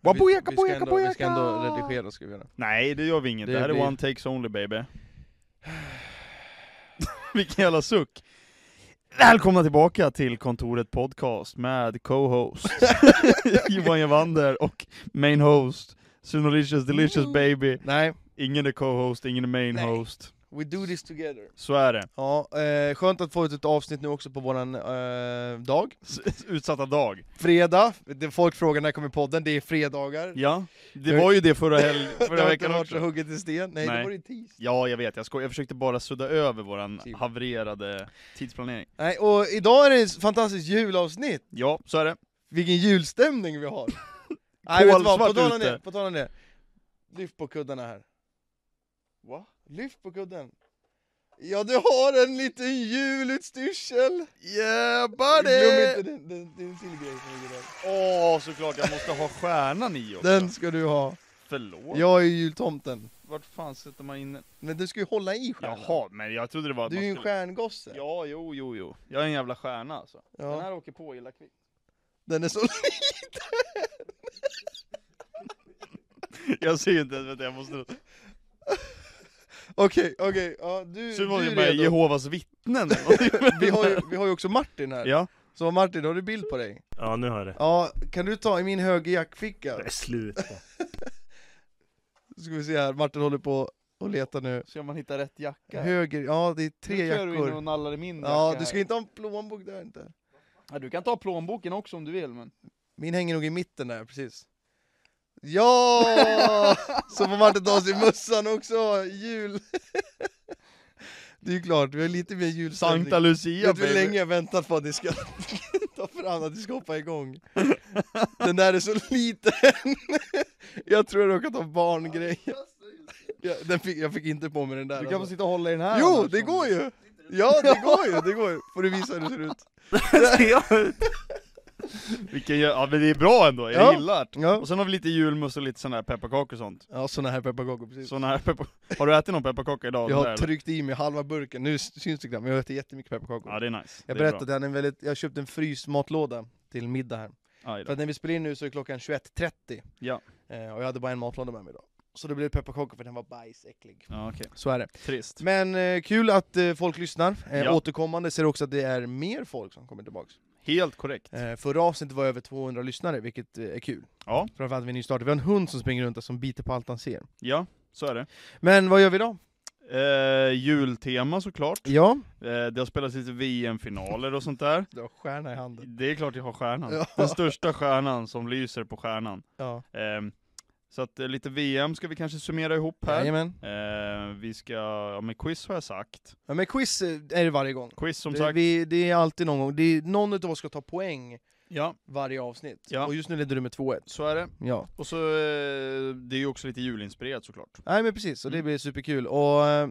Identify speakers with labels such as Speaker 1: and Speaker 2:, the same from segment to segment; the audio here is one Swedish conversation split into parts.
Speaker 1: Wabuya,
Speaker 2: vi, vi, ska
Speaker 1: kabuya,
Speaker 2: ändå,
Speaker 1: kabuya,
Speaker 2: vi ska ändå
Speaker 1: ka.
Speaker 2: redigera ska vi göra.
Speaker 3: Nej det gör vi inget,
Speaker 2: Det
Speaker 3: det, här
Speaker 2: blir-
Speaker 3: är one takes only baby. Vilken jävla suck. Välkomna tillbaka till kontoret podcast med co-host Johan Javander och main host Sunolicious Delicious Baby.
Speaker 1: Nej,
Speaker 3: Ingen är co-host, ingen är main
Speaker 1: Nej.
Speaker 3: host.
Speaker 2: We do this together.
Speaker 3: Så är det.
Speaker 1: ja, eh, skönt att få ut ett avsnitt nu också på våran eh, dag.
Speaker 3: S- Utsatta dag.
Speaker 1: Fredag, det folk frågar när kommer podden, det är fredagar.
Speaker 3: Ja, det var ju det förra, helg,
Speaker 1: det
Speaker 3: förra
Speaker 1: har inte
Speaker 3: veckan
Speaker 1: varit så
Speaker 3: också.
Speaker 1: hugget i sten. Nej, det
Speaker 3: Nej.
Speaker 1: var det i tisdag.
Speaker 3: Ja, jag vet, jag, sko- jag försökte bara sudda över våran
Speaker 2: Typ.
Speaker 3: havererade tidsplanering.
Speaker 1: Nej, och idag är det ett fantastiskt julavsnitt.
Speaker 3: Ja, så är det.
Speaker 1: Vilken julstämning vi har! Nej vet du vad, på
Speaker 3: Kolsvart
Speaker 1: tal om
Speaker 3: ute.
Speaker 1: det, på tal om det. Lyft på kuddarna här.
Speaker 3: Va?
Speaker 1: Lyft på kudden. Ja du har en liten julutstyrsel!
Speaker 3: Yeah
Speaker 1: Glöm inte den, den, det är en till grej som ligger där.
Speaker 3: Åh, såklart jag måste ha stjärnan i också.
Speaker 1: Den ska du ha.
Speaker 3: Förlåt.
Speaker 1: Jag är ju jultomten.
Speaker 3: Vart fan sätter man in den?
Speaker 1: Men du ska ju hålla i stjärnan.
Speaker 3: Jaha, men jag trodde det var att
Speaker 1: Du är
Speaker 3: man
Speaker 1: ju en
Speaker 3: skulle-
Speaker 1: stjärngosse.
Speaker 3: Ja, jo, jo, jo. Jag är en jävla stjärna alltså.
Speaker 1: Ja.
Speaker 3: Den här åker på illa kvickt.
Speaker 1: Den är så
Speaker 3: Jag ser inte ens, vänta jag måste...
Speaker 1: Okej, okej. Ja, du,
Speaker 3: Så
Speaker 1: du
Speaker 3: var
Speaker 1: är
Speaker 3: det bara
Speaker 1: redo.
Speaker 3: Jehovas vittnen eller någonting.
Speaker 1: Vi har, ju, vi har ju också Martin här.
Speaker 3: Ja.
Speaker 1: Så Martin, har du bild på dig?
Speaker 4: Ja, nu har jag det.
Speaker 1: Ja, kan du ta i min höger jackficka?
Speaker 4: Nej, sluta.
Speaker 1: Ska vi se här, Martin håller på och letar nu.
Speaker 3: Se om man hittar rätt jacka. här.
Speaker 1: Höger, ja det är tre
Speaker 3: Nu kör du in
Speaker 1: jackor.
Speaker 3: och nallar i min jacka
Speaker 1: Ja, du
Speaker 3: här.
Speaker 1: ska inte ha en plånbok där inte.
Speaker 3: ja, du kan ta plånboken också om du vill men...
Speaker 1: Min hänger nog i mitten där, precis. Ja! Så får Martin ta sig mössan också, jul. Det är ju klart, vi har lite mer julstämning.
Speaker 3: Santa Lucia
Speaker 1: Vet du hur länge jag väntat på att det ska ta fram, att det ska hoppa igång? Den där är så liten! Jag tror jag råkat ha barngrejer. Ja, den fick, jag fick inte på mig den där alltså.
Speaker 3: Du kan få sitta och hålla i den här
Speaker 1: Jo,
Speaker 3: annars,
Speaker 1: det
Speaker 3: om-
Speaker 1: går ju! Ja, det går ju, det går ju. Får du visa hur det ser ut?
Speaker 4: Ser jag ut?
Speaker 3: Vilken, jä- ja men det är bra ändå, jag
Speaker 1: Ja.
Speaker 3: gillar det.
Speaker 1: Ja,
Speaker 3: Och sen har vi lite julmust och lite sådana här pepparkakor och sånt.
Speaker 1: ja såna här pepparkakor precis.
Speaker 3: Såna här peppar- har du ätit någon pepparkaka idag?
Speaker 1: Jag
Speaker 3: Där,
Speaker 1: har
Speaker 3: eller?
Speaker 1: tryckt i mig halva burken, nu syns det knappt, men jag äter jättemycket pepparkakor.
Speaker 3: Ja det är nice.
Speaker 1: jag
Speaker 3: Det är bra.
Speaker 1: berättade, jag, en väldigt, jag köpte en fryst matlåda till middag här.
Speaker 3: Aj
Speaker 1: För
Speaker 3: då.
Speaker 1: att när vi spelar in nu så är klockan 21.30.
Speaker 3: Ja.
Speaker 1: Eh, och jag hade bara en matlåda med mig idag. Så det blev pepparkakor för den var bajsäcklig.
Speaker 3: Ja okej,
Speaker 1: Så är det.
Speaker 3: trist.
Speaker 1: Men eh, kul att eh, folk lyssnar. Eh,
Speaker 3: Typ. Ja.
Speaker 1: Återkommande ser du också att det är mer folk som kommer tillbaks.
Speaker 3: Helt korrekt.
Speaker 1: Eh, förra avsnittet var över 200 lyssnare, vilket eh, är kul.
Speaker 3: Ja.
Speaker 1: Framförallt vid nystarten. Vi har en hund som springer runt och som biter på allt han ser.
Speaker 3: Ja, så är det.
Speaker 1: Men vad gör vi då?
Speaker 3: Eh, jultema såklart.
Speaker 1: Ja,
Speaker 3: Eh, det har spelats lite VM-finaler och sånt där.
Speaker 1: du har stjärna i handen.
Speaker 3: Det är klart jag har stjärnan.
Speaker 1: Ja.
Speaker 3: Den största stjärnan som lyser på stjärnan.
Speaker 1: Ja.
Speaker 3: Ehm, så att eh, lite VM ska vi kanske summera ihop här.
Speaker 1: Jajamän.
Speaker 3: Eh, vi ska, ja men quiz har jag sagt.
Speaker 1: Ja, men quiz eh, är det varje gång.
Speaker 3: Quiz som
Speaker 1: Det,
Speaker 3: sagt.
Speaker 1: vi, det är alltid någon gång. Det är, någon av oss ska ta poäng
Speaker 3: Ja,
Speaker 1: varje avsnitt.
Speaker 3: Ja.
Speaker 1: Och just nu leder du med 2-1.
Speaker 3: så är det.
Speaker 1: Ja.
Speaker 3: Och så, eh, det är ju också lite julinspirerat såklart.
Speaker 1: Nej men precis, och det
Speaker 3: Mm.
Speaker 1: blir superkul. Och eh,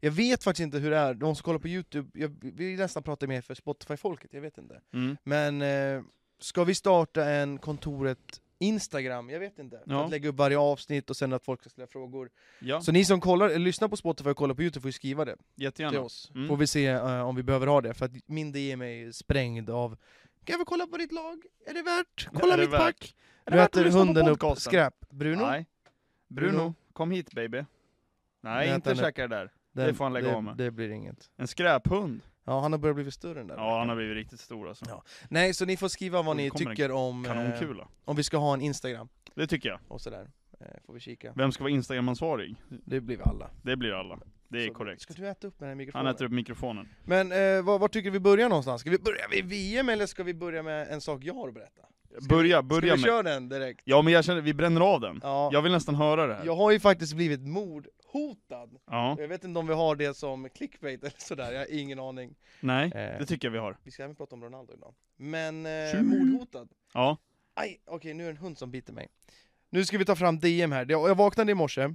Speaker 1: jag vet faktiskt inte hur det är, de som kollar på Youtube, jag vill nästan prata mer för Spotify-folket, jag vet inte.
Speaker 3: Mm.
Speaker 1: Men eh, ska vi starta en kontoret Instagram, jag vet inte. För
Speaker 3: Ja.
Speaker 1: att lägga upp varje avsnitt och sen att folk ska ställa frågor.
Speaker 3: Ja,
Speaker 1: Så ni som kollar, eller lyssnar på Spotify och kollar på Youtube får ju skriva det till
Speaker 3: jättegärna.
Speaker 1: oss.
Speaker 3: Mm.
Speaker 1: Får vi se eh, om vi behöver ha det, för att min DM är sprängd av Kan vi kolla på ditt lag? Är det värt? Kolla
Speaker 3: Är det
Speaker 1: mitt
Speaker 3: värt?
Speaker 1: pack!
Speaker 3: Är
Speaker 1: Nu
Speaker 3: det värt att
Speaker 1: äter
Speaker 3: lyssna på
Speaker 1: hunden upp
Speaker 3: podcasten?
Speaker 1: skräp. Bruno?
Speaker 3: Nej. Bruno,
Speaker 1: Bruno.
Speaker 3: kom hit baby. Nej,
Speaker 1: Nej,
Speaker 3: inte
Speaker 1: vänta nu.
Speaker 3: käka det där. det får han lägga av med.
Speaker 1: Det blir inget.
Speaker 3: En skräphund.
Speaker 1: Ja, han har börjat bli större än där.
Speaker 3: Ja, han har blivit riktigt stor alltså.
Speaker 1: Ja. Nej, så ni får skriva vad
Speaker 3: Oj,
Speaker 1: ni
Speaker 3: kommer det
Speaker 1: tycker om, eh,
Speaker 3: Kanonkula.
Speaker 1: om vi ska ha en Instagram
Speaker 3: Det tycker jag.
Speaker 1: och sådär. Eh, får vi kika.
Speaker 3: Vem ska vara Instagram-ansvarig?
Speaker 1: Det blir vi alla.
Speaker 3: Det blir alla. Det är
Speaker 1: Så,
Speaker 3: korrekt.
Speaker 1: Ska du äta upp med den här mikrofonen?
Speaker 3: Han äter upp mikrofonen.
Speaker 1: Men eh, var, var tycker vi börjar någonstans? Ska vi börja vid VM eller ska vi börja med en sak jag har att berätta? vi-
Speaker 3: Börja,
Speaker 1: Ska
Speaker 3: börja
Speaker 1: vi
Speaker 3: med...
Speaker 1: köra den direkt?
Speaker 3: Ja men jag känner, vi bränner av den.
Speaker 1: Ja.
Speaker 3: Jag vill nästan höra det här.
Speaker 1: Jag har ju faktiskt blivit mordhotad.
Speaker 3: Ja.
Speaker 1: Jag vet inte om vi har det som clickbait eller sådär, jag har ingen aning.
Speaker 3: Nej,
Speaker 1: Eh.
Speaker 3: det tycker jag vi har.
Speaker 1: Vi ska även prata om Ronaldo idag. Men eh,
Speaker 3: Tju.
Speaker 1: mordhotad.
Speaker 3: Ja.
Speaker 1: Aj, okej nu är det en hund som biter mig. Nu ska vi ta fram DM här. Jag jag vaknade i morse.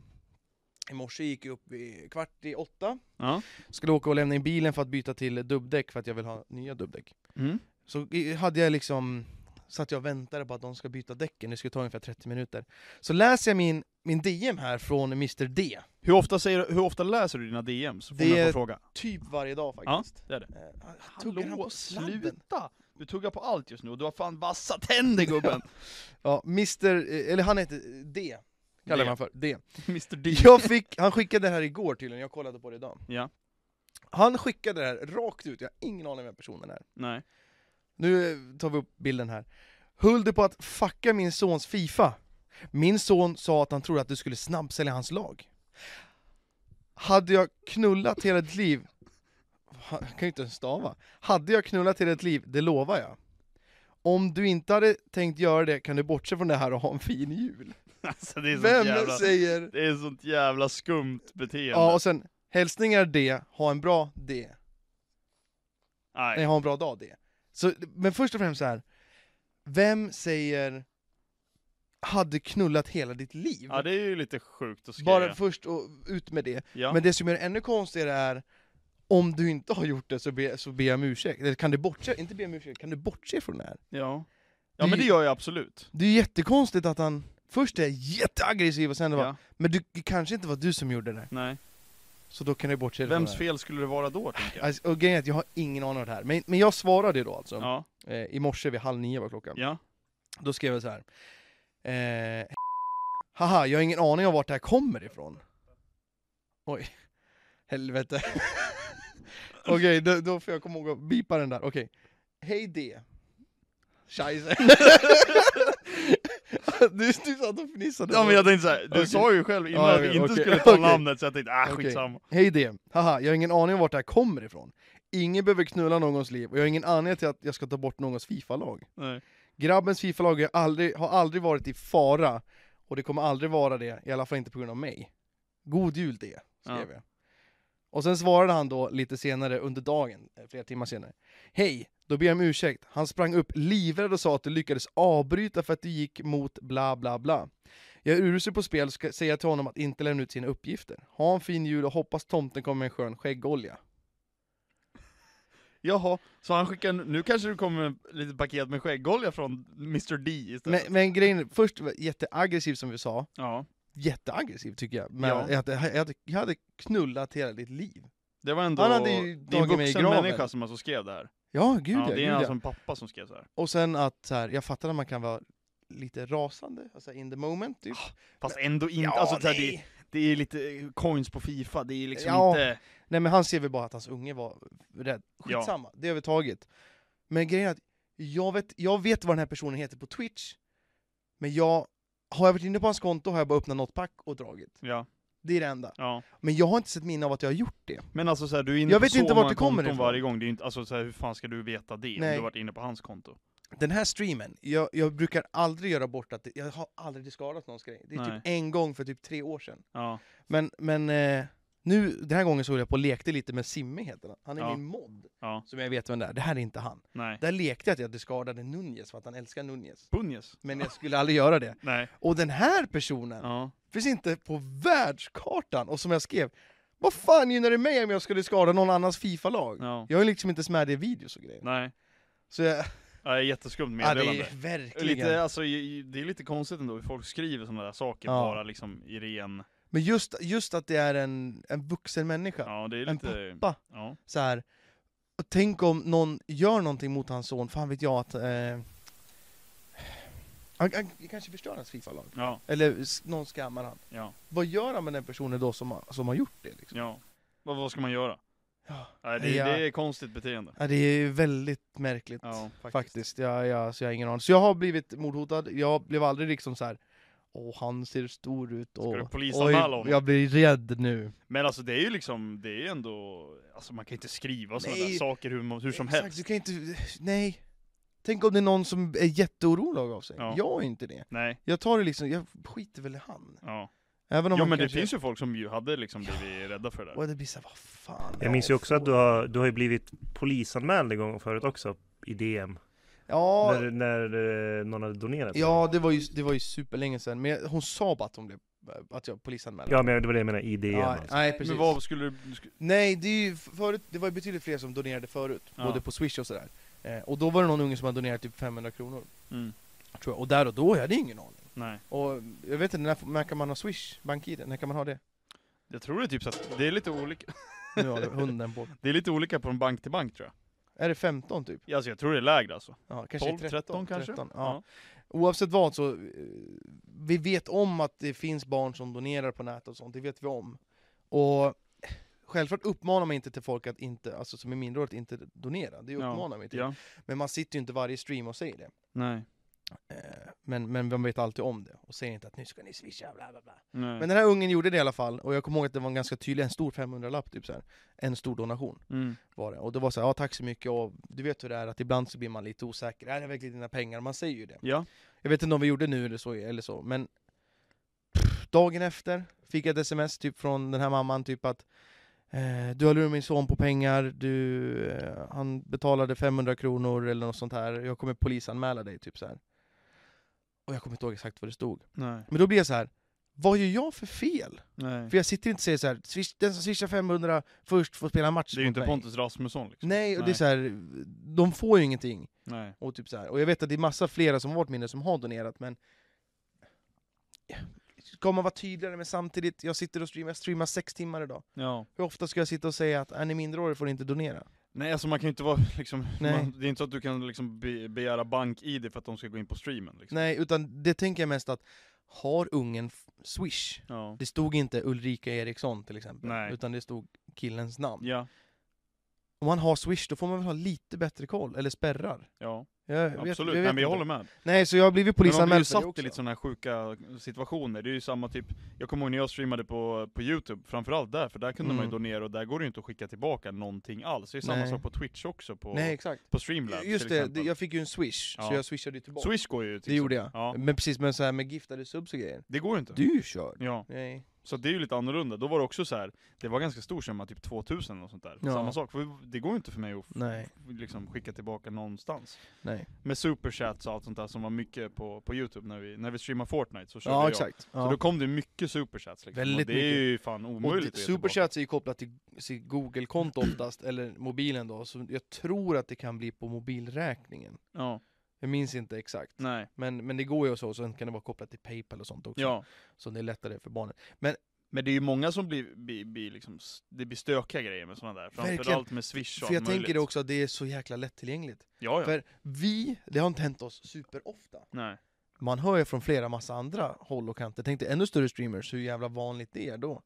Speaker 1: I morse gick jag upp vid kvart i åtta.
Speaker 3: Ja.
Speaker 1: Skulle åka och lämna in bilen för att byta till dubbdäck för att jag vill ha nya dubbdäck.
Speaker 3: Mm.
Speaker 1: Så i- hade jag liksom satt jag och väntade på att de ska byta däcken. Det skulle ta ungefär 30 minuter. Så läser jag min, min DM här från Mr D.
Speaker 3: Hur, ofta säger, hur ofta läser du dina DMs? Får
Speaker 1: Det
Speaker 3: det...
Speaker 1: är-
Speaker 3: fråga.
Speaker 1: Typ varje dag
Speaker 3: Ja,
Speaker 1: faktiskt.
Speaker 3: det är det.
Speaker 1: Eh, tuggar han på sladden?
Speaker 3: sluta! Du tuggar på allt just nu och du har fan vassa tänder gubben!
Speaker 1: Ja, Mr, eh, eller han heter eh, D. Kallar
Speaker 3: D.
Speaker 1: man för. D.
Speaker 3: Mr D.
Speaker 1: Jag fick, han skickade det här igår tydligen, jag kollade på det idag.
Speaker 3: Ja.
Speaker 1: Han skickade det här rakt ut, jag har ingen aning vem personen är.
Speaker 3: Nej.
Speaker 1: Nu eh, tar vi upp bilden här. Höll du på att fucka min sons Fifa? Min son sa att han trodde att du skulle snabbsälja hans lag. Hade jag knullat hela ditt liv... Han kan ju inte ens stava. Hade jag knullat hela ditt liv, det lovar jag. Om du inte hade tänkt göra det kan du bortse från det här och ha en fin jul.
Speaker 3: Alltså det är sånt
Speaker 1: Vem
Speaker 3: jävla...
Speaker 1: säger...
Speaker 3: Det är sånt jävla skumt beteende.
Speaker 1: Ja, och sen hälsningar D, ha en bra D.
Speaker 3: Nej.
Speaker 1: Nej, ha en bra dag det. Så, men först och främst så här. vem säger hade knullat hela ditt liv?
Speaker 3: Ja det är ju lite sjukt att skriva.
Speaker 1: Bara först och ut med det.
Speaker 3: ja.
Speaker 1: Men det som är ännu konstigare är, om du inte har gjort det så ber så be om ursäkt. Eller kan du bortse, inte be om ursäkt, kan du bortse från det här?
Speaker 3: ja. Ja men det gör jag absolut.
Speaker 1: Det är ju jättekonstigt att han först är jätteaggressiv och sen bara,
Speaker 3: Ja.
Speaker 1: men du, det kanske inte var du som gjorde det.
Speaker 3: Nej.
Speaker 1: Så då kan du bortse från
Speaker 3: Vems
Speaker 1: det. här.
Speaker 3: fel skulle det vara då tänker jag?
Speaker 1: Alltså, och grejen är att jag har ingen aning om det här. Men, men jag svarade då alltså,
Speaker 3: Ja.
Speaker 1: eh, i morse vid halv nio var klockan.
Speaker 3: Ja.
Speaker 1: Då skrev jag så här. Eh, Haha, jag har ingen aning om vart det här kommer ifrån. Oj, helvete. Okej, då, då får jag komma ihåg att bipa den där. Okej. Hej D. Scheisse. du, du satt och fnissade.
Speaker 3: Ja men jag tänkte såhär, du
Speaker 1: Okej.
Speaker 3: sa ju själv innan
Speaker 1: Ja, jag
Speaker 3: att du
Speaker 1: vet,
Speaker 3: inte
Speaker 1: okej,
Speaker 3: skulle ta
Speaker 1: okej.
Speaker 3: namnet så jag tänkte ah
Speaker 1: Okej.
Speaker 3: skitsamma.
Speaker 1: Hej D. Haha, jag har ingen aning om vart det här kommer ifrån. Ingen behöver knulla någons liv och jag har ingen anledning till att jag ska ta bort någons Fifa-lag.
Speaker 3: Nej.
Speaker 1: Grabbens Fifa-lag har aldrig, har aldrig varit i fara och det kommer aldrig vara det, i alla fall inte på grund av mig. God jul det, skrev jag. Och sen svarade han då lite senare under dagen, eh, flera timmar senare. Hej, då ber jag om ursäkt. Han sprang upp livrädd och sa att du lyckades avbryta för att du gick mot bla bla bla. Jag är urusel på spel och ska säga till honom att inte lämna ut sina uppgifter. Ha en fin jul och hoppas tomten kommer med en skön skäggolja.
Speaker 3: Jaha, så han skickar, nu kanske du kommer med ett litet paket med skäggolja från Mr D
Speaker 1: Men,
Speaker 3: istället?
Speaker 1: men grejen är, först var jag jätteaggressiv som vi sa,
Speaker 3: Ja,
Speaker 1: jätteaggressiv tycker jag. Men
Speaker 3: Ja.
Speaker 1: jag, hade, jag, hade, jag hade knullat hela ditt liv.
Speaker 3: det var ändå,
Speaker 1: Han hade ju
Speaker 3: det är en
Speaker 1: tagit mig i
Speaker 3: vuxen
Speaker 1: graven.
Speaker 3: människa som alltså skrev det här.
Speaker 1: Ja, gud
Speaker 3: ja,
Speaker 1: ja.
Speaker 3: det
Speaker 1: Gud,
Speaker 3: är alltså
Speaker 1: ja.
Speaker 3: en pappa som skrev så här.
Speaker 1: Och sen att så här, jag fattar att man kan vara lite rasande, alltså in the moment typ.
Speaker 3: Fast ändå inte,
Speaker 1: Ja,
Speaker 3: alltså så här, det,
Speaker 1: nej.
Speaker 3: det är lite coins på Fifa, det är liksom
Speaker 1: Ja.
Speaker 3: inte...
Speaker 1: nej men han ser väl bara att hans unge var rädd. Skitsamma, det har vi tagit. Men grejen är att jag vet, jag vet vad den här personen heter på Twitch, men jag har jag varit inne på hans konto har jag bara öppnat något pack och dragit.
Speaker 3: Ja,
Speaker 1: Det är det enda.
Speaker 3: ja.
Speaker 1: Men jag har inte sett minne av att jag har gjort det.
Speaker 3: Men alltså så här, du är inne
Speaker 1: Jag
Speaker 3: på
Speaker 1: vet
Speaker 3: så
Speaker 1: inte vart
Speaker 3: många
Speaker 1: det kommer
Speaker 3: konton
Speaker 1: ifrån.
Speaker 3: varje gång, det är ju inte, alltså så här, hur fan ska du veta det om
Speaker 1: Nej.
Speaker 3: du har varit inne på hans konto?
Speaker 1: Den här streamen, jag, jag brukar aldrig göra bort att det, jag har aldrig skadat någons grej. Det är
Speaker 3: Nej.
Speaker 1: typ en gång för typ tre år sedan.
Speaker 3: Ja,
Speaker 1: Men, men eh, nu, den här gången så höll jag på och lekte lite med Simme heter han. Han är
Speaker 3: Ja.
Speaker 1: min mod,
Speaker 3: ja,
Speaker 1: som jag vet vem det är. Det här är inte han.
Speaker 3: nej.
Speaker 1: Där lekte jag att jag skadade Nunez för att han älskar Nunez.
Speaker 3: Bunjes?
Speaker 1: Men jag skulle aldrig göra det.
Speaker 3: Nej.
Speaker 1: Och den här personen
Speaker 3: Ja.
Speaker 1: finns inte på världskartan. Och som jag skrev, vad fan gynnar det mig om jag skulle skada någon annans Fifa-lag?
Speaker 3: Ja.
Speaker 1: Jag är liksom inte ens med i videos och grejer.
Speaker 3: Nej.
Speaker 1: Så jag,
Speaker 3: Ja, det är jätteskumt
Speaker 1: ja, det
Speaker 3: meddelande.
Speaker 1: är verkligen...
Speaker 3: Lite, alltså, i- i- det är lite konstigt ändå hur folk skriver sådana där saker
Speaker 1: Ja.
Speaker 3: bara liksom i ren...
Speaker 1: Men just, just att det är en, en vuxen människa.
Speaker 3: Ja, det är
Speaker 1: En
Speaker 3: lite...
Speaker 1: pappa.
Speaker 3: Ja.
Speaker 1: Så här, och tänk om någon gör någonting mot hans son, fan vet jag att... Eh, han, han kanske förstör hans Fifa-lag.
Speaker 3: Ja,
Speaker 1: Eller s- någon skammar han.
Speaker 3: ja,
Speaker 1: Vad gör han med den personen då som har, som har gjort det? Liksom?
Speaker 3: ja. Vad, vad ska man göra?
Speaker 1: Ja.
Speaker 3: Nej, det,
Speaker 1: Ja.
Speaker 3: det är konstigt beteende.
Speaker 1: Ja, det är väldigt märkligt.
Speaker 3: Ja,
Speaker 1: faktiskt.
Speaker 3: faktiskt.
Speaker 1: Jag, jag, så jag har ingen aning. Så jag har blivit mordhotad. Jag blev aldrig liksom så här. Åh, han ser stor ut. Och,
Speaker 3: du polisanmäla honom?
Speaker 1: Jag blir rädd nu.
Speaker 3: Men alltså det är ju liksom, det är ju ändå... Alltså man kan inte skriva sådana
Speaker 1: Nej.
Speaker 3: där saker hur, hur som
Speaker 1: Exakt,
Speaker 3: helst.
Speaker 1: Du kan inte, nej. Tänk om det är någon som är jätteorolig av sig.
Speaker 3: Ja.
Speaker 1: Jag är inte det.
Speaker 3: Nej.
Speaker 1: Jag tar det liksom, jag skiter väl i han.
Speaker 3: Ja.
Speaker 1: Även om
Speaker 3: Jo
Speaker 1: han
Speaker 3: men det
Speaker 1: kanske-
Speaker 3: finns ju folk som ju hade liksom blivit rädda för det där.
Speaker 1: Och det blir så här, vad fan.
Speaker 2: Jag minns ju också att du har, du har ju blivit polisanmäld en gång förut också i DM.
Speaker 1: Ja,
Speaker 2: När, när eh, någon hade donerat.
Speaker 1: ja det, var ju, det var ju superlänge sedan. Men jag, hon sa bara att hon blev, att jag polisanmälde.
Speaker 2: ja men det var det jag menade, i DM.
Speaker 1: Ja,
Speaker 2: alltså.
Speaker 1: nej precis.
Speaker 3: Men vad skulle du... sk-
Speaker 1: Nej, det, är ju förut, det var ju betydligt fler som donerade förut,
Speaker 3: Ja.
Speaker 1: både på swish och sådär. Eh, och då var det någon unge som hade donerat typ 500 kronor,
Speaker 3: Mm.
Speaker 1: tror jag. Och där och då, jag hade ingen aning.
Speaker 3: Nej.
Speaker 1: Och jag vet inte, när, när kan man ha swish, bank-id? När kan man ha det?
Speaker 3: Jag tror det är typ så att det är lite olika,
Speaker 1: Nu har hunden bort.
Speaker 3: det är lite olika från bank till bank tror jag.
Speaker 1: Är det 15 typ?
Speaker 3: Alltså jag tror det är lägre alltså.
Speaker 1: Ja,
Speaker 3: 12,
Speaker 1: 13,
Speaker 3: 13 kanske?
Speaker 1: Ja. Oavsett vad så, eh, vi vet om att det finns barn som donerar på nätet och sånt, det vet vi om. Och självklart uppmanar man inte till folk att inte, alltså som är minderåriga, att inte donera. Det
Speaker 3: Ja,
Speaker 1: uppmanar man ju till.
Speaker 3: Ja.
Speaker 1: Men man sitter ju inte varje stream och säger det.
Speaker 3: Nej.
Speaker 1: Eh, Men, men man vet alltid om det och säger inte att nu ska ni swisha bla bla bla.
Speaker 3: Nej.
Speaker 1: Men den här ungen gjorde det i alla fall och jag kommer ihåg att det var en ganska tydlig, en stor 500-lapp typ så här. En stor donation
Speaker 3: Mm.
Speaker 1: var det. Och det var så här, ja tack så mycket och du vet hur det är att ibland så blir man lite osäker. Är det verkligen dina pengar? Man säger ju det.
Speaker 3: Ja.
Speaker 1: Jag vet inte om vi gjorde nu eller så, eller så men pff, dagen efter fick jag ett sms typ från den här mamman typ att eh, du har lurat min son på pengar, du, eh, han betalade 500 kronor eller något sånt här, jag kommer polisanmäla dig typ så här. Och jag kommer inte ihåg exakt vad det stod.
Speaker 3: Nej.
Speaker 1: Men då blir jag så här, vad gör jag för fel?
Speaker 3: Nej.
Speaker 1: För jag sitter inte och säger så här, "Swish- den som swishar 500 först får spela en match
Speaker 3: Det är ju
Speaker 1: mot
Speaker 3: inte
Speaker 1: mig."
Speaker 3: Pontus Rasmusson liksom.
Speaker 1: Nej, och det är
Speaker 3: Nej.
Speaker 1: så här, de får ju ingenting.
Speaker 3: Nej.
Speaker 1: Och, typ så här. och jag vet att det är massa flera som har varit mindre som har donerat, men Ska man vara tydligare men samtidigt, jag sitter och streamar, jag streamar sex timmar idag.
Speaker 3: Ja.
Speaker 1: Hur ofta ska jag sitta och säga att är ni minderåriga får ni inte donera?
Speaker 3: Nej alltså man kan ju inte vara liksom,
Speaker 1: Nej.
Speaker 3: Man, det är inte så att du kan liksom be, begära bank-id för att de ska gå in på streamen liksom.
Speaker 1: Nej, utan det tänker jag mest att har ungen f- swish?
Speaker 3: Ja.
Speaker 1: Det stod inte Ulrika Eriksson till exempel,
Speaker 3: Nej.
Speaker 1: utan det stod killens namn.
Speaker 3: Ja.
Speaker 1: Om man har swish då får man väl ha lite bättre koll, eller spärrar.
Speaker 3: Ja.
Speaker 1: Jag vet-
Speaker 3: Absolut.
Speaker 1: jag vet
Speaker 3: Nej men jag
Speaker 1: inte.
Speaker 3: håller med.
Speaker 1: Nej, så jag har blivit
Speaker 3: Men man blir ju
Speaker 1: polisanmäld för det
Speaker 3: satt
Speaker 1: också.
Speaker 3: i lite sådana här sjuka situationer, det är ju samma typ Jag kommer ihåg när jag streamade på, på youtube, framförallt där, för där kunde man ju
Speaker 1: Mm.
Speaker 3: donera och där går det ju inte att skicka tillbaka någonting alls Det är ju samma
Speaker 1: Nej.
Speaker 3: sak på twitch också, på,
Speaker 1: Nej, exakt.
Speaker 3: på streamlabs
Speaker 1: Just
Speaker 3: till
Speaker 1: det, det,
Speaker 3: exempel.
Speaker 1: jag fick ju en swish,
Speaker 3: Ja.
Speaker 1: så jag swishade ju tillbaka.
Speaker 3: Swish går ju till
Speaker 1: det gjorde jag.
Speaker 3: exempel. Ja,
Speaker 1: Men precis, men så här med giftade subs och grejer.
Speaker 3: det går ju inte
Speaker 1: Du är ju körd.
Speaker 3: Ja,
Speaker 1: Nej.
Speaker 3: så det är ju lite annorlunda, då var det också så här. det var ganska stor summa, typ 2000 och sånt där
Speaker 1: Ja.
Speaker 3: Samma sak, för det går ju inte för mig att f-
Speaker 1: Nej.
Speaker 3: liksom skicka tillbaka någonstans
Speaker 1: Nej.
Speaker 3: Med superchats och allt sånt där som var mycket på, på youtube när vi, när vi streamade Fortnite så körde
Speaker 1: Ja,
Speaker 3: jag
Speaker 1: exakt.
Speaker 3: Så då
Speaker 1: Ja.
Speaker 3: kom det mycket superchats liksom.
Speaker 1: Väldigt
Speaker 3: och det är ju fan omöjligt
Speaker 1: Och
Speaker 3: att ge tillbaka.
Speaker 1: superchats är ju kopplat till sitt Google-konto oftast, eller mobilen då, så jag tror att det kan bli på mobilräkningen.
Speaker 3: Ja,
Speaker 1: Jag minns inte exakt.
Speaker 3: nej,
Speaker 1: Men, men det går ju så, och sen kan det vara kopplat till Paypal och sånt också.
Speaker 3: ja
Speaker 1: Så det är lättare för barnen.
Speaker 3: Men det är ju många som blir, blir, blir liksom, s- det blir stökiga grejer med sådana där Framförallt
Speaker 1: Verkligen.
Speaker 3: med swish och
Speaker 1: För jag
Speaker 3: allt möjligt.
Speaker 1: tänker det också att det är så jäkla lättillgängligt.
Speaker 3: Ja, ja,
Speaker 1: För vi, det har inte hänt oss superofta.
Speaker 3: nej
Speaker 1: Man hör ju från flera massa andra håll och kanter. Tänk dig ännu större streamers, hur jävla vanligt det är då.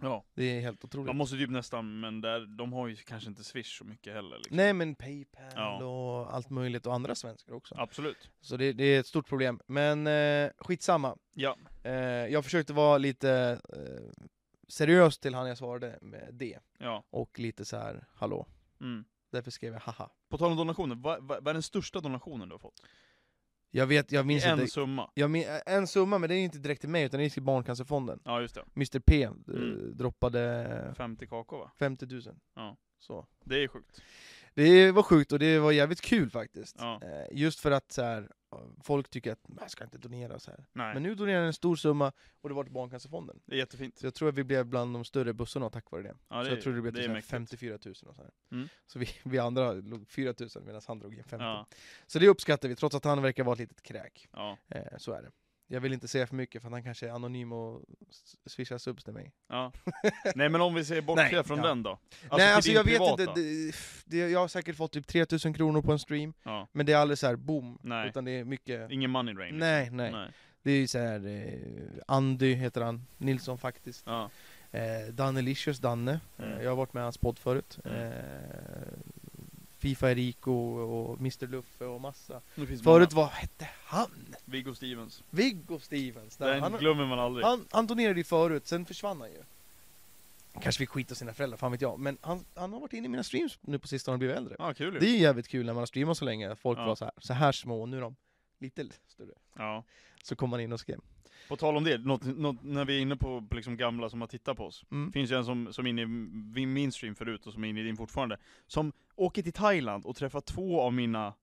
Speaker 3: ja.
Speaker 1: Det är helt otroligt.
Speaker 3: Man måste typ nästan, men där, de har ju kanske inte swish så mycket heller liksom.
Speaker 1: Nej men Paypal
Speaker 3: Ja.
Speaker 1: och allt möjligt och andra svenskar också.
Speaker 3: Absolut
Speaker 1: Så det, det är ett stort problem. Men eh, skitsamma.
Speaker 3: Ja,
Speaker 1: Eh, jag försökte vara lite eh, seriös till han jag svarade med det.
Speaker 3: ja,
Speaker 1: Och lite så här, hallå.
Speaker 3: mm.
Speaker 1: Därför skrev jag haha.
Speaker 3: På tal om donationer, vad, vad, vad är den största donationen du har fått?
Speaker 1: Jag vet, jag
Speaker 3: I
Speaker 1: minns
Speaker 3: en
Speaker 1: inte.
Speaker 3: summa?
Speaker 1: Jag min, en summa, men det är inte direkt till mig utan det är till Barncancerfonden.
Speaker 3: Ja just det,
Speaker 1: Mr P eh,
Speaker 3: Mm.
Speaker 1: droppade
Speaker 3: 50 kakor va?
Speaker 1: 50 000.
Speaker 3: Ja.
Speaker 1: Så.
Speaker 3: Det är sjukt
Speaker 1: Det var sjukt och det var jävligt kul faktiskt.
Speaker 3: Ja.
Speaker 1: Eh, Just för att så här, folk tycker att man ska inte donera så här.
Speaker 3: Nej,
Speaker 1: Men nu donerar den en stor summa och det var till Barncancerfonden.
Speaker 3: det är jättefint
Speaker 1: Så jag tror att vi blev bland de större bussarna tack vare det.
Speaker 3: ja, det,
Speaker 1: så jag tror det blev
Speaker 3: det är
Speaker 1: typ så här
Speaker 3: mäktigt.
Speaker 1: 54 000 och så här.
Speaker 3: Mm.
Speaker 1: Så vi, vi andra låg 4 000 medan han drog in 50.
Speaker 3: Ja,
Speaker 1: Så det uppskattar vi, trots att han verkar vara ett litet kräk.
Speaker 3: ja,
Speaker 1: Eh, så är det. Jag vill inte säga för mycket för att han kanske är anonym och s- swishar subs till mig.
Speaker 3: ja Nej men om vi ser bort
Speaker 1: Nej,
Speaker 3: från
Speaker 1: ja.
Speaker 3: den då?
Speaker 1: Nej
Speaker 3: till
Speaker 1: alltså
Speaker 3: din
Speaker 1: jag vet
Speaker 3: privata.
Speaker 1: inte, det, det, jag har säkert fått typ 3 000 kronor på en stream,
Speaker 3: Ja.
Speaker 1: men det är aldrig så här boom,
Speaker 3: Nej.
Speaker 1: utan det är mycket
Speaker 3: Ingen money drain? liksom.
Speaker 1: Nej, nej. Det är ju såhär, eh, Andy heter han, Nilsson faktiskt.
Speaker 3: Ja.
Speaker 1: Eh, Danelicious, Danne.
Speaker 3: Mm.
Speaker 1: Eh, jag har varit med i hans podd förut.
Speaker 3: Mm.
Speaker 1: Eh, Fifa Eriko och Mr Luffe och massa.
Speaker 3: Det finns
Speaker 1: Förut, vad hette han?
Speaker 3: många. Viggo Stevens.
Speaker 1: Viggo Stevens. Nej,
Speaker 3: Den
Speaker 1: han,
Speaker 3: glömmer man aldrig.
Speaker 1: han, han turnerade ju förut, sen försvann han ju. Kanske fick skit av sina föräldrar, fan vet jag. Men han, han har varit inne i mina streams nu på sistone och blivit äldre.
Speaker 3: Ja, kul ju.
Speaker 1: Det är ju jävligt kul när man har streamat så länge, att folk
Speaker 3: Ja.
Speaker 1: var så här, så här små och nu är de lite större.
Speaker 3: Ja.
Speaker 1: Så kom man in och skrev.
Speaker 3: På tal om det, något, något, när vi är inne på, på liksom gamla som har tittat på oss.
Speaker 1: Mm.
Speaker 3: Finns ju en som, som är inne i min- min stream förut och som är inne i din fortfarande. Som åker till Thailand och träffar två av mina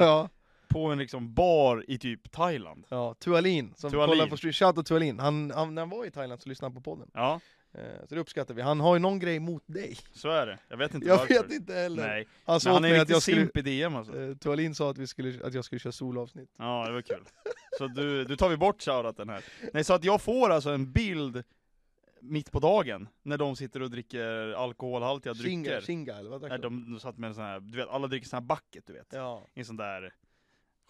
Speaker 1: Ja, ja.
Speaker 3: på en liksom bar i typ Thailand.
Speaker 1: Ja, Tualin som
Speaker 3: Tualin.
Speaker 1: kollar på stream. Shoutout Tualin. Han, han, när han var i Thailand så lyssnade han på podden.
Speaker 3: Ja,
Speaker 1: Eh, så det uppskattar vi. Han har ju någon grej mot dig.
Speaker 3: så är det. Jag vet inte
Speaker 1: Jag
Speaker 3: varför.
Speaker 1: vet inte heller.
Speaker 3: Nej,
Speaker 1: Han
Speaker 3: men
Speaker 1: sa åt
Speaker 3: han är
Speaker 1: mig
Speaker 3: en
Speaker 1: att
Speaker 3: riktig
Speaker 1: jag skulle...
Speaker 3: simp i DM alltså.
Speaker 1: eh, Tualin sa att, vi skulle, att jag skulle köra solavsnitt.
Speaker 3: Ja, det var kul. Så du, du tar vi bort shoutouten här. Nej, så att jag får alltså en bild mitt på dagen, när de sitter och dricker alkoholhaltiga
Speaker 1: Shinga,
Speaker 3: drycker.
Speaker 1: Shinga eller vad
Speaker 3: Nej,
Speaker 1: drack de?
Speaker 3: de, de satt med en sån här, du vet, alla dricker sån här bucket du vet.
Speaker 1: Ja,
Speaker 3: I en sån där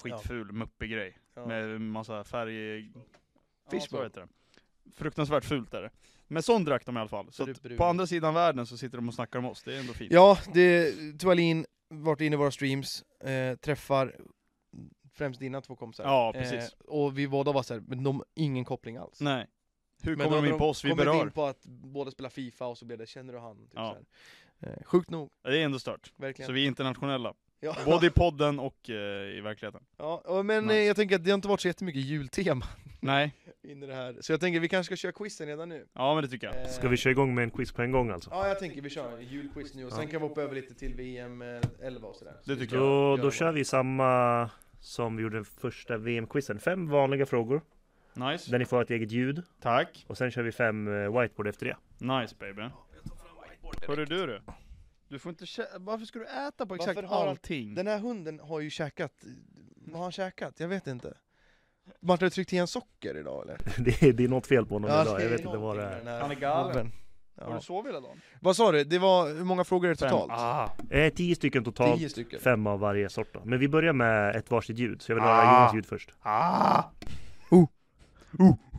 Speaker 3: skitful, muppig grej.
Speaker 1: ja.
Speaker 3: Med massa färg... Ja, så
Speaker 1: Fishbowl.
Speaker 3: heter det. Fruktansvärt fult är det. Men sån drack de i alla fall. Så
Speaker 1: Rup-
Speaker 3: att
Speaker 1: brun.
Speaker 3: på andra sidan världen så sitter de och snackar om oss, det är ändå fint.
Speaker 1: Ja, det, Tualin, varit inne i våra streams, eh, träffar främst dina två kompisar.
Speaker 3: Ja, precis.
Speaker 1: Eh, och vi båda var såhär, men de ingen koppling alls.
Speaker 3: Nej. Hur
Speaker 1: Men då
Speaker 3: kommer de
Speaker 1: hade
Speaker 3: in på oss? Vi
Speaker 1: kommit
Speaker 3: berör.
Speaker 1: in på att båda spelar Fifa och så blev det 'Känner du han?' Typ
Speaker 3: Ja.
Speaker 1: ja. eh, sjukt nog,
Speaker 3: Det är ändå stört.
Speaker 1: verkligen.
Speaker 3: Så vi är internationella.
Speaker 1: ja.
Speaker 3: Både i podden och eh, i verkligheten.
Speaker 1: ja, och men eh,
Speaker 3: Nice.
Speaker 1: jag tänker att det har inte varit så jättemycket jultema
Speaker 3: Nej.
Speaker 1: in i det här. Så jag tänker vi kanske ska köra quizen redan nu.
Speaker 3: Ja men det tycker jag.
Speaker 1: Eh,
Speaker 2: Ska vi köra igång med en quiz på en gång alltså?
Speaker 1: Ja, jag tänker vi kör en julquiz nu och sen kan vi hoppa över lite till VM eh, 11 och sådär.
Speaker 3: Det tycker jag.
Speaker 2: Då,
Speaker 1: Gör
Speaker 2: då
Speaker 1: det
Speaker 2: kör vi samma som vi gjorde den första VM-quizen. Fem vanliga frågor,
Speaker 3: Nice.
Speaker 2: där ni får ha ett eget ljud.
Speaker 3: Tack.
Speaker 2: Och sen kör vi fem eh, whiteboard efter det.
Speaker 3: Nice baby. Hörru du du. Du får inte kä- Varför ska du äta på exakt
Speaker 1: Varför har han-
Speaker 3: allting?
Speaker 1: Den här hunden har ju käkat, vad har han käkat? Jag vet inte. Martin, har du tryckt i en socker idag eller?
Speaker 2: Det är, det är något fel på honom idag,
Speaker 1: det
Speaker 2: jag
Speaker 1: är
Speaker 2: vet inte vad det
Speaker 1: någonting med den
Speaker 2: är.
Speaker 1: här
Speaker 3: Han är galen.
Speaker 1: gubben.
Speaker 3: Har
Speaker 1: Ja.
Speaker 3: du sovit hela dagen?
Speaker 1: Vad sa du? Det var, hur många frågor är det
Speaker 3: Fem.
Speaker 1: totalt?
Speaker 3: Ah.
Speaker 2: Eh, tio stycken totalt,
Speaker 1: Tio stycken.
Speaker 2: fem av varje sort då. Men vi börjar med ett varsitt ljud, så jag vill höra
Speaker 3: Ah.
Speaker 2: Johans ljud först.
Speaker 3: Ah! Uh. Uh.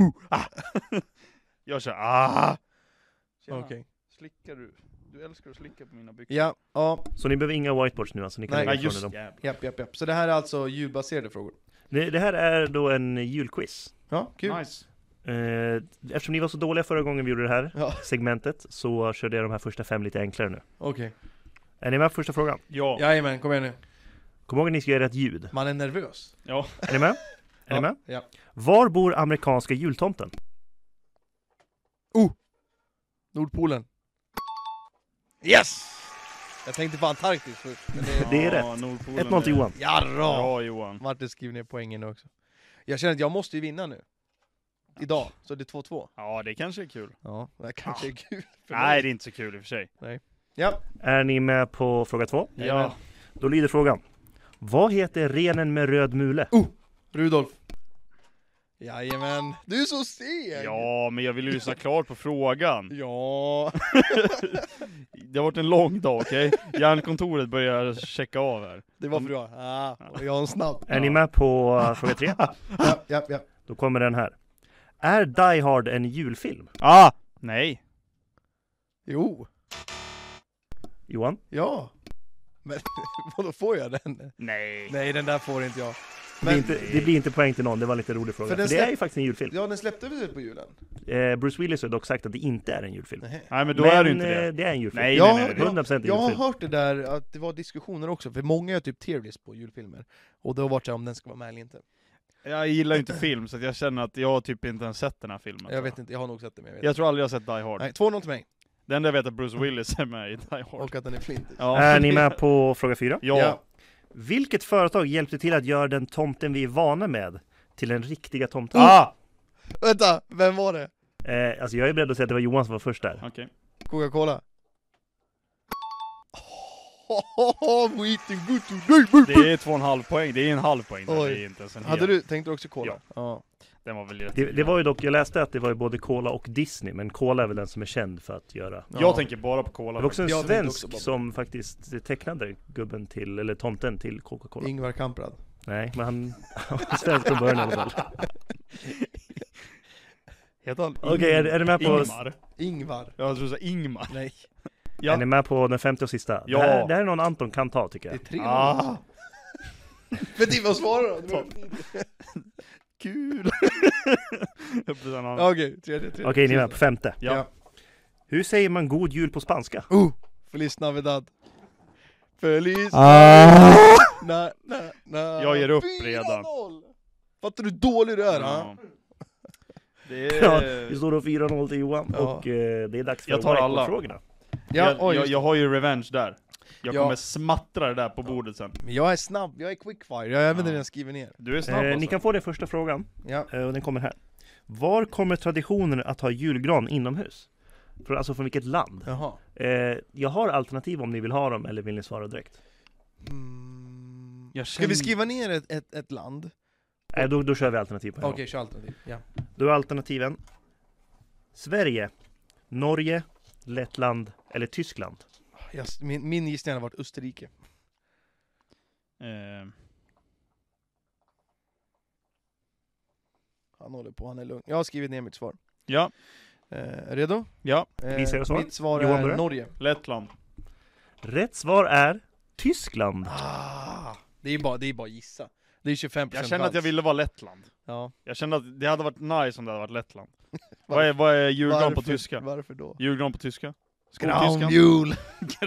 Speaker 3: Uh. Ah. Jag kör ah! Tjena.
Speaker 1: Okej.
Speaker 3: Slickar du? Du älskar att slicka på mina byxor.
Speaker 1: Ja, ja,
Speaker 2: Så ni behöver inga whiteboards nu alltså, ni kan
Speaker 1: Nej.
Speaker 2: lägga
Speaker 3: Nej
Speaker 2: ifrån
Speaker 3: just
Speaker 2: er dem.
Speaker 3: jävlar.
Speaker 1: japp, japp, japp. Så det här är alltså ljudbaserade frågor?
Speaker 2: Det, det här är då en julquiz.
Speaker 1: Ja, kul.
Speaker 3: Nice.
Speaker 2: Eh, eftersom ni var så dåliga förra gången vi gjorde det här
Speaker 1: Ja,
Speaker 2: segmentet, så körde jag de här första fem lite enklare nu.
Speaker 1: okej.
Speaker 2: Är ni med på första frågan?
Speaker 3: Ja.
Speaker 1: Jajamän, kom igen nu.
Speaker 2: Kom ihåg att ni ska göra rätt ljud.
Speaker 1: Man är nervös.
Speaker 2: Är ni med? Är ni med?
Speaker 1: Ja. Mm.
Speaker 2: Var bor amerikanska jultomten?
Speaker 1: Nordpolen. Yes! Jag tänkte på Antarktis först, men det...
Speaker 2: Det är
Speaker 3: Ja,
Speaker 2: rätt.
Speaker 3: Nordpolen
Speaker 2: 1-0
Speaker 3: är-
Speaker 2: till Johan.
Speaker 1: Jarra!
Speaker 3: Bra Johan.
Speaker 1: Martin skriver ner poängen nu också. Jag känner att jag måste ju vinna nu. Idag, så det är 2-2.
Speaker 3: Ja det kanske är kul.
Speaker 1: Ja, det här kanske är kul för
Speaker 3: Nej
Speaker 1: mig.
Speaker 3: det är inte så kul i och för sig.
Speaker 1: Ja,
Speaker 2: Är ni med på fråga två?
Speaker 1: Jajamän.
Speaker 2: Då lyder frågan. Vad heter renen med röd mule?
Speaker 1: Rudolf. Jajamän. Du är så seg!
Speaker 3: Ja men jag vill ju lyssna klart på frågan.
Speaker 1: Ja.
Speaker 3: Det har varit en lång dag okej? Hjärnkontoret börjar checka av här.
Speaker 1: Det var för bra. Ah, och jag är en snabb.
Speaker 2: Är ni med på eh, fråga tre?
Speaker 1: Ja, ja, ja.
Speaker 2: Då kommer den här. Är Die Hard en julfilm?
Speaker 3: Ah! Nej.
Speaker 1: Jo.
Speaker 2: Johan?
Speaker 1: Ja. Men vadå, får jag den?
Speaker 3: Nej.
Speaker 1: Nej, den där får inte jag.
Speaker 2: Det blir, inte, det blir inte poäng till någon, det var en lite rolig fråga.
Speaker 1: För
Speaker 2: För
Speaker 1: den
Speaker 2: det är
Speaker 1: släpp-
Speaker 2: ju faktiskt en julfilm.
Speaker 1: Ja, den släppte väl typ på julen?
Speaker 2: Eh, Bruce Willis har dock sagt att det inte är en julfilm.
Speaker 1: Nej.
Speaker 3: Nej men då
Speaker 2: Men,
Speaker 3: är det inte det.
Speaker 2: eh, det är en julfilm.
Speaker 3: Nej,
Speaker 1: Ja,
Speaker 3: nej, nej, nej.
Speaker 1: ja.
Speaker 2: 100% julfilm.
Speaker 1: Jag har hört det där att det var diskussioner också, för många gör typ tierlist på julfilmer. Och det har varit så här, om den ska vara med eller inte.
Speaker 3: Jag gillar ju inte film så att jag känner att jag har typ inte ens sett den här filmen. tror
Speaker 1: Jag vet inte, jag har nog sett det men jag vet
Speaker 3: Jag tror aldrig jag har sett Die Hard.
Speaker 1: inte. Nej, 2-0 till mig.
Speaker 3: Det enda jag vet är att Bruce Willis är med i Die Hard.
Speaker 1: Och att den är flintig.
Speaker 3: Ja.
Speaker 2: Är ni med på fråga fyra?
Speaker 3: Ja.
Speaker 1: Ja.
Speaker 2: Vilket företag hjälpte till att göra den tomten vi är vana med till den riktiga tomten?
Speaker 3: Ah!
Speaker 1: Vänta, vem var det?
Speaker 2: Eh, alltså jag är beredd att säga att det var Johan som var först där.
Speaker 3: Ah! Okej.
Speaker 1: Coca-Cola. We eating good
Speaker 3: Det
Speaker 1: today,
Speaker 3: är två och en halv poäng. Det är en halv poäng. där.
Speaker 1: Oj.
Speaker 3: Det är inte ens en
Speaker 1: Hade
Speaker 3: hel.
Speaker 1: du, tänkte du också cola? Ja.
Speaker 3: Den var väl rätt
Speaker 2: Det, det var ju dock, jag läste att det var ju både Cola och Disney, men Cola är väl den som är känd för att göra.
Speaker 1: ja.
Speaker 3: Jag tänker bara på
Speaker 2: Det
Speaker 3: Cola.
Speaker 2: var också en
Speaker 1: Jag tänkte också
Speaker 2: svensk
Speaker 1: bara på det.
Speaker 2: som faktiskt tecknade gubben till, eller tomten till Coca-Cola.
Speaker 1: Ingvar Kamprad.
Speaker 2: Nej, men han han var svensk från början i alla fall.
Speaker 3: Heter han
Speaker 2: Okej, är, är, ni med på,
Speaker 3: Ingmar?
Speaker 1: Ingvar.
Speaker 3: Jag tror du sa Ingmar.
Speaker 1: Nej,
Speaker 3: Ja.
Speaker 2: är ni med på den femte och sista?
Speaker 3: Ja.
Speaker 2: Det, här, det här är någon Anton kan ta tycker
Speaker 1: det är
Speaker 2: jag.
Speaker 1: tre ah.
Speaker 3: Ah,
Speaker 1: Men det vad svarar då?
Speaker 3: kul! ja.
Speaker 1: Ja, Okej, tredje, tredje.
Speaker 2: Okej, ni är med på femte.
Speaker 3: ja.
Speaker 2: Hur säger man god jul på spanska?
Speaker 1: Oh! Feliz Navidad. Feliz... Na, na, na.
Speaker 3: Jag ger upp
Speaker 1: 4-0.
Speaker 3: redan.
Speaker 1: Fattar du hur dålig du är? ha?
Speaker 3: Ja. Det
Speaker 2: Ja,
Speaker 3: är...
Speaker 2: det står då 4-0 till Johan
Speaker 1: Ja.
Speaker 2: och eh, det är dags för
Speaker 3: Jag tar alla.
Speaker 2: whiteboardfrågorna.
Speaker 1: Ja,
Speaker 3: jag,
Speaker 1: oj.
Speaker 3: jag,
Speaker 1: Jag,
Speaker 3: jag har ju revenge där. Jag
Speaker 1: Ja.
Speaker 3: kommer smattra det där på bordet sen.
Speaker 1: jag är snabb, jag är quickfire, jag har även
Speaker 3: Ja.
Speaker 1: redan skrivit ner.
Speaker 3: Du är snabb
Speaker 2: Eh,
Speaker 3: alltså.
Speaker 2: ni kan få den första frågan,
Speaker 1: Ja.
Speaker 2: eh, och den kommer här. Var kommer traditionen att ha julgran inomhus? Från, alltså från vilket land?
Speaker 1: Jaha.
Speaker 2: Eh, jag har alternativ om ni vill ha dem, eller vill ni svara direkt?
Speaker 1: Mm.
Speaker 3: Jag
Speaker 1: Ska vi
Speaker 3: känner-
Speaker 1: skriva ner ett, ett, ett land?
Speaker 2: Eh, då, då kör vi alternativ på en
Speaker 1: Okej,
Speaker 2: gång.
Speaker 1: kör alternativ. Ja.
Speaker 2: Då är alternativen Sverige, Norge, Lettland eller Tyskland?
Speaker 1: Jag, min, min gissning hade varit Österrike.
Speaker 3: Eh,
Speaker 1: Han håller på, han är lugn. Jag har skrivit ner mitt svar.
Speaker 3: ja,
Speaker 1: Eh, redo?
Speaker 3: ja,
Speaker 1: Eh,
Speaker 2: Vi säger svar.
Speaker 1: Mitt svar
Speaker 2: Johan
Speaker 1: är
Speaker 2: börjar.
Speaker 1: Norge.
Speaker 3: Lettland.
Speaker 2: Rätt svar är Tyskland.
Speaker 1: Ah, det är ju bara, det är bara gissa. Det är 25
Speaker 3: Jag kände att jag
Speaker 1: chans.
Speaker 3: ville vara Lettland.
Speaker 1: Ja.
Speaker 3: Jag kände att det hade varit nice om det hade varit Lettland. vad är, vad är julgran på
Speaker 1: Varför-
Speaker 3: tyska?
Speaker 1: Varför då?
Speaker 3: Julgran på tyska? Skoltyskan?
Speaker 1: Graunjul!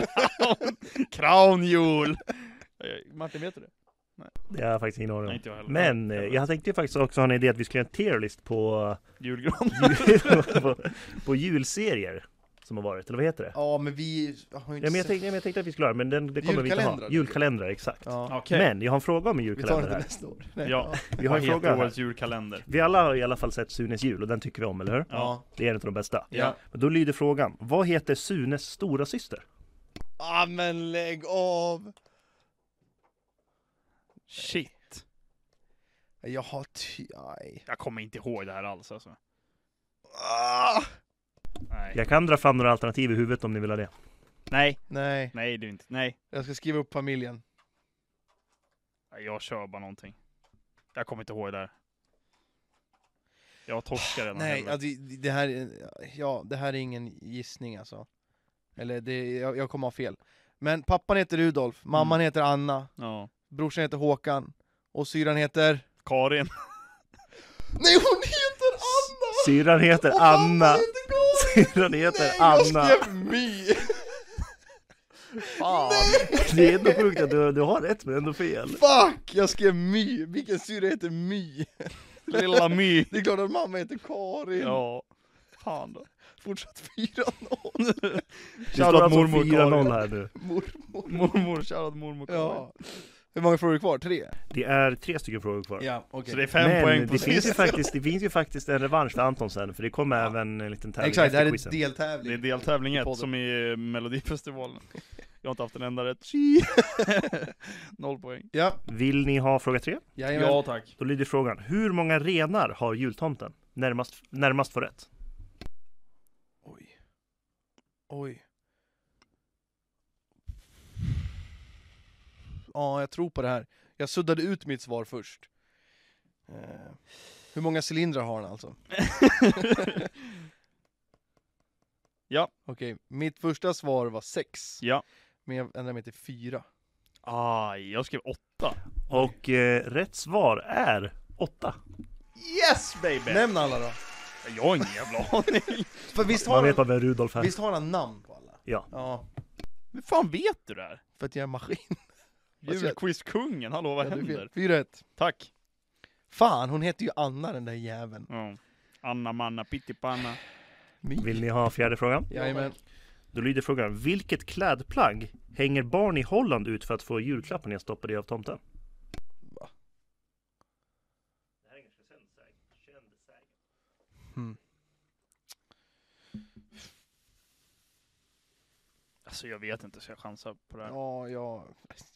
Speaker 3: Kraunjul! Eh, Martin, vet du det?
Speaker 2: Det har jag faktiskt ingen aning
Speaker 3: Nej,
Speaker 2: om.
Speaker 3: inte jag heller.
Speaker 2: Men eh, jag tänkte ju faktiskt också ha en idé att vi skulle göra en tierlist på,
Speaker 3: Julgran.
Speaker 2: på, på julserier som har varit, eller vad heter det?
Speaker 1: Ja men vi har ju
Speaker 2: Ja,
Speaker 1: inte
Speaker 2: men jag,
Speaker 1: sett...
Speaker 2: tänkte, jag tänkte att vi skulle ha det, men den, det kommer vi inte ha.
Speaker 1: Julkalendrar.
Speaker 2: Julkalendrar, exakt.
Speaker 1: Ja.
Speaker 3: Okej.
Speaker 2: Men jag har en fråga om en
Speaker 1: Vi tar
Speaker 2: julkalender
Speaker 1: den till
Speaker 2: här.
Speaker 1: nästa år. Nej.
Speaker 3: Ja.
Speaker 2: Vi har en
Speaker 3: Vad
Speaker 2: fråga
Speaker 3: heter
Speaker 2: här.
Speaker 3: årets julkalender?
Speaker 2: Vi alla har i alla fall sett Sunes jul och den tycker vi om, eller hur?
Speaker 1: Ja.
Speaker 2: Det är en av de bästa.
Speaker 1: Ja.
Speaker 2: Men Då lyder frågan, vad heter Sunes stora syster?
Speaker 1: Ah men lägg av!
Speaker 3: Shit.
Speaker 1: Jag har ty... Aj.
Speaker 3: Jag kommer inte ihåg det här alls alltså.
Speaker 1: Ah!
Speaker 3: Nej.
Speaker 2: Jag kan dra fram några alternativ i huvudet om ni vill ha det.
Speaker 3: Nej,
Speaker 1: Nej,
Speaker 3: nej det är inte. Nej.
Speaker 1: jag ska skriva upp familjen.
Speaker 3: Jag kör bara någonting. Jag kommer inte ihåg det här. Jag torskar redan.
Speaker 1: Nej,
Speaker 3: helvete.
Speaker 1: ja, det, det här är- ja, det här är ingen gissning alltså. Eller det, jag, jag kommer ha fel. Men pappan heter Rudolf, mamman heter Anna,
Speaker 3: ja.
Speaker 1: brorsan heter Håkan och syrran heter...
Speaker 3: Karin.
Speaker 1: Nej hon heter Anna!
Speaker 2: Syrran heter
Speaker 1: Och mamman
Speaker 2: Anna.
Speaker 1: heter Karin!
Speaker 2: Syrran heter
Speaker 1: Nej,
Speaker 2: Anna.
Speaker 1: jag skrev My!
Speaker 3: Fan.
Speaker 2: Det är ändå sjukt att du, du har rätt men ändå fel.
Speaker 1: Fuck! Jag skrev My! Vilken syrra heter My?
Speaker 3: Lilla My.
Speaker 1: Det är klart att mamma heter Karin!
Speaker 3: Ja. Fan då.
Speaker 1: Fortsatt 4-0!
Speaker 2: Det
Speaker 3: Shoutout
Speaker 2: står alltså
Speaker 3: mormor
Speaker 2: 4-0
Speaker 3: Karin.
Speaker 2: här nu.
Speaker 1: Mormor!
Speaker 3: Mormor, shoutout mormor Karin.
Speaker 1: Ja. Hur många frågor är kvar? Tre?
Speaker 2: Det är tre stycken frågor kvar.
Speaker 1: Ja, okej.
Speaker 3: Så det är fem
Speaker 2: men
Speaker 3: poäng på
Speaker 2: det,
Speaker 3: sist.
Speaker 2: finns ju faktiskt, det finns ju faktiskt en revansch för Anton sen, för det kommer även en liten tävling
Speaker 1: Exakt, det här
Speaker 2: efter
Speaker 1: är
Speaker 2: quizen.
Speaker 1: deltävling.
Speaker 3: Det är deltävling
Speaker 1: I
Speaker 3: 1
Speaker 1: podden.
Speaker 3: som i eh, Melodifestivalen. Jag har inte haft en enda rätt. Noll poäng.
Speaker 1: Ja,
Speaker 2: Vill ni ha fråga tre?
Speaker 1: jajamän.
Speaker 3: tack.
Speaker 2: Då lyder frågan, hur många renar har jultomten? Närmast, närmast för rätt.
Speaker 1: Oj. Oj. Ja, jag tror på det här. Jag suddade ut mitt svar först. Eh, hur många cylindrar har han alltså? Okej, mitt första svar var sex.
Speaker 3: Ja.
Speaker 1: Men jag ändrade mig till fyra.
Speaker 3: Aj, Ah, jag skrev åtta.
Speaker 2: Och eh, rätt svar är åtta.
Speaker 3: Yes baby!
Speaker 1: Nämn alla då!
Speaker 3: Jag har ingen jävla aning.
Speaker 1: För visst har,
Speaker 2: Man vet
Speaker 1: han,
Speaker 2: bara vem Rudolf är.
Speaker 1: visst har han namn på alla?
Speaker 2: Ja.
Speaker 1: Ja,
Speaker 3: Hur fan vet du det här? Alltså,
Speaker 1: för att jag är maskin.
Speaker 3: Julquizkungen, hallå vad
Speaker 1: Ja, du
Speaker 3: händer?
Speaker 1: vet. 4-1.
Speaker 3: Tack.
Speaker 1: Fan, hon heter ju Anna den där jäveln.
Speaker 3: Ja. Anna manna pittipanna.
Speaker 1: My.
Speaker 2: Vill ni ha fjärde frågan?
Speaker 1: Jajamän.
Speaker 2: Då lyder frågan, vilket klädplagg hänger barn i Holland ut för att få julklappen nedstoppad i av tomten?
Speaker 1: Va?
Speaker 3: Alltså jag vet inte så jag chansar på det här.
Speaker 1: Ja, jag,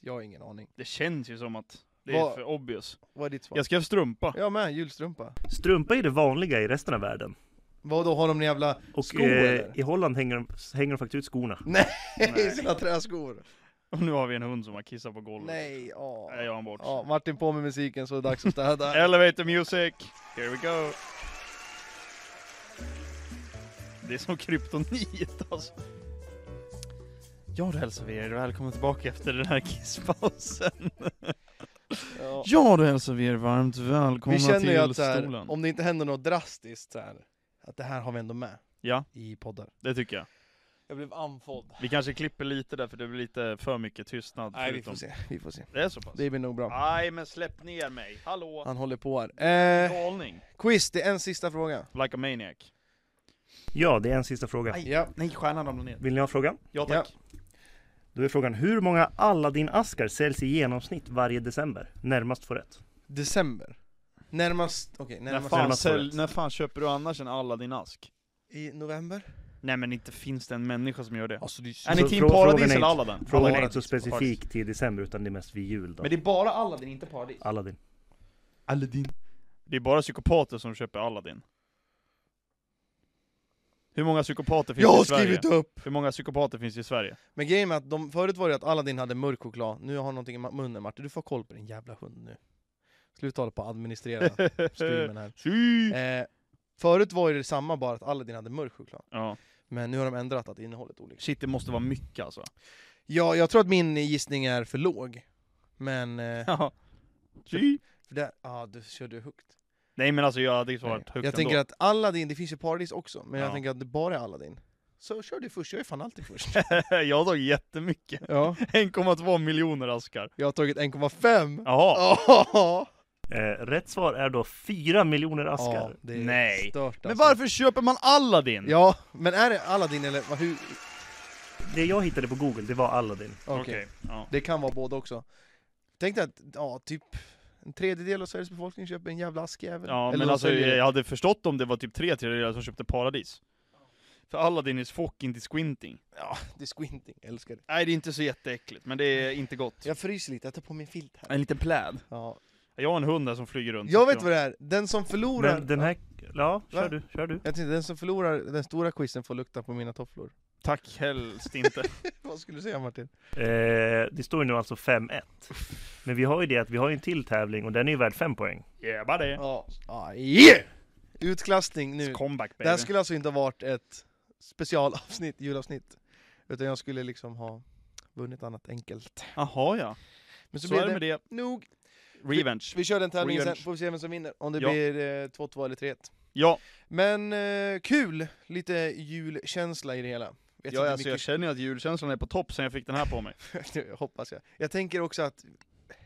Speaker 1: jag har ingen aning.
Speaker 3: Det känns ju som att det
Speaker 1: Vad-
Speaker 3: är för obvious.
Speaker 1: Vad är ditt svar?
Speaker 3: Jag skrev strumpa.
Speaker 1: Jag med, julstrumpa.
Speaker 2: Strumpa är det vanliga i resten av världen.
Speaker 1: Vad då har de en jävla
Speaker 2: Och
Speaker 1: skor
Speaker 2: eh,
Speaker 1: eller?
Speaker 2: i Holland hänger de, hänger de faktiskt ut skorna.
Speaker 1: Nej, sina träskor.
Speaker 3: Och nu har vi en hund som har kissat på golvet.
Speaker 1: Nej, åh.
Speaker 3: Jag gör han bort.
Speaker 1: Ja, Martin på med musiken så är det dags att städa.
Speaker 3: Elevator music, here we go! Det är som kryptonit alltså. Ja, då hälsar vi er välkomna tillbaka efter den här kisspausen.
Speaker 1: Ja.
Speaker 3: Ja, då hälsar vi er varmt välkomna
Speaker 1: Vi känner ju
Speaker 3: till
Speaker 1: att så
Speaker 3: stolen.
Speaker 1: här, om det inte händer något drastiskt så här, att det här har vi ändå med
Speaker 3: Ja,
Speaker 1: i poddar.
Speaker 3: det tycker jag.
Speaker 1: Jag blev andfådd.
Speaker 3: Vi kanske klipper lite där för det blir lite för mycket tystnad.
Speaker 1: Nej, vi
Speaker 3: förutom-
Speaker 1: får se. Vi får se.
Speaker 3: Det är så pass?
Speaker 1: Det blir nog bra.
Speaker 3: Nej, men släpp ner mig. Hallå!
Speaker 1: Han håller på här. Eh,
Speaker 3: Galning.
Speaker 1: quiz, det är en sista fråga.
Speaker 3: Like a maniac.
Speaker 2: Ja, det är en sista fråga.
Speaker 3: Aj.
Speaker 1: Ja.
Speaker 3: Nej, stjärnan ramlade ner.
Speaker 2: Vill ni ha frågan?
Speaker 3: Ja,
Speaker 1: Ja.
Speaker 3: tack.
Speaker 2: Då är frågan, hur många Aladdin-askar säljs i genomsnitt varje december? Närmast får rätt.
Speaker 1: December. Närmast, okej,
Speaker 3: När,
Speaker 1: närmast.
Speaker 3: fan
Speaker 2: Närmast
Speaker 3: sälj,
Speaker 2: året.
Speaker 3: när fan köper du annars en Aladdin-ask?
Speaker 1: I november?
Speaker 3: Nej men inte finns det en människa som gör det.
Speaker 1: Alltså det
Speaker 3: Är
Speaker 1: är
Speaker 2: Så
Speaker 3: ni Team
Speaker 2: frå- frågan är
Speaker 3: Paradis
Speaker 2: inte-
Speaker 3: eller Aladdin?
Speaker 2: Frågan är
Speaker 3: Aladdin,
Speaker 2: inte så
Speaker 3: faktiskt.
Speaker 2: specifik till december utan det är mest vid jul då.
Speaker 3: Men det är bara Aladdin, inte Paradis?
Speaker 2: Aladdin.
Speaker 3: Det är bara psykopater som köper Aladdin. Hur många psykopater finns
Speaker 1: Jag
Speaker 3: det
Speaker 1: har
Speaker 3: i Sverige?
Speaker 1: skrivit upp!
Speaker 3: Hur många psykopater finns det i Sverige?
Speaker 1: Men grejen är att de, förut var det att Aladdin hade mörk choklad, nu har han någonting i ma- munnen Martin, du får koll på din jävla hund nu. Sluta hålla på att administrera streamen här.
Speaker 3: Sy!
Speaker 1: Eh, förut var det samma bara att Aladdin hade mörk choklad,
Speaker 3: Ja.
Speaker 1: men nu har de ändrat att innehållet är olika.
Speaker 3: Shit, det måste vara mycket alltså.
Speaker 1: Ja, jag tror att min gissning är för låg. Men... Eh,
Speaker 3: Ja. Sy!
Speaker 1: för där, ah, du körde ju högt.
Speaker 3: Nej men alltså jag hade ju svarat
Speaker 1: Nej.
Speaker 3: högt
Speaker 1: jag tänker
Speaker 3: ändå.
Speaker 1: att Aladdin, det finns ju Paradis också, men jag
Speaker 3: Ja.
Speaker 1: tänker att det bara är Aladdin. Så kör du först, jag är fan alltid först.
Speaker 3: jag har tagit jättemycket.
Speaker 1: ja.
Speaker 3: 1,2 miljoner askar.
Speaker 1: Jag har tagit 1,5!
Speaker 3: Jaha.
Speaker 1: Ja.
Speaker 2: Eh, rätt svar är då 4 miljoner askar.
Speaker 1: det är
Speaker 3: Nej.
Speaker 1: stört alltså.
Speaker 3: Men varför köper man Aladdin?
Speaker 1: Ja, men är det Aladdin eller vad- hur?
Speaker 2: Det jag hittade på Google, det var Aladdin.
Speaker 1: Okej.
Speaker 3: Ja.
Speaker 1: Det kan vara båda också. Tänk dig att, ja, typ en tredjedel av Sveriges befolkning köper en jävla askjävel.
Speaker 3: Ja,
Speaker 1: Eller
Speaker 3: men
Speaker 1: de
Speaker 3: alltså
Speaker 1: säljer det.
Speaker 3: jag hade förstått om det var typ tre tredjedelar som köpte Paradis. För Aladdin is fucking disquinting.
Speaker 1: Ja, det är squinting, jag älskar det.
Speaker 3: Nej, det är inte så jätteäckligt, men det är inte gott.
Speaker 1: Jag fryser lite, jag tar på min filt här.
Speaker 3: En liten pläd.
Speaker 1: Ja.
Speaker 3: Jag har en hund där som flyger runt.
Speaker 1: Jag vet vad det är, den som förlorar...
Speaker 2: Men den här... Ja,
Speaker 1: Va?
Speaker 2: kör du, kör du.
Speaker 1: Jag tänkte, den som förlorar den stora quizen får lukta på mina tofflor.
Speaker 3: Tack helst inte.
Speaker 1: Vad skulle du säga Martin?
Speaker 2: Eh, det står ju nu alltså 5-1. Men vi har ju det att vi har ju en till tävling och den är ju värd 5 poäng.
Speaker 3: yeah, bara det.
Speaker 1: Ja. Ah, yeah! Utklassning nu.
Speaker 3: It's Comeback
Speaker 1: Det här
Speaker 3: baby.
Speaker 1: skulle alltså inte ha varit ett specialavsnitt, julavsnitt. Utan jag skulle liksom ha vunnit annat enkelt.
Speaker 3: Jaha ja.
Speaker 1: Men så,
Speaker 3: Så,
Speaker 1: blir
Speaker 3: är det
Speaker 1: det,
Speaker 3: med det.
Speaker 1: nog.
Speaker 3: Revenge.
Speaker 1: Vi kör den tävlingen sen,
Speaker 3: Revenge.
Speaker 1: får vi se vem som vinner. Om det
Speaker 3: Ja.
Speaker 1: blir eh, 2-2 eller 3-1.
Speaker 3: Ja,
Speaker 1: Men eh, kul! Lite julkänsla i det hela. Vet
Speaker 3: jag,
Speaker 1: inte
Speaker 3: alltså, jag
Speaker 1: mycket-
Speaker 3: känner ju att julkänslan är på topp sen jag fick den här på mig.
Speaker 1: Det hoppas jag. Jag tänker också att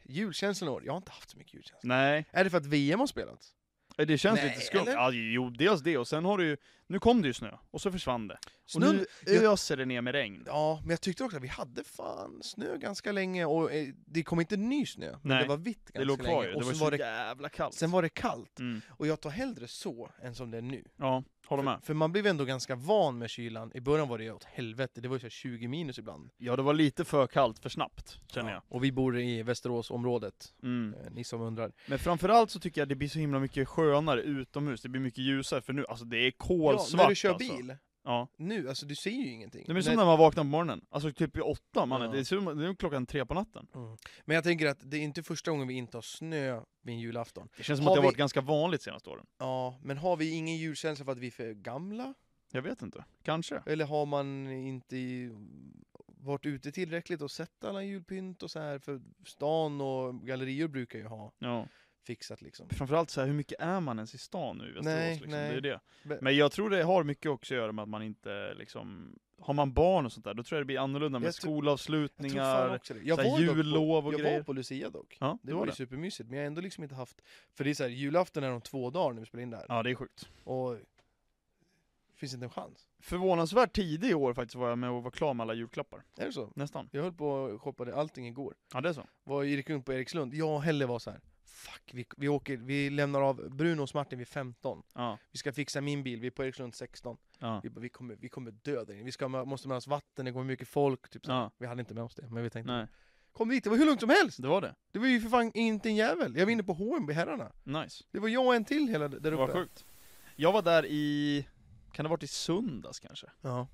Speaker 1: julkänslan i år, jag har inte haft så mycket julkänsla.
Speaker 3: Nej,
Speaker 1: Är det för att VM har spelats?
Speaker 3: det känns
Speaker 1: Nej,
Speaker 3: lite skumt.
Speaker 1: eller?
Speaker 3: Ja, jo, dels det och sen har du ju... Nu kom det ju snö, och så försvann det. Och nu
Speaker 1: jag-
Speaker 3: öser det ner med regn.
Speaker 1: eh, Ja, men jag tyckte också att vi hade fan snö ganska länge och eh, det kom inte ny snö, men
Speaker 3: Nej,
Speaker 1: det var vitt ganska
Speaker 3: Det låg kvar
Speaker 1: länge.
Speaker 3: ju,
Speaker 1: och
Speaker 3: det var
Speaker 1: sen
Speaker 3: så
Speaker 1: var det,
Speaker 3: jävla kallt.
Speaker 1: sen var det kallt.
Speaker 3: Mm.
Speaker 1: Och jag tar hellre så än som det är nu.
Speaker 3: Ja, håller
Speaker 1: För,
Speaker 3: med.
Speaker 1: för man blev ändå ganska van med kylan. I början var det ju åt helvete, det var ju så här 20 minus ibland.
Speaker 3: Ja, det var lite för kallt för snabbt, känner
Speaker 1: Ja, Och vi bor i Västeråsområdet,
Speaker 3: jag. Mm.
Speaker 1: eh, ni som undrar.
Speaker 3: Men framförallt så tycker jag det blir så himla mycket skönare utomhus, det blir mycket ljusare, för nu, alltså det är kolsvart
Speaker 1: när du kör
Speaker 3: alltså.
Speaker 1: bil,
Speaker 3: Ja.
Speaker 1: nu, alltså du ser ju ingenting.
Speaker 3: Det blir som
Speaker 1: Men-
Speaker 3: när man vaknar på morgonen, alltså typ vid åtta, mannen.
Speaker 1: Ja.
Speaker 3: Det, är som, det är klockan tre på natten.
Speaker 1: Mm. Men jag tänker att det är inte första gången vi inte har snö vid en julafton.
Speaker 3: Det känns som
Speaker 1: Har
Speaker 3: att det har
Speaker 1: vi-
Speaker 3: varit ganska vanligt senaste åren.
Speaker 1: Ja, men har vi ingen julkänsla för att vi är för gamla?
Speaker 3: Jag vet inte, kanske.
Speaker 1: Eller har man inte i- varit ute tillräckligt och sett alla julpynt och så här? För stan och gallerior brukar ju ha
Speaker 3: Ja.
Speaker 1: fixat liksom.
Speaker 3: Framförallt så här, hur mycket är man ens i stan nu i Västerås?
Speaker 1: Nej,
Speaker 3: liksom?
Speaker 1: nej.
Speaker 3: Det är det.
Speaker 1: Be-
Speaker 3: Men jag tror det har mycket också att göra med att man inte liksom, har man barn och sånt där, då tror jag det blir annorlunda med
Speaker 1: Jag tror- Jag tror
Speaker 3: skolavslutningar,
Speaker 1: fan också det. Jag
Speaker 3: så här
Speaker 1: var, dock
Speaker 3: jullov
Speaker 1: på,
Speaker 3: och
Speaker 1: jag
Speaker 3: grejer.
Speaker 1: var på Lucia dock.
Speaker 3: Ja,
Speaker 1: Det var ju supermysigt, men jag har ändå liksom inte haft... För det är så här, julafton är om två dagar när vi spelar in det här.
Speaker 3: Ja, det är sjukt.
Speaker 1: Och... Finns inte en chans.
Speaker 3: Förvånansvärt tidig i år faktiskt var jag med och var klar med alla julklappar.
Speaker 1: Är det så?
Speaker 3: Nästan.
Speaker 1: Jag höll på och shoppade allting igår.
Speaker 3: Ja, det är så.
Speaker 1: var, gick runt på Erikslund, jag och Helle var så här. Fuck, vi, vi, åker, vi lämnar av Bruno och Martin vid 15
Speaker 3: Ja.
Speaker 1: Vi ska fixa min bil, vi är på Erikslund 16
Speaker 3: Ja.
Speaker 1: Vi, bara, vi, kommer, vi kommer dö där inne, vi ska, mö- måste mötas vatten, det kommer mycket folk typ så. här.
Speaker 3: ja.
Speaker 1: Vi hade inte med oss det, men vi tänkte
Speaker 3: Nej,
Speaker 1: Kom dit, det var hur lugnt som helst!
Speaker 3: det var det.
Speaker 1: Det var ju för fan inte en jävel, jag var inne på H&B herrarna
Speaker 3: Nice.
Speaker 1: Det var jag och en till hela d- där
Speaker 3: Det var
Speaker 1: uppe
Speaker 3: sjukt. Jag var där i, kan det ha varit i söndags kanske?
Speaker 1: Ja,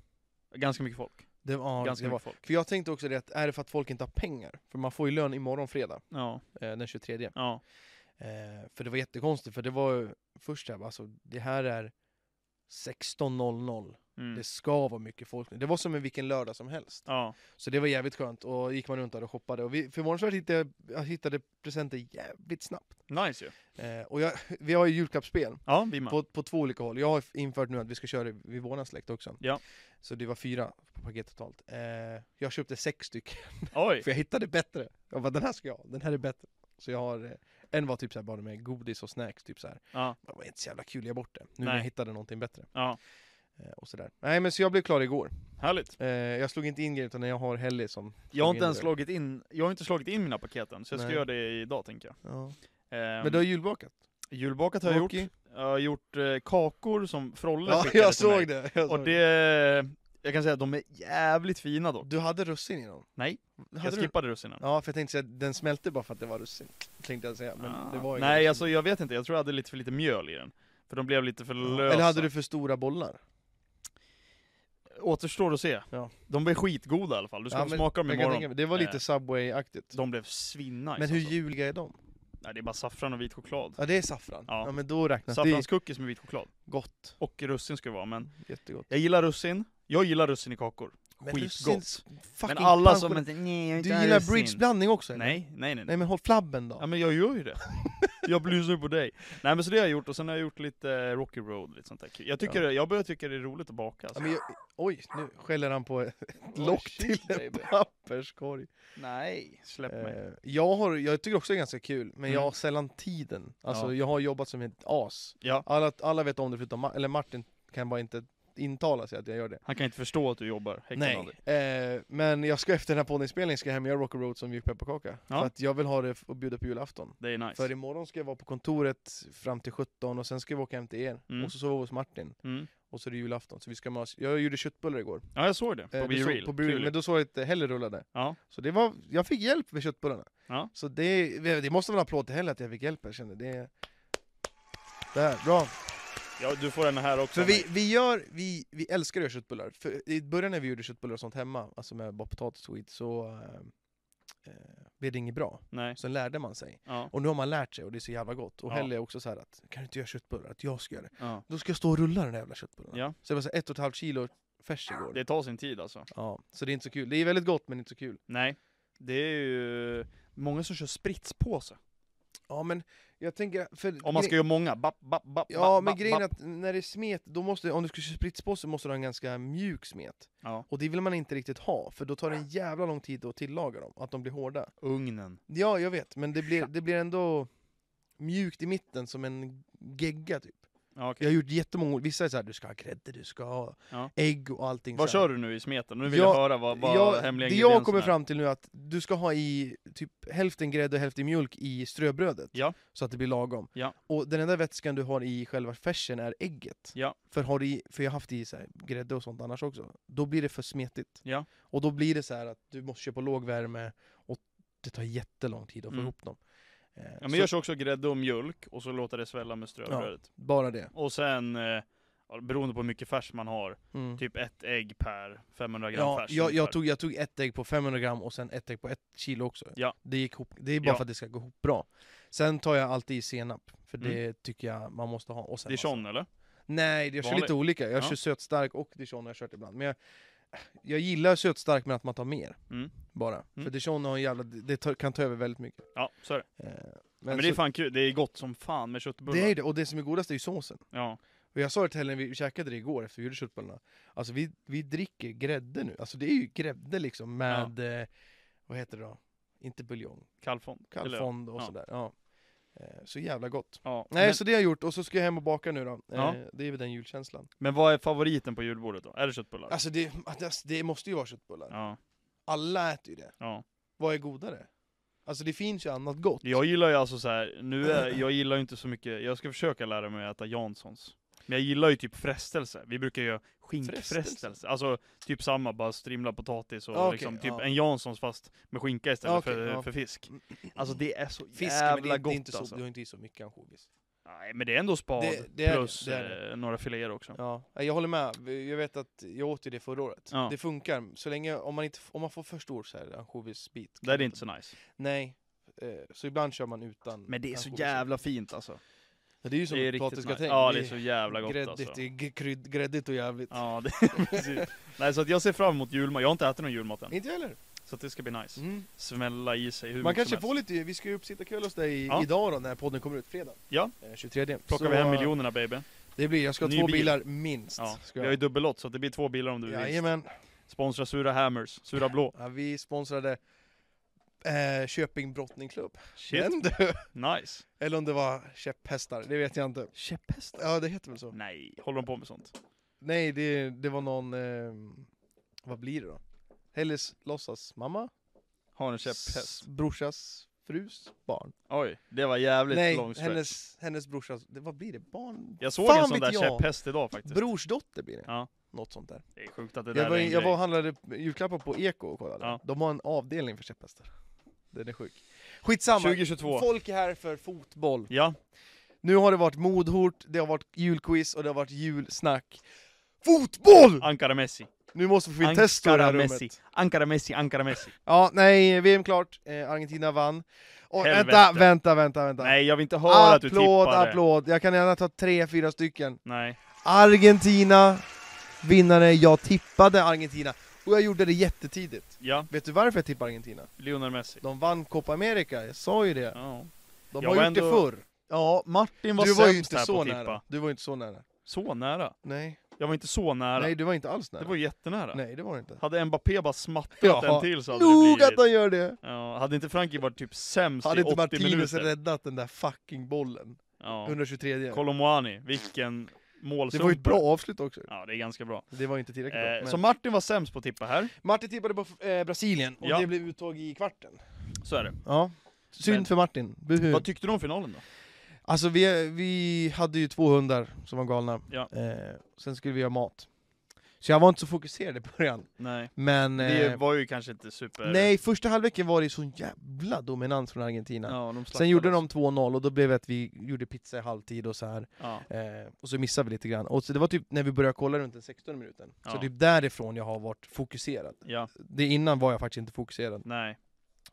Speaker 3: Ganska mycket folk.
Speaker 1: det var,
Speaker 3: Ganska
Speaker 1: det var.
Speaker 3: mycket folk.
Speaker 1: För jag tänkte också det att, är det för att folk inte har pengar? För man får ju lön imorgon fredag,
Speaker 3: Ja,
Speaker 1: eh, den 23
Speaker 3: ja.
Speaker 1: Eh, för det var jättekonstigt, för det var ju först där, alltså det här är 16.00.
Speaker 3: Mm.
Speaker 1: Det ska vara mycket folk nu. Det var som en vilken lördag som helst.
Speaker 3: Ja,
Speaker 1: Så det var jävligt skönt och gick man runt där och shoppade. Och vi, förvånansvärt hittade jag hittade presenter jävligt snabbt.
Speaker 3: nice ju.
Speaker 1: Eh, och jag, vi har ju julklappsspel
Speaker 3: Ja, vi med.
Speaker 1: på, på två olika håll. Jag har infört nu att vi ska köra det vid våran släkt också.
Speaker 3: Ja.
Speaker 1: Så det var fyra på paket totalt. Eh, jag köpte sex stycken.
Speaker 3: Oj!
Speaker 1: För jag hittade bättre. Jag bara den här ska jag ha, den här är bättre. Så jag har, eh, en var typ så här bara med godis och snacks typ så här.
Speaker 3: Ja,
Speaker 1: Det var inte så jävla kul, jag bort det. Nu när
Speaker 3: Nej.
Speaker 1: jag hittade någonting bättre.
Speaker 3: ja.
Speaker 1: Eh, och sådär. Nej men så jag blev klar igår.
Speaker 3: Härligt.
Speaker 1: Eh, jag slog inte in grejer utan jag har Helly som...
Speaker 3: Jag har
Speaker 1: slog in
Speaker 3: inte ens
Speaker 1: det.
Speaker 3: slagit in, jag har inte slagit in mina paket än, så jag ska
Speaker 1: Nej.
Speaker 3: göra det idag tänker jag. Ehm,
Speaker 1: Men du har julbakat?
Speaker 3: Julbakat har jag gjort.
Speaker 1: Rocky?
Speaker 3: Jag har gjort eh, kakor som Frolle
Speaker 1: Ja,
Speaker 3: skickade
Speaker 1: jag
Speaker 3: till mig.
Speaker 1: såg det! Jag
Speaker 3: Och
Speaker 1: såg
Speaker 3: det, jag kan säga att de är jävligt fina dock.
Speaker 1: Du hade russin i dem?
Speaker 3: Nej,
Speaker 1: Hade
Speaker 3: jag
Speaker 1: du?
Speaker 3: skippade russinen.
Speaker 1: Ja, för jag tänkte säga att den smälte bara för att det var russin. Tänkte jag säga, men
Speaker 3: Ah.
Speaker 1: det var ju
Speaker 3: Nej,
Speaker 1: russin.
Speaker 3: alltså jag vet inte, jag tror jag hade lite för lite mjöl i den. För de blev lite för lösa.
Speaker 1: Eller hade du för stora bollar?
Speaker 3: återstår att se.
Speaker 2: Ja.
Speaker 3: De blev skitgoda i alla fall, du ska
Speaker 1: Ja,
Speaker 3: få
Speaker 1: men
Speaker 3: smaka dem
Speaker 1: jag kan
Speaker 3: imorgon.
Speaker 1: tänka mig. Det var lite
Speaker 3: Eh.
Speaker 1: Subway-aktigt.
Speaker 3: De blev svinnice
Speaker 1: Men hur
Speaker 3: alltså.
Speaker 1: ljuvliga är de?
Speaker 3: Nej det är bara saffran och vit choklad.
Speaker 1: Ja det är saffran.
Speaker 3: Ja.
Speaker 1: Ja, men då räknas det. är
Speaker 3: Saffranscookies med vit choklad.
Speaker 1: gott.
Speaker 3: Och russin ska det vara, men
Speaker 1: Jättegott.
Speaker 3: jag gillar russin. Jag gillar russin i kakor.
Speaker 1: Men
Speaker 3: Skitgott.
Speaker 1: russin- fucking
Speaker 3: Men alla som
Speaker 1: pensionär-
Speaker 3: inte, nej jag
Speaker 1: Du
Speaker 3: inte är
Speaker 1: gillar
Speaker 3: russin."
Speaker 1: bridgeblandning också eller?
Speaker 3: Nej, nej nej. nej.
Speaker 1: Nej men håll flabben då.
Speaker 3: Ja men jag gör ju det. jag lyssnar ju på dig. Nej men så det har jag gjort, och sen har jag gjort lite eh, Rocky Road, lite sånt där kul. Jag tycker, jag börjar tycka det är roligt att baka
Speaker 1: Ja,
Speaker 3: alltså.
Speaker 1: men jag, oj, nu skäller han på ett lock
Speaker 3: shit,
Speaker 1: till en
Speaker 3: baby.
Speaker 1: papperskorg.
Speaker 3: Nej, släpp mig.
Speaker 1: Eh, jag, har, jag tycker också det är ganska kul, men jag
Speaker 3: Mm.
Speaker 1: har sällan tiden. Alltså
Speaker 3: Ja.
Speaker 1: jag har jobbat som ett as.
Speaker 3: Ja.
Speaker 1: Alla, alla vet om det förutom Ma- eller Martin kan bara inte intala sig att jag gör det.
Speaker 3: Han kan inte förstå att du jobbar. Häcken av dig.
Speaker 1: Eh, men jag ska efter den här poddinspelningen ska jag hem och göra Rock and Road som mjuk pepparkaka.
Speaker 3: Ja.
Speaker 1: För att jag vill ha det f- och bjuda på julafton.
Speaker 3: Det är nice.
Speaker 1: För imorgon ska jag vara på kontoret fram till 17 och sen ska vi åka hem till er.
Speaker 3: Mm.
Speaker 1: Och så sova hos Martin.
Speaker 3: Mm.
Speaker 1: Och så är det julafton. Så vi ska med oss. Jag gjorde köttbullar igår.
Speaker 3: Ja jag såg det, på
Speaker 1: Eh,
Speaker 3: Be
Speaker 1: det så-
Speaker 3: Real.
Speaker 1: På Be Real.
Speaker 3: Kul.
Speaker 1: Men då såg jag att eh, Helle rullade.
Speaker 3: Ja.
Speaker 1: Så det var, jag fick hjälp med köttbullarna.
Speaker 3: Ja.
Speaker 1: Så det, det måste vara en applåd till Helle att jag fick hjälp. Jag kände det. Där, bra.
Speaker 3: ja, du får den här också.
Speaker 1: För
Speaker 3: av
Speaker 1: vi,
Speaker 3: mig.
Speaker 1: vi, gör, vi, vi älskar att göra köttbullar. För I början när vi gjorde köttbullar och sånt hemma, alltså med bara potatis och skit, så eh, eh, blev det inget bra.
Speaker 3: Nej.
Speaker 1: Sen lärde man sig.
Speaker 3: Ja.
Speaker 1: Och nu har man lärt sig och det är så jävla gott. Och
Speaker 3: Ja.
Speaker 1: Helle är också så här att, kan du inte göra köttbullar? Att jag ska göra det.
Speaker 3: ja.
Speaker 1: Då ska jag stå och rulla den där jävla köttbullarna.
Speaker 3: Ja.
Speaker 1: Så det var så här ett och ett halvt kilo färs igår.
Speaker 3: Det tar sin tid alltså.
Speaker 1: Ja, så det är inte så kul. Det är väldigt gott men inte så kul.
Speaker 3: Nej. Det är ju många som kör spritspåse.
Speaker 1: Ja men jag tänker... För
Speaker 3: Om man ska
Speaker 1: gre-
Speaker 3: göra många, bapp, bapp, bapp,
Speaker 1: Ja
Speaker 3: bapp,
Speaker 1: men
Speaker 3: bapp,
Speaker 1: grejen är
Speaker 3: bapp.
Speaker 1: att när det är smet, då måste, om du ska köra spritspåse måste du ha en ganska mjuk smet.
Speaker 3: Ja.
Speaker 1: Och det vill man inte riktigt ha, för då tar det en jävla lång tid att tillaga dem, att de blir hårda.
Speaker 3: Ugnen.
Speaker 1: Ja, jag vet, men det blir, det blir ändå mjukt i mitten som en gegga typ.
Speaker 3: Ja,
Speaker 1: Jag
Speaker 3: okej.
Speaker 1: har gjort jättemånga, vissa är såhär du ska ha grädde, du ska ha
Speaker 3: Ja.
Speaker 1: ägg och allting
Speaker 3: Vad
Speaker 1: så här.
Speaker 3: kör du nu i smeten? Nu vill
Speaker 1: Ja,
Speaker 3: jag höra vad, vad
Speaker 1: jag,
Speaker 3: hemliga
Speaker 1: Det jag
Speaker 3: ingredienserna
Speaker 1: kommer
Speaker 3: är.
Speaker 1: fram till nu är att du ska ha i typ hälften grädde och hälften mjölk i ströbrödet.
Speaker 3: Ja.
Speaker 1: Så att det blir lagom.
Speaker 3: Ja.
Speaker 1: Och den enda vätskan du har i själva färsen är ägget.
Speaker 3: Ja.
Speaker 1: För, har du i, för jag har haft i så här grädde och sånt annars också. Då blir det för smetigt.
Speaker 3: Ja.
Speaker 1: Och då blir det så här att du måste köpa låg värme och det tar jättelång tid att få
Speaker 3: Mm.
Speaker 1: ihop dem. Eh,
Speaker 3: Ja,
Speaker 1: så
Speaker 3: men gör så också grädde och mjölk och så låter det svälla med ströbrödet.
Speaker 1: Bara det.
Speaker 3: Och sen, eh, ja, beroende på hur mycket färs man har,
Speaker 1: Mm.
Speaker 3: typ ett ägg per 500 gram
Speaker 1: Ja,
Speaker 3: färs.
Speaker 1: jag, jag,
Speaker 3: ungefär.
Speaker 1: tog, jag tog ett ägg på 500 gram och sen ett ägg på ett kilo också.
Speaker 3: Ja.
Speaker 1: Det, gick ihop, det är bara
Speaker 3: Ja.
Speaker 1: för att det ska gå ihop bra. Sen tar jag alltid i senap, för det tycker jag man måste ha. Och sen
Speaker 3: Mm.
Speaker 1: alltså,
Speaker 3: Dijon eller?
Speaker 1: Nej, jag kör
Speaker 3: Vanlig.
Speaker 1: lite olika. Jag
Speaker 3: Ja.
Speaker 1: kör sötstark och dijon har jag kört ibland. Men jag, jag gillar sötstark men att man tar mer.
Speaker 3: Mm.
Speaker 1: Bara.
Speaker 3: Mm.
Speaker 1: För dijon har en jävla, det tar, kan ta över väldigt mycket.
Speaker 3: Ja, så är det.
Speaker 1: Eh,
Speaker 3: Men, men det är fan kul, det är gott som fan med
Speaker 1: så,
Speaker 3: köttbullar.
Speaker 1: det är det, och det som är godast är ju såsen.
Speaker 3: Ja.
Speaker 1: Och jag sa det till Helen, vi käkade det igår efter vi gjorde köttbullarna. Alltså vi, vi dricker grädde nu. Alltså det är ju grädde liksom med, eh, vad heter det då? Inte buljong,
Speaker 3: Kalvfond. eller-
Speaker 1: kalvfond och
Speaker 3: ja.
Speaker 1: sådär. Ja. Eh, Så jävla gott.
Speaker 3: Ja.
Speaker 1: Nej,
Speaker 3: men,
Speaker 1: så det har jag gjort och så ska jag hem och baka nu då. Eh,
Speaker 3: Ja.
Speaker 1: Det är väl den julkänslan.
Speaker 3: men vad är favoriten på julbordet då? Är det köttbullar?
Speaker 1: Alltså det, alltså det måste ju vara köttbullar.
Speaker 3: Ja,
Speaker 1: Alla äter ju det.
Speaker 3: ja.
Speaker 1: Vad är godare? Alltså det finns ju annat gott.
Speaker 3: Jag gillar ju alltså så här, nu är, jag gillar ju inte så mycket, jag ska försöka lära mig att äta Janssons. Men jag gillar ju typ frestelse. Vi brukar göra skinkfrestelse.
Speaker 1: Frestelse?
Speaker 3: Alltså typ samma, bara strimla potatis och
Speaker 1: Ja, Ah, okej,
Speaker 3: liksom typ
Speaker 1: ja.
Speaker 3: en Janssons fast med skinka istället
Speaker 1: Ja, okej,
Speaker 3: för,
Speaker 1: ja.
Speaker 3: för fisk. Alltså det är så
Speaker 1: Fisk, men det
Speaker 3: jävla
Speaker 1: är,
Speaker 3: gott
Speaker 1: det är inte så,
Speaker 3: alltså.
Speaker 1: du har inte i så mycket ansjovis.
Speaker 3: Nej men det är ändå spad
Speaker 1: Det- det är det,
Speaker 3: plus
Speaker 1: det är
Speaker 3: Eh, några filéer också.
Speaker 1: Ja, nej, jag håller med. Jag vet att jag åt ju det förra året.
Speaker 3: Ja.
Speaker 1: Det funkar, så länge, om man, inte, om man får för stor så här ansjovisbit. kan
Speaker 3: Det är
Speaker 1: man
Speaker 3: inte så nice.
Speaker 1: Nej. Eh, Så ibland kör man utan
Speaker 3: Men det är så
Speaker 1: ansjovis.
Speaker 3: jävla fint alltså.
Speaker 1: Ja, Det är ju som
Speaker 3: Det är riktigt nice.
Speaker 1: potatisgratäng.
Speaker 3: Ja det är så jävla gott
Speaker 1: gräddigt,
Speaker 3: alltså.
Speaker 1: det är g- krydd- gräddigt och jävligt.
Speaker 3: Ja, det, precis. Nej, så att jag ser fram emot julmat. Jag har inte ätit någon julmat än.
Speaker 1: Inte jag heller.
Speaker 3: Så att det ska bli nice.
Speaker 1: Mm.
Speaker 3: Smälla i sig hur
Speaker 1: Man
Speaker 3: mycket som
Speaker 1: kanske
Speaker 3: helst.
Speaker 1: får lite, vi ska ju uppsitta kväll hos dig
Speaker 3: Ja.
Speaker 1: idag då när podden kommer ut, fredag.
Speaker 3: Ja.
Speaker 1: Eh, 23.
Speaker 3: Plockar
Speaker 1: Så,
Speaker 3: vi hem
Speaker 1: eh,
Speaker 3: miljonerna baby.
Speaker 1: Det blir, jag ska ha
Speaker 3: Ny
Speaker 1: två
Speaker 3: bil.
Speaker 1: bilar minst.
Speaker 3: Ja.
Speaker 1: Ska
Speaker 3: Vi har ju dubbellott så att det blir två bilar om du vill.
Speaker 1: Jajamän.
Speaker 3: Sponsra Sura Hammers, Sura Blå.
Speaker 1: Ja, vi sponsrade eh, Köping Brottningklubb.
Speaker 3: Shit,
Speaker 1: Men du-
Speaker 3: nice.
Speaker 1: Eller om det var käpphästar, det vet jag inte.
Speaker 3: Käpphästar?
Speaker 1: Ja, det heter väl så.
Speaker 3: Nej, håller de på med sånt?
Speaker 1: Nej, det, det var någon... Eh, vad blir det då? Helles låtsas mamma?
Speaker 3: Har en käpphäst?
Speaker 1: s- Brorsas frus barn?
Speaker 3: Oj, det var jävligt lång
Speaker 1: Nej,
Speaker 3: stretch.
Speaker 1: hennes, hennes brorsas... Det, vad blir det? Barn?
Speaker 3: Jag såg
Speaker 1: Fan
Speaker 3: en sån
Speaker 1: vet
Speaker 3: där
Speaker 1: jag.
Speaker 3: käpphäst idag faktiskt.
Speaker 1: Brorsdotter blir det.
Speaker 3: Ja.
Speaker 1: Något sånt där.
Speaker 3: Det är sjukt att det där
Speaker 1: Jag var,
Speaker 3: är en
Speaker 1: jag
Speaker 3: grej.
Speaker 1: var och handlade julklappar på Eko och kollade.
Speaker 3: Ja.
Speaker 1: De har en avdelning för käpphästar. Den är sjuk. Skitsamma.
Speaker 3: 2022.
Speaker 1: Folk är här för fotboll.
Speaker 3: Ja,
Speaker 1: Nu har det varit modhort, det har varit julquiz och det har varit julsnack. Fotboll!
Speaker 3: Ankara Messi.
Speaker 1: Nu måste vi få in Testo i det här rummet.
Speaker 3: Ankara Messi, Ankara Messi.
Speaker 1: Ja, nej, VM klart. Eh, Argentina vann. Och
Speaker 3: Helvete.
Speaker 1: vänta, vänta, vänta, vänta.
Speaker 3: Nej, jag vill inte höra att du
Speaker 1: applåd,
Speaker 3: tippade.
Speaker 1: applåd. Jag kan gärna ta tre, fyra stycken.
Speaker 3: Nej.
Speaker 1: Argentina, vinnare. Jag tippade Argentina. Och jag gjorde det jättetidigt.
Speaker 3: Ja,
Speaker 1: Vet du varför jag tippade Argentina?
Speaker 3: Lionel Messi.
Speaker 1: De vann Copa America, jag sa ju det.
Speaker 3: Ja,
Speaker 1: De har
Speaker 3: Jag var
Speaker 1: gjort det
Speaker 3: ändå
Speaker 1: förr.
Speaker 3: ja Martin var
Speaker 1: Du var ju
Speaker 3: sämst
Speaker 1: inte
Speaker 3: här på
Speaker 1: så
Speaker 3: att
Speaker 1: nära.
Speaker 3: tippa.
Speaker 1: Du var inte så nära.
Speaker 3: Så nära.
Speaker 1: Nej,
Speaker 3: Jag var inte så nära.
Speaker 1: nej du var inte alls nära.
Speaker 3: det var ju jättenära.
Speaker 1: Nej, det var det inte.
Speaker 3: Hade Mbappé bara smattat
Speaker 1: Ja.
Speaker 3: en till så hade det
Speaker 1: Nog
Speaker 3: blivit...
Speaker 1: att han gör det!
Speaker 3: Ja, hade inte Frankrike varit typ sämst
Speaker 1: Hade
Speaker 3: i
Speaker 1: inte
Speaker 3: 80
Speaker 1: Martinez
Speaker 3: minuter?
Speaker 1: räddat den där fucking bollen?
Speaker 3: Ja.
Speaker 1: 123
Speaker 3: Colomwani, vilken målsump.
Speaker 1: Det var ju ett bra avslut också.
Speaker 3: Ja, det är ganska bra.
Speaker 1: Det var inte tillräckligt bra.
Speaker 3: Eh,
Speaker 1: Men...
Speaker 3: så Martin var sämst på att tippa här,
Speaker 1: Martin tippade på eh, Brasilien och
Speaker 3: Ja.
Speaker 1: det blev uttag i kvarten.
Speaker 3: så är det.
Speaker 1: Ja. Synd
Speaker 3: Men-
Speaker 1: för Martin. Buhu.
Speaker 3: Vad tyckte du om finalen då?
Speaker 1: Alltså vi, vi hade ju två hundar som var galna.
Speaker 3: Ja.
Speaker 1: Eh, sen skulle vi göra mat. Så jag var inte så fokuserad i början.
Speaker 3: Nej.
Speaker 1: Men...
Speaker 3: Det
Speaker 1: Eh,
Speaker 3: var ju kanske inte super...
Speaker 1: nej, första halvleken var det sån jävla dominans från Argentina.
Speaker 3: Ja, de
Speaker 1: Sen gjorde de 2-0 och då blev det att vi gjorde pizza i halvtid och så här.
Speaker 3: Ja.
Speaker 1: Eh, och så missade vi lite grann. Och så det var typ när vi började kolla runt den 16 minuten. Så
Speaker 3: Ja.
Speaker 1: typ därifrån jag har varit fokuserad.
Speaker 3: ja,
Speaker 1: Det innan var jag faktiskt inte fokuserad.
Speaker 3: nej.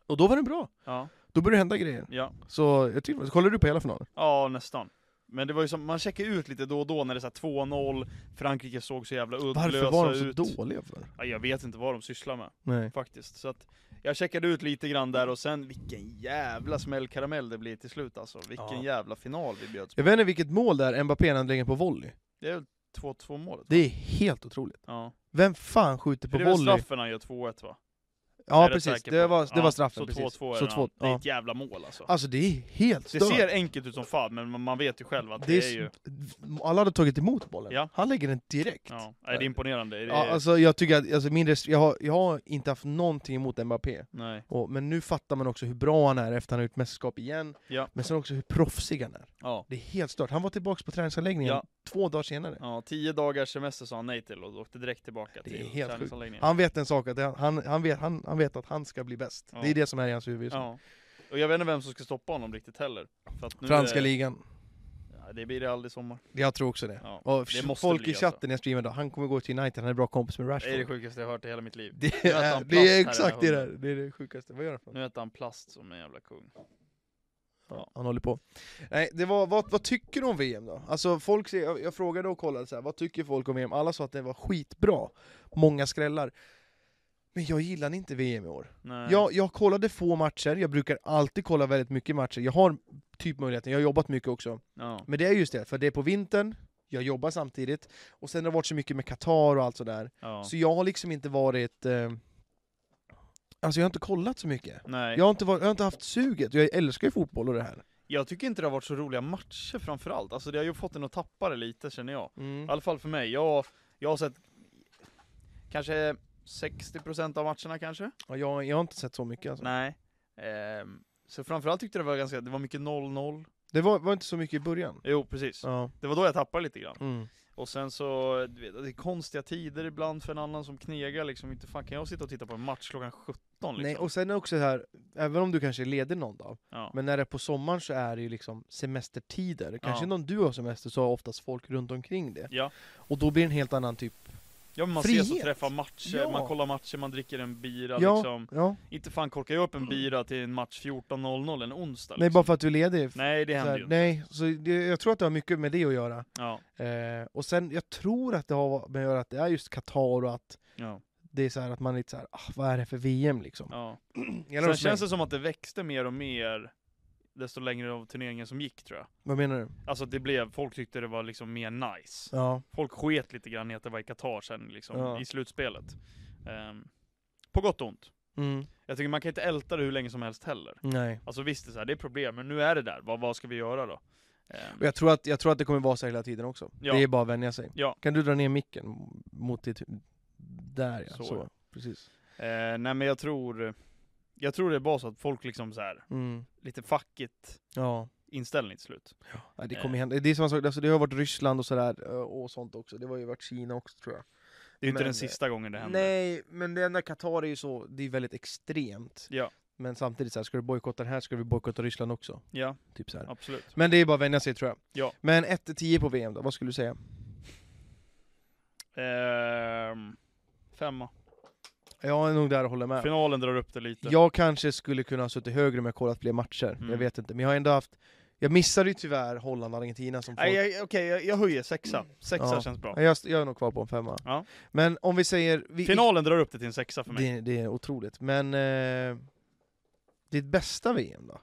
Speaker 1: Och då var den bra.
Speaker 3: Ja,
Speaker 1: Då började det hända grejer.
Speaker 3: ja,
Speaker 1: Så jag tyckte, så kollade du på hela finalen?
Speaker 3: ja nästan. Men det var ju som, man checkar ut lite då och då när det är så här 2-0, Frankrike såg så jävla uddlösa
Speaker 1: Varför var de så
Speaker 3: ut.
Speaker 1: dåliga för?
Speaker 3: Ja, jag vet inte vad de sysslar med
Speaker 1: Nej.
Speaker 3: faktiskt. Så att jag checkade ut lite grann där och sen vilken jävla smällkaramell det blir till slut alltså. Vilken
Speaker 1: Ja.
Speaker 3: jävla final vi bjöds på.
Speaker 1: Jag vet inte vilket mål det är, Mbappé när han lägger på volley.
Speaker 3: Det är väl 2-2 målet?
Speaker 1: Det är helt otroligt.
Speaker 3: Ja.
Speaker 1: Vem fan skjuter
Speaker 3: För
Speaker 1: på
Speaker 3: det är väl
Speaker 1: volley?
Speaker 3: straffen han gör 2-1 va? Är
Speaker 1: Ja
Speaker 3: jag
Speaker 1: precis,
Speaker 3: säker
Speaker 1: det
Speaker 3: på.
Speaker 1: var, det
Speaker 3: Ja,
Speaker 1: var straffen.
Speaker 3: Så
Speaker 1: precis.
Speaker 3: 2-2 är
Speaker 1: så
Speaker 3: det,
Speaker 1: två,
Speaker 3: två, det är
Speaker 1: ja.
Speaker 3: ett jävla mål alltså.
Speaker 1: Alltså det är helt
Speaker 3: det
Speaker 1: stört.
Speaker 3: ser enkelt ut som fan, men man- man vet ju själv att det,
Speaker 1: Det är
Speaker 3: är, ju...
Speaker 1: s- Alla hade tagit emot bollen.
Speaker 3: Ja.
Speaker 1: Han lägger den direkt.
Speaker 3: Ja, nej, det är imponerande. Det är,
Speaker 1: Ja, alltså jag tycker att, alltså min rest, jag, har, jag har inte haft någonting emot Mbappé.
Speaker 3: Nej,
Speaker 1: Och, men nu fattar man också hur bra han är efter han har gjort mästerskap igen.
Speaker 3: Ja.
Speaker 1: Men sen också hur proffsig han är.
Speaker 3: ja.
Speaker 1: Det är helt stört. Han var tillbaka på träningsanläggningen
Speaker 3: Ja.
Speaker 1: två dagar senare.
Speaker 3: ja. Tio dagars semester sa han nej till och åkte direkt tillbaka
Speaker 1: Det är
Speaker 3: till
Speaker 1: helt sjukt.
Speaker 3: träningsanläggningen.
Speaker 1: Han vet en sak, att han, han, vet, han, han vet att han ska bli bäst.
Speaker 3: Ja.
Speaker 1: Det är det som är i hans huvud just nu.
Speaker 3: Ja. Och jag vet inte vem som ska stoppa honom riktigt heller. För att nu
Speaker 1: Franska
Speaker 3: är-
Speaker 1: ligan.
Speaker 3: Ja, det blir det aldrig sommar.
Speaker 1: Jag tror också det.
Speaker 3: Ja.
Speaker 1: Och
Speaker 3: Det måste
Speaker 1: folk
Speaker 3: bli
Speaker 1: i
Speaker 3: alltså.
Speaker 1: chatten jag streamar då, han kommer gå till United, han är bra kompis med
Speaker 3: Det är det
Speaker 1: Rashford.
Speaker 3: sjukaste jag hört i hela mitt liv.
Speaker 1: Det
Speaker 3: Nu äter han
Speaker 1: är,
Speaker 3: plast
Speaker 1: det är
Speaker 3: här,
Speaker 1: exakt det
Speaker 3: den här
Speaker 1: där, det är det sjukaste. Vad gör han för något?
Speaker 3: Nu äter han plast som en jävla kung.
Speaker 1: Ja, han håller på. Nej, det var, vad, vad tycker du om VM då? Alltså folk, ser- jag, jag frågade och kollade så här, vad tycker folk om VM? Alla sa att det var skitbra, många skrällar. Men jag gillar inte VM i år.
Speaker 3: Nej.
Speaker 1: Jag, jag kollade få matcher, jag brukar alltid kolla väldigt mycket matcher. Jag har typ möjligheten, jag har jobbat mycket också.
Speaker 3: Ja.
Speaker 1: Men det är just det, för det är på vintern, jag jobbar samtidigt, och sen har det varit så mycket med Qatar och allt sådär.
Speaker 3: Ja.
Speaker 1: Så jag har liksom inte varit... Eh, alltså jag har inte kollat så mycket.
Speaker 3: Nej.
Speaker 1: Jag har, inte varit, jag har inte haft suget, jag älskar ju fotboll och det här.
Speaker 3: Jag tycker inte det har varit så roliga matcher framförallt. Alltså det har ju fått en att tappa det lite känner jag. I
Speaker 1: Mm.
Speaker 3: alla fall för mig. Jag, jag har sett kanske 60% av matcherna kanske?
Speaker 1: Ja, jag, jag har inte sett så mycket alltså.
Speaker 3: Nej. Ehm, så framförallt tyckte jag det var ganska, det var mycket 0-0.
Speaker 1: Det var, var inte så mycket i början.
Speaker 3: Jo precis.
Speaker 1: Ja.
Speaker 3: Det var då jag tappade lite grann.
Speaker 1: Mm.
Speaker 3: Och sen så, du vet, det är konstiga tider ibland för en annan som knegar liksom. Inte fan kan jag sitta och titta på en match klockan 17 liksom?
Speaker 1: Nej, och sen är också det här, även om du kanske är ledig någon dag,
Speaker 3: ja.
Speaker 1: men när det är på sommaren så är det ju liksom semestertider. Kanske
Speaker 3: Ja.
Speaker 1: någon du har semester så har oftast folk runt omkring det.
Speaker 3: Ja.
Speaker 1: Och då blir det en helt annan typ.
Speaker 3: ja men man ses och
Speaker 1: frihet.
Speaker 3: träffar matcher,
Speaker 1: Ja.
Speaker 3: man kollar matcher, man dricker en bira
Speaker 1: Ja.
Speaker 3: liksom.
Speaker 1: Ja.
Speaker 3: Inte fan korkar jag upp en bira till en match 14.00 en onsdag liksom.
Speaker 1: Nej, bara för att du är ledig.
Speaker 3: Nej det
Speaker 1: Så
Speaker 3: händer
Speaker 1: här,
Speaker 3: ju inte.
Speaker 1: nej, så det, jag tror att det har mycket med det att göra.
Speaker 3: Ja,
Speaker 1: Eh, och sen, jag tror att det har med att göra att det är just Qatar och att
Speaker 3: ja,
Speaker 1: det är så här att man är lite så här, ah, vad är det för VM liksom?
Speaker 3: ja.
Speaker 1: Gäller
Speaker 3: Mm. Sen
Speaker 1: hos mig.
Speaker 3: känns det som att det växte mer och mer desto längre av turneringen som gick tror jag.
Speaker 1: Vad menar du?
Speaker 3: Alltså det blev, folk tyckte det var liksom mer nice.
Speaker 1: Ja.
Speaker 3: Folk sket lite grann i att det var i Qatar sen liksom,
Speaker 1: Ja.
Speaker 3: i slutspelet. Ehm, på gott och ont.
Speaker 1: Mm.
Speaker 3: Jag tycker man kan inte älta det hur länge som helst heller.
Speaker 1: Nej.
Speaker 3: Alltså visst, det är, så här, det är problem, men nu är det där. Vad, vad ska vi göra då? Ehm,
Speaker 1: Och jag tror, att, jag tror att det kommer vara så här hela tiden också.
Speaker 3: Ja.
Speaker 1: Det är bara att vänja sig.
Speaker 3: Ja.
Speaker 1: Kan du dra ner micken mot ditt hu- Där ja.
Speaker 3: Så,
Speaker 1: Så.
Speaker 3: ja.
Speaker 1: Precis.
Speaker 3: eh, nej men jag tror, jag tror det är bara så att folk liksom så här,
Speaker 1: Mm.
Speaker 3: lite facket
Speaker 1: Ja.
Speaker 3: inställning till slut.
Speaker 1: ja. Det
Speaker 3: Eh.
Speaker 1: kommer hända. Det är samma sak, alltså, det har varit Ryssland och sådär eh, och sånt också. Det har ju varit Kina också tror jag.
Speaker 3: Det är ju inte
Speaker 1: Men,
Speaker 3: den
Speaker 1: eh,
Speaker 3: sista gången det händer.
Speaker 1: Nej, men det enda Qatar är ju så, det är väldigt extremt.
Speaker 3: Ja.
Speaker 1: Men samtidigt så här, ska du bojkotta den här ska vi bojkotta Ryssland också.
Speaker 3: Ja,
Speaker 1: Typ så här.
Speaker 3: absolut.
Speaker 1: Men det är bara att vänja sig tror jag.
Speaker 3: Ja.
Speaker 1: Men 1-10 på VM då, vad skulle du säga?
Speaker 3: Ehm, Femma.
Speaker 1: Jag är nog där och håller med.
Speaker 3: Finalen drar upp det lite.
Speaker 1: Jag kanske skulle kunna ha suttit högre om jag kollat fler matcher,
Speaker 3: Mm.
Speaker 1: jag vet inte. Men jag har ändå haft... Jag missade ju tyvärr Holland och Argentina som
Speaker 3: Nej,
Speaker 1: folk...
Speaker 3: jag- okej, jag, jag höjer sexa. Sexa
Speaker 1: Ja.
Speaker 3: känns bra.
Speaker 1: Nej, jag, jag är nog kvar på en femma.
Speaker 3: Ja.
Speaker 1: Men om vi säger... Vi,
Speaker 3: Finalen drar upp det till en sexa för mig.
Speaker 1: det, det är otroligt, men... Eh, ditt bästa VM då?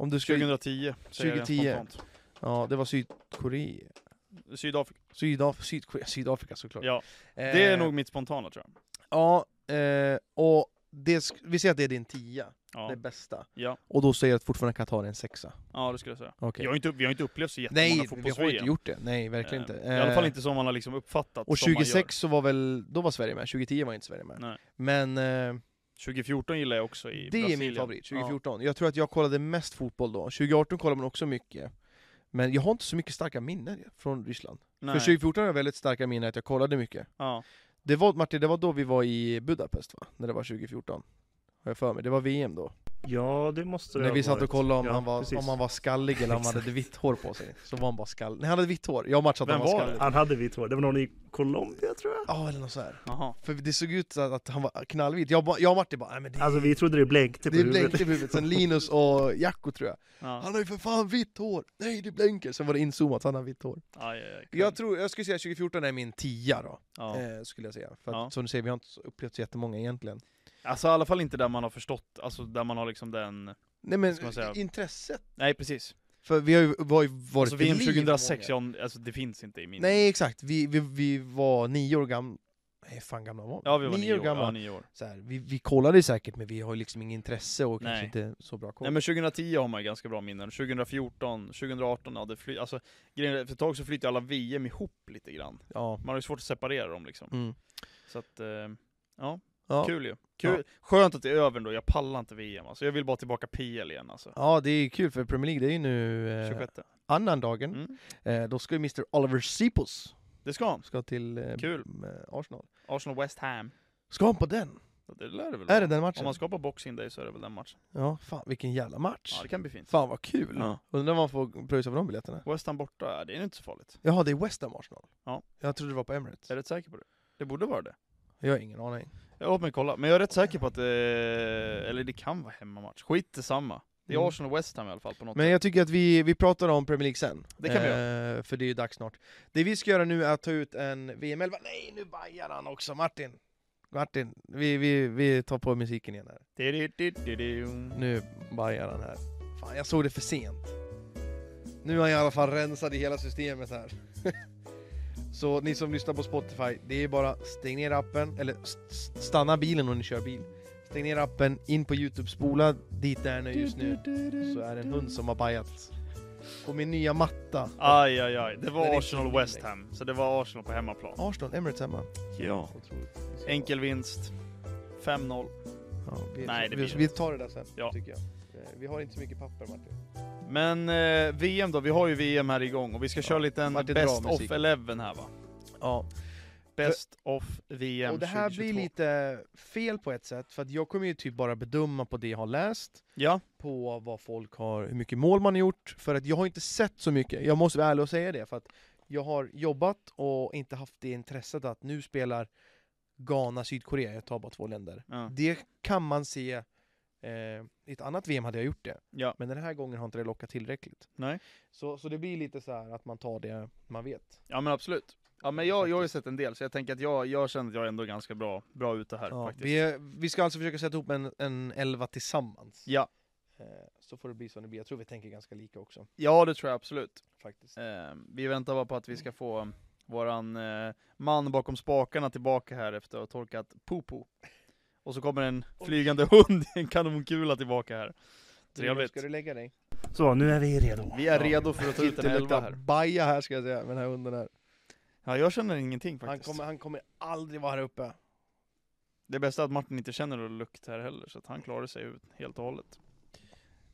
Speaker 1: Om du skulle...
Speaker 3: 2010. säger jag
Speaker 1: 2010.
Speaker 3: spontant.
Speaker 1: Ja, det var Sydkorea.
Speaker 3: Sydafrika.
Speaker 1: Sydaf Sydkorea, Sydafrika såklart.
Speaker 3: Ja, det är
Speaker 1: Eh,
Speaker 3: nog mitt spontana tror jag.
Speaker 1: Ja, eh, och det, sk- vi säger att det är din tia, det
Speaker 3: Ja,
Speaker 1: bästa.
Speaker 3: ja,
Speaker 1: Och då säger jag att fortfarande Qatar är en sexa.
Speaker 3: ja det skulle jag säga.
Speaker 1: Okej.
Speaker 3: Jag har inte, vi har inte upplevt så jättemånga
Speaker 1: Nej, vi
Speaker 3: fotbolls
Speaker 1: har ju inte gjort det. Nej, verkligen inte.
Speaker 3: I alla fall
Speaker 1: Eh,
Speaker 3: inte som man har liksom uppfattat
Speaker 1: Och
Speaker 3: som man gör.
Speaker 1: 2006 så var väl, då var Sverige med, 2010 var inte Sverige med.
Speaker 3: Nej.
Speaker 1: Men eh,
Speaker 3: 2014 gillar jag också i
Speaker 1: det är
Speaker 3: Brasilien.
Speaker 1: min favorit, 2014. Jag tror att jag kollade mest fotboll då, 2018 kollade man också mycket. Men jag har inte så mycket starka minnen från Ryssland.
Speaker 3: Ja. Nej.
Speaker 1: För 2014 har jag väldigt starka minnen att jag kollade mycket.
Speaker 3: ja.
Speaker 1: Det var, Martin, det var då vi var i Budapest va? När det var 2014? Har jag för mig, det var VM då.
Speaker 2: Ja, det måste det
Speaker 1: när
Speaker 2: ha
Speaker 1: vi satt och
Speaker 2: varit.
Speaker 1: kollade om,
Speaker 2: Ja,
Speaker 1: han, var,
Speaker 2: precis.
Speaker 1: om han var skallig eller om han hade vitt hår på sig. Så var han bara skallig. Nej han hade vitt hår, jag har matchat att
Speaker 3: Vem
Speaker 1: han var
Speaker 3: var det?
Speaker 1: skallig.
Speaker 2: Han hade vitt hår, det var någon i Colombia tror jag.
Speaker 1: Ja eller något så här.
Speaker 3: Jaha.
Speaker 1: För det såg ut att, att han var knallvit. Jag, bara- jag och Martin bara, nej men det,
Speaker 2: Alltså vi trodde det blänkte på
Speaker 1: det
Speaker 2: huvudet.
Speaker 1: blänkte i huvudet. Sen Linus och Jacko tror jag.
Speaker 3: Ja.
Speaker 1: Han har ju för fan vitt hår! Nej det blänker! Sen var det inzoomat, så han har vitt hår.
Speaker 3: Aj, aj, aj.
Speaker 1: Jag tror, jag skulle säga 2014 är min tia då.
Speaker 3: ja.
Speaker 1: Eh, skulle jag säga. För att,
Speaker 3: Ja.
Speaker 1: som du säger, vi har inte så- upplevt så jättemånga egentligen.
Speaker 3: Alltså i alla fall inte där man har förstått, alltså där man har liksom den...
Speaker 1: Nej men
Speaker 3: Ska man säga?
Speaker 1: intresset.
Speaker 3: Nej precis.
Speaker 1: För vi har ju var ju varit
Speaker 3: Alltså
Speaker 1: vid
Speaker 3: VM
Speaker 1: liv
Speaker 3: 2006,
Speaker 1: många.
Speaker 3: jag, alltså det finns inte i min...
Speaker 1: Nej exakt, vi, vi, vi var nio år gamla. Nej fan gamla var vi?
Speaker 3: Ja vi var nio,
Speaker 1: år gamla.
Speaker 3: Ja, nio år.
Speaker 1: Så här, vi, vi kollade ju säkert men vi har ju liksom inget intresse och kanske
Speaker 3: Nej.
Speaker 1: inte så bra koll.
Speaker 3: Nej men 2010 har man ju ganska bra minnen, 2014, 2018, ja det fly- alltså grejen är, för ett tag så flyter alla VM ihop lite grann.
Speaker 1: ja.
Speaker 3: Man har ju svårt att separera dem liksom.
Speaker 1: Mm.
Speaker 3: Så att, eh, ja,
Speaker 1: Ja.
Speaker 3: kul ju. Kul. Skönt att det är över då, jag pallar inte VM alltså. Jag vill bara tillbaka PL igen alltså.
Speaker 1: ja det är kul för Premier League det är ju nu eh,
Speaker 3: 26.
Speaker 1: annan dagen.
Speaker 3: Mm.
Speaker 1: Eh, då ska ju Mr Oliver Sipos
Speaker 3: Det ska han.
Speaker 1: ska till eh,
Speaker 3: Kul.
Speaker 1: m- eh, Arsenal.
Speaker 3: Arsenal West Ham.
Speaker 1: Ska han på den?
Speaker 3: Ja, Det lär det väl
Speaker 1: Är
Speaker 3: vara.
Speaker 1: det den
Speaker 3: Om
Speaker 1: matchen?
Speaker 3: man ska på Boxing Day så är det väl den matchen.
Speaker 1: Ja, fan vilken jävla match.
Speaker 3: Ja det kan bli fint.
Speaker 1: Fan vad kul.
Speaker 3: Ja.
Speaker 1: Undrar vad man får pröjsa för de biljetterna.
Speaker 3: West Ham borta, ja, det är inte så farligt.
Speaker 1: Jaha, det är West Ham Arsenal?
Speaker 3: Ja.
Speaker 1: Jag trodde det var på Emirates.
Speaker 3: Jag är rätt säker på det. Det borde vara det.
Speaker 1: Jag har ingen aning.
Speaker 3: Jag låt mig kolla, men jag är rätt säker på att det, eller det kan vara hemmamatch. Skit samma. Det är
Speaker 1: Mm.
Speaker 3: Arsenal och West Ham i alla fall på något
Speaker 1: Men
Speaker 3: sätt.
Speaker 1: jag tycker att vi, vi pratar om Premier League sen.
Speaker 3: Det kan vi
Speaker 1: göra. För det är ju dags snart. Det vi ska göra nu är att ta ut en VM-11. Nej, nu bajar han också, Martin! Martin, vi, vi, vi tar på musiken igen här.
Speaker 3: Di-di-di-di-di.
Speaker 1: Nu bajar han här. Fan, jag såg det för sent. Nu har jag i alla fall rensat i hela systemet här. Så ni som lyssnar på Spotify, det är bara stäng ner appen, eller st- st- stanna bilen om ni kör bil. Stäng ner appen, in på Youtube, spola dit där den är just nu. Så är det en hund som har bajat. På min nya matta.
Speaker 3: Aj, aj, aj. Det
Speaker 1: Det är
Speaker 3: var Arsenal
Speaker 1: inte
Speaker 3: och West Ham, så det var Arsenal på hemmaplan.
Speaker 1: Arsenal, Emirates hemma.
Speaker 3: Ja.
Speaker 1: Otroligt.
Speaker 3: Enkel vinst. 5-0.
Speaker 1: Ja, vi,
Speaker 3: Nej, det
Speaker 1: vi,
Speaker 3: blir
Speaker 1: vi tar det där sen,
Speaker 3: Ja.
Speaker 1: tycker jag. Eh, Vi har inte så mycket papper, Martin.
Speaker 3: Men eh, VM då, vi har ju VM här igång och vi ska
Speaker 1: Ja.
Speaker 3: köra lite en
Speaker 1: Martin,
Speaker 3: Best
Speaker 1: dra
Speaker 3: of
Speaker 1: musiken.
Speaker 3: 11 här va?
Speaker 1: Ja,
Speaker 3: Best of VM
Speaker 1: Och det här
Speaker 3: 2022.
Speaker 1: blir lite fel på ett sätt, för att jag kommer ju typ bara bedöma på det jag har läst,
Speaker 3: Ja,
Speaker 1: på vad folk har, hur mycket mål man har gjort, för att jag har inte sett så mycket. Jag måste vara ärlig och säga det, för att jag har jobbat och inte haft det intresset att nu spelar Ghana, Sydkorea, jag tar bara två länder.
Speaker 3: ja,
Speaker 1: Det kan man se, eh, i ett annat VM hade jag gjort det,
Speaker 3: ja.
Speaker 1: men den här gången har inte det lockat tillräckligt.
Speaker 3: Nej.
Speaker 1: Så, så det blir lite så här att man tar det man vet.
Speaker 3: ja men absolut. Ja men jag, jag har ju sett en del så jag tänker att jag, jag känner att jag är ändå ganska bra, bra ute här
Speaker 1: Ja,
Speaker 3: faktiskt.
Speaker 1: vi, är- vi ska alltså försöka sätta ihop en, en elva tillsammans.
Speaker 3: Ja.
Speaker 1: Eh, Så får det bli som det blir. Jag tror vi tänker ganska lika också.
Speaker 3: Ja det tror jag absolut.
Speaker 1: Faktiskt.
Speaker 3: Eh, vi väntar bara på att vi ska få ehm, våran eh, man bakom spakarna tillbaka här efter att ha torkat popo. Och så kommer en flygande hund i en kanonkula tillbaka här.
Speaker 1: Julia,
Speaker 3: Trevligt.
Speaker 1: Ska du lägga dig?
Speaker 2: Så, nu är vi redo.
Speaker 3: Vi är
Speaker 1: Ja.
Speaker 3: redo för att ta ut en
Speaker 1: Det
Speaker 3: elva
Speaker 1: luktar
Speaker 3: här.
Speaker 1: baja här ska jag säga, med den här hunden här.
Speaker 3: Ja, jag känner ingenting
Speaker 1: Han
Speaker 3: faktiskt.
Speaker 1: kommer, han kommer aldrig vara här uppe.
Speaker 3: Det bästa är att Martin inte känner någon lukt här heller, så att han klarar sig ut helt och hållet.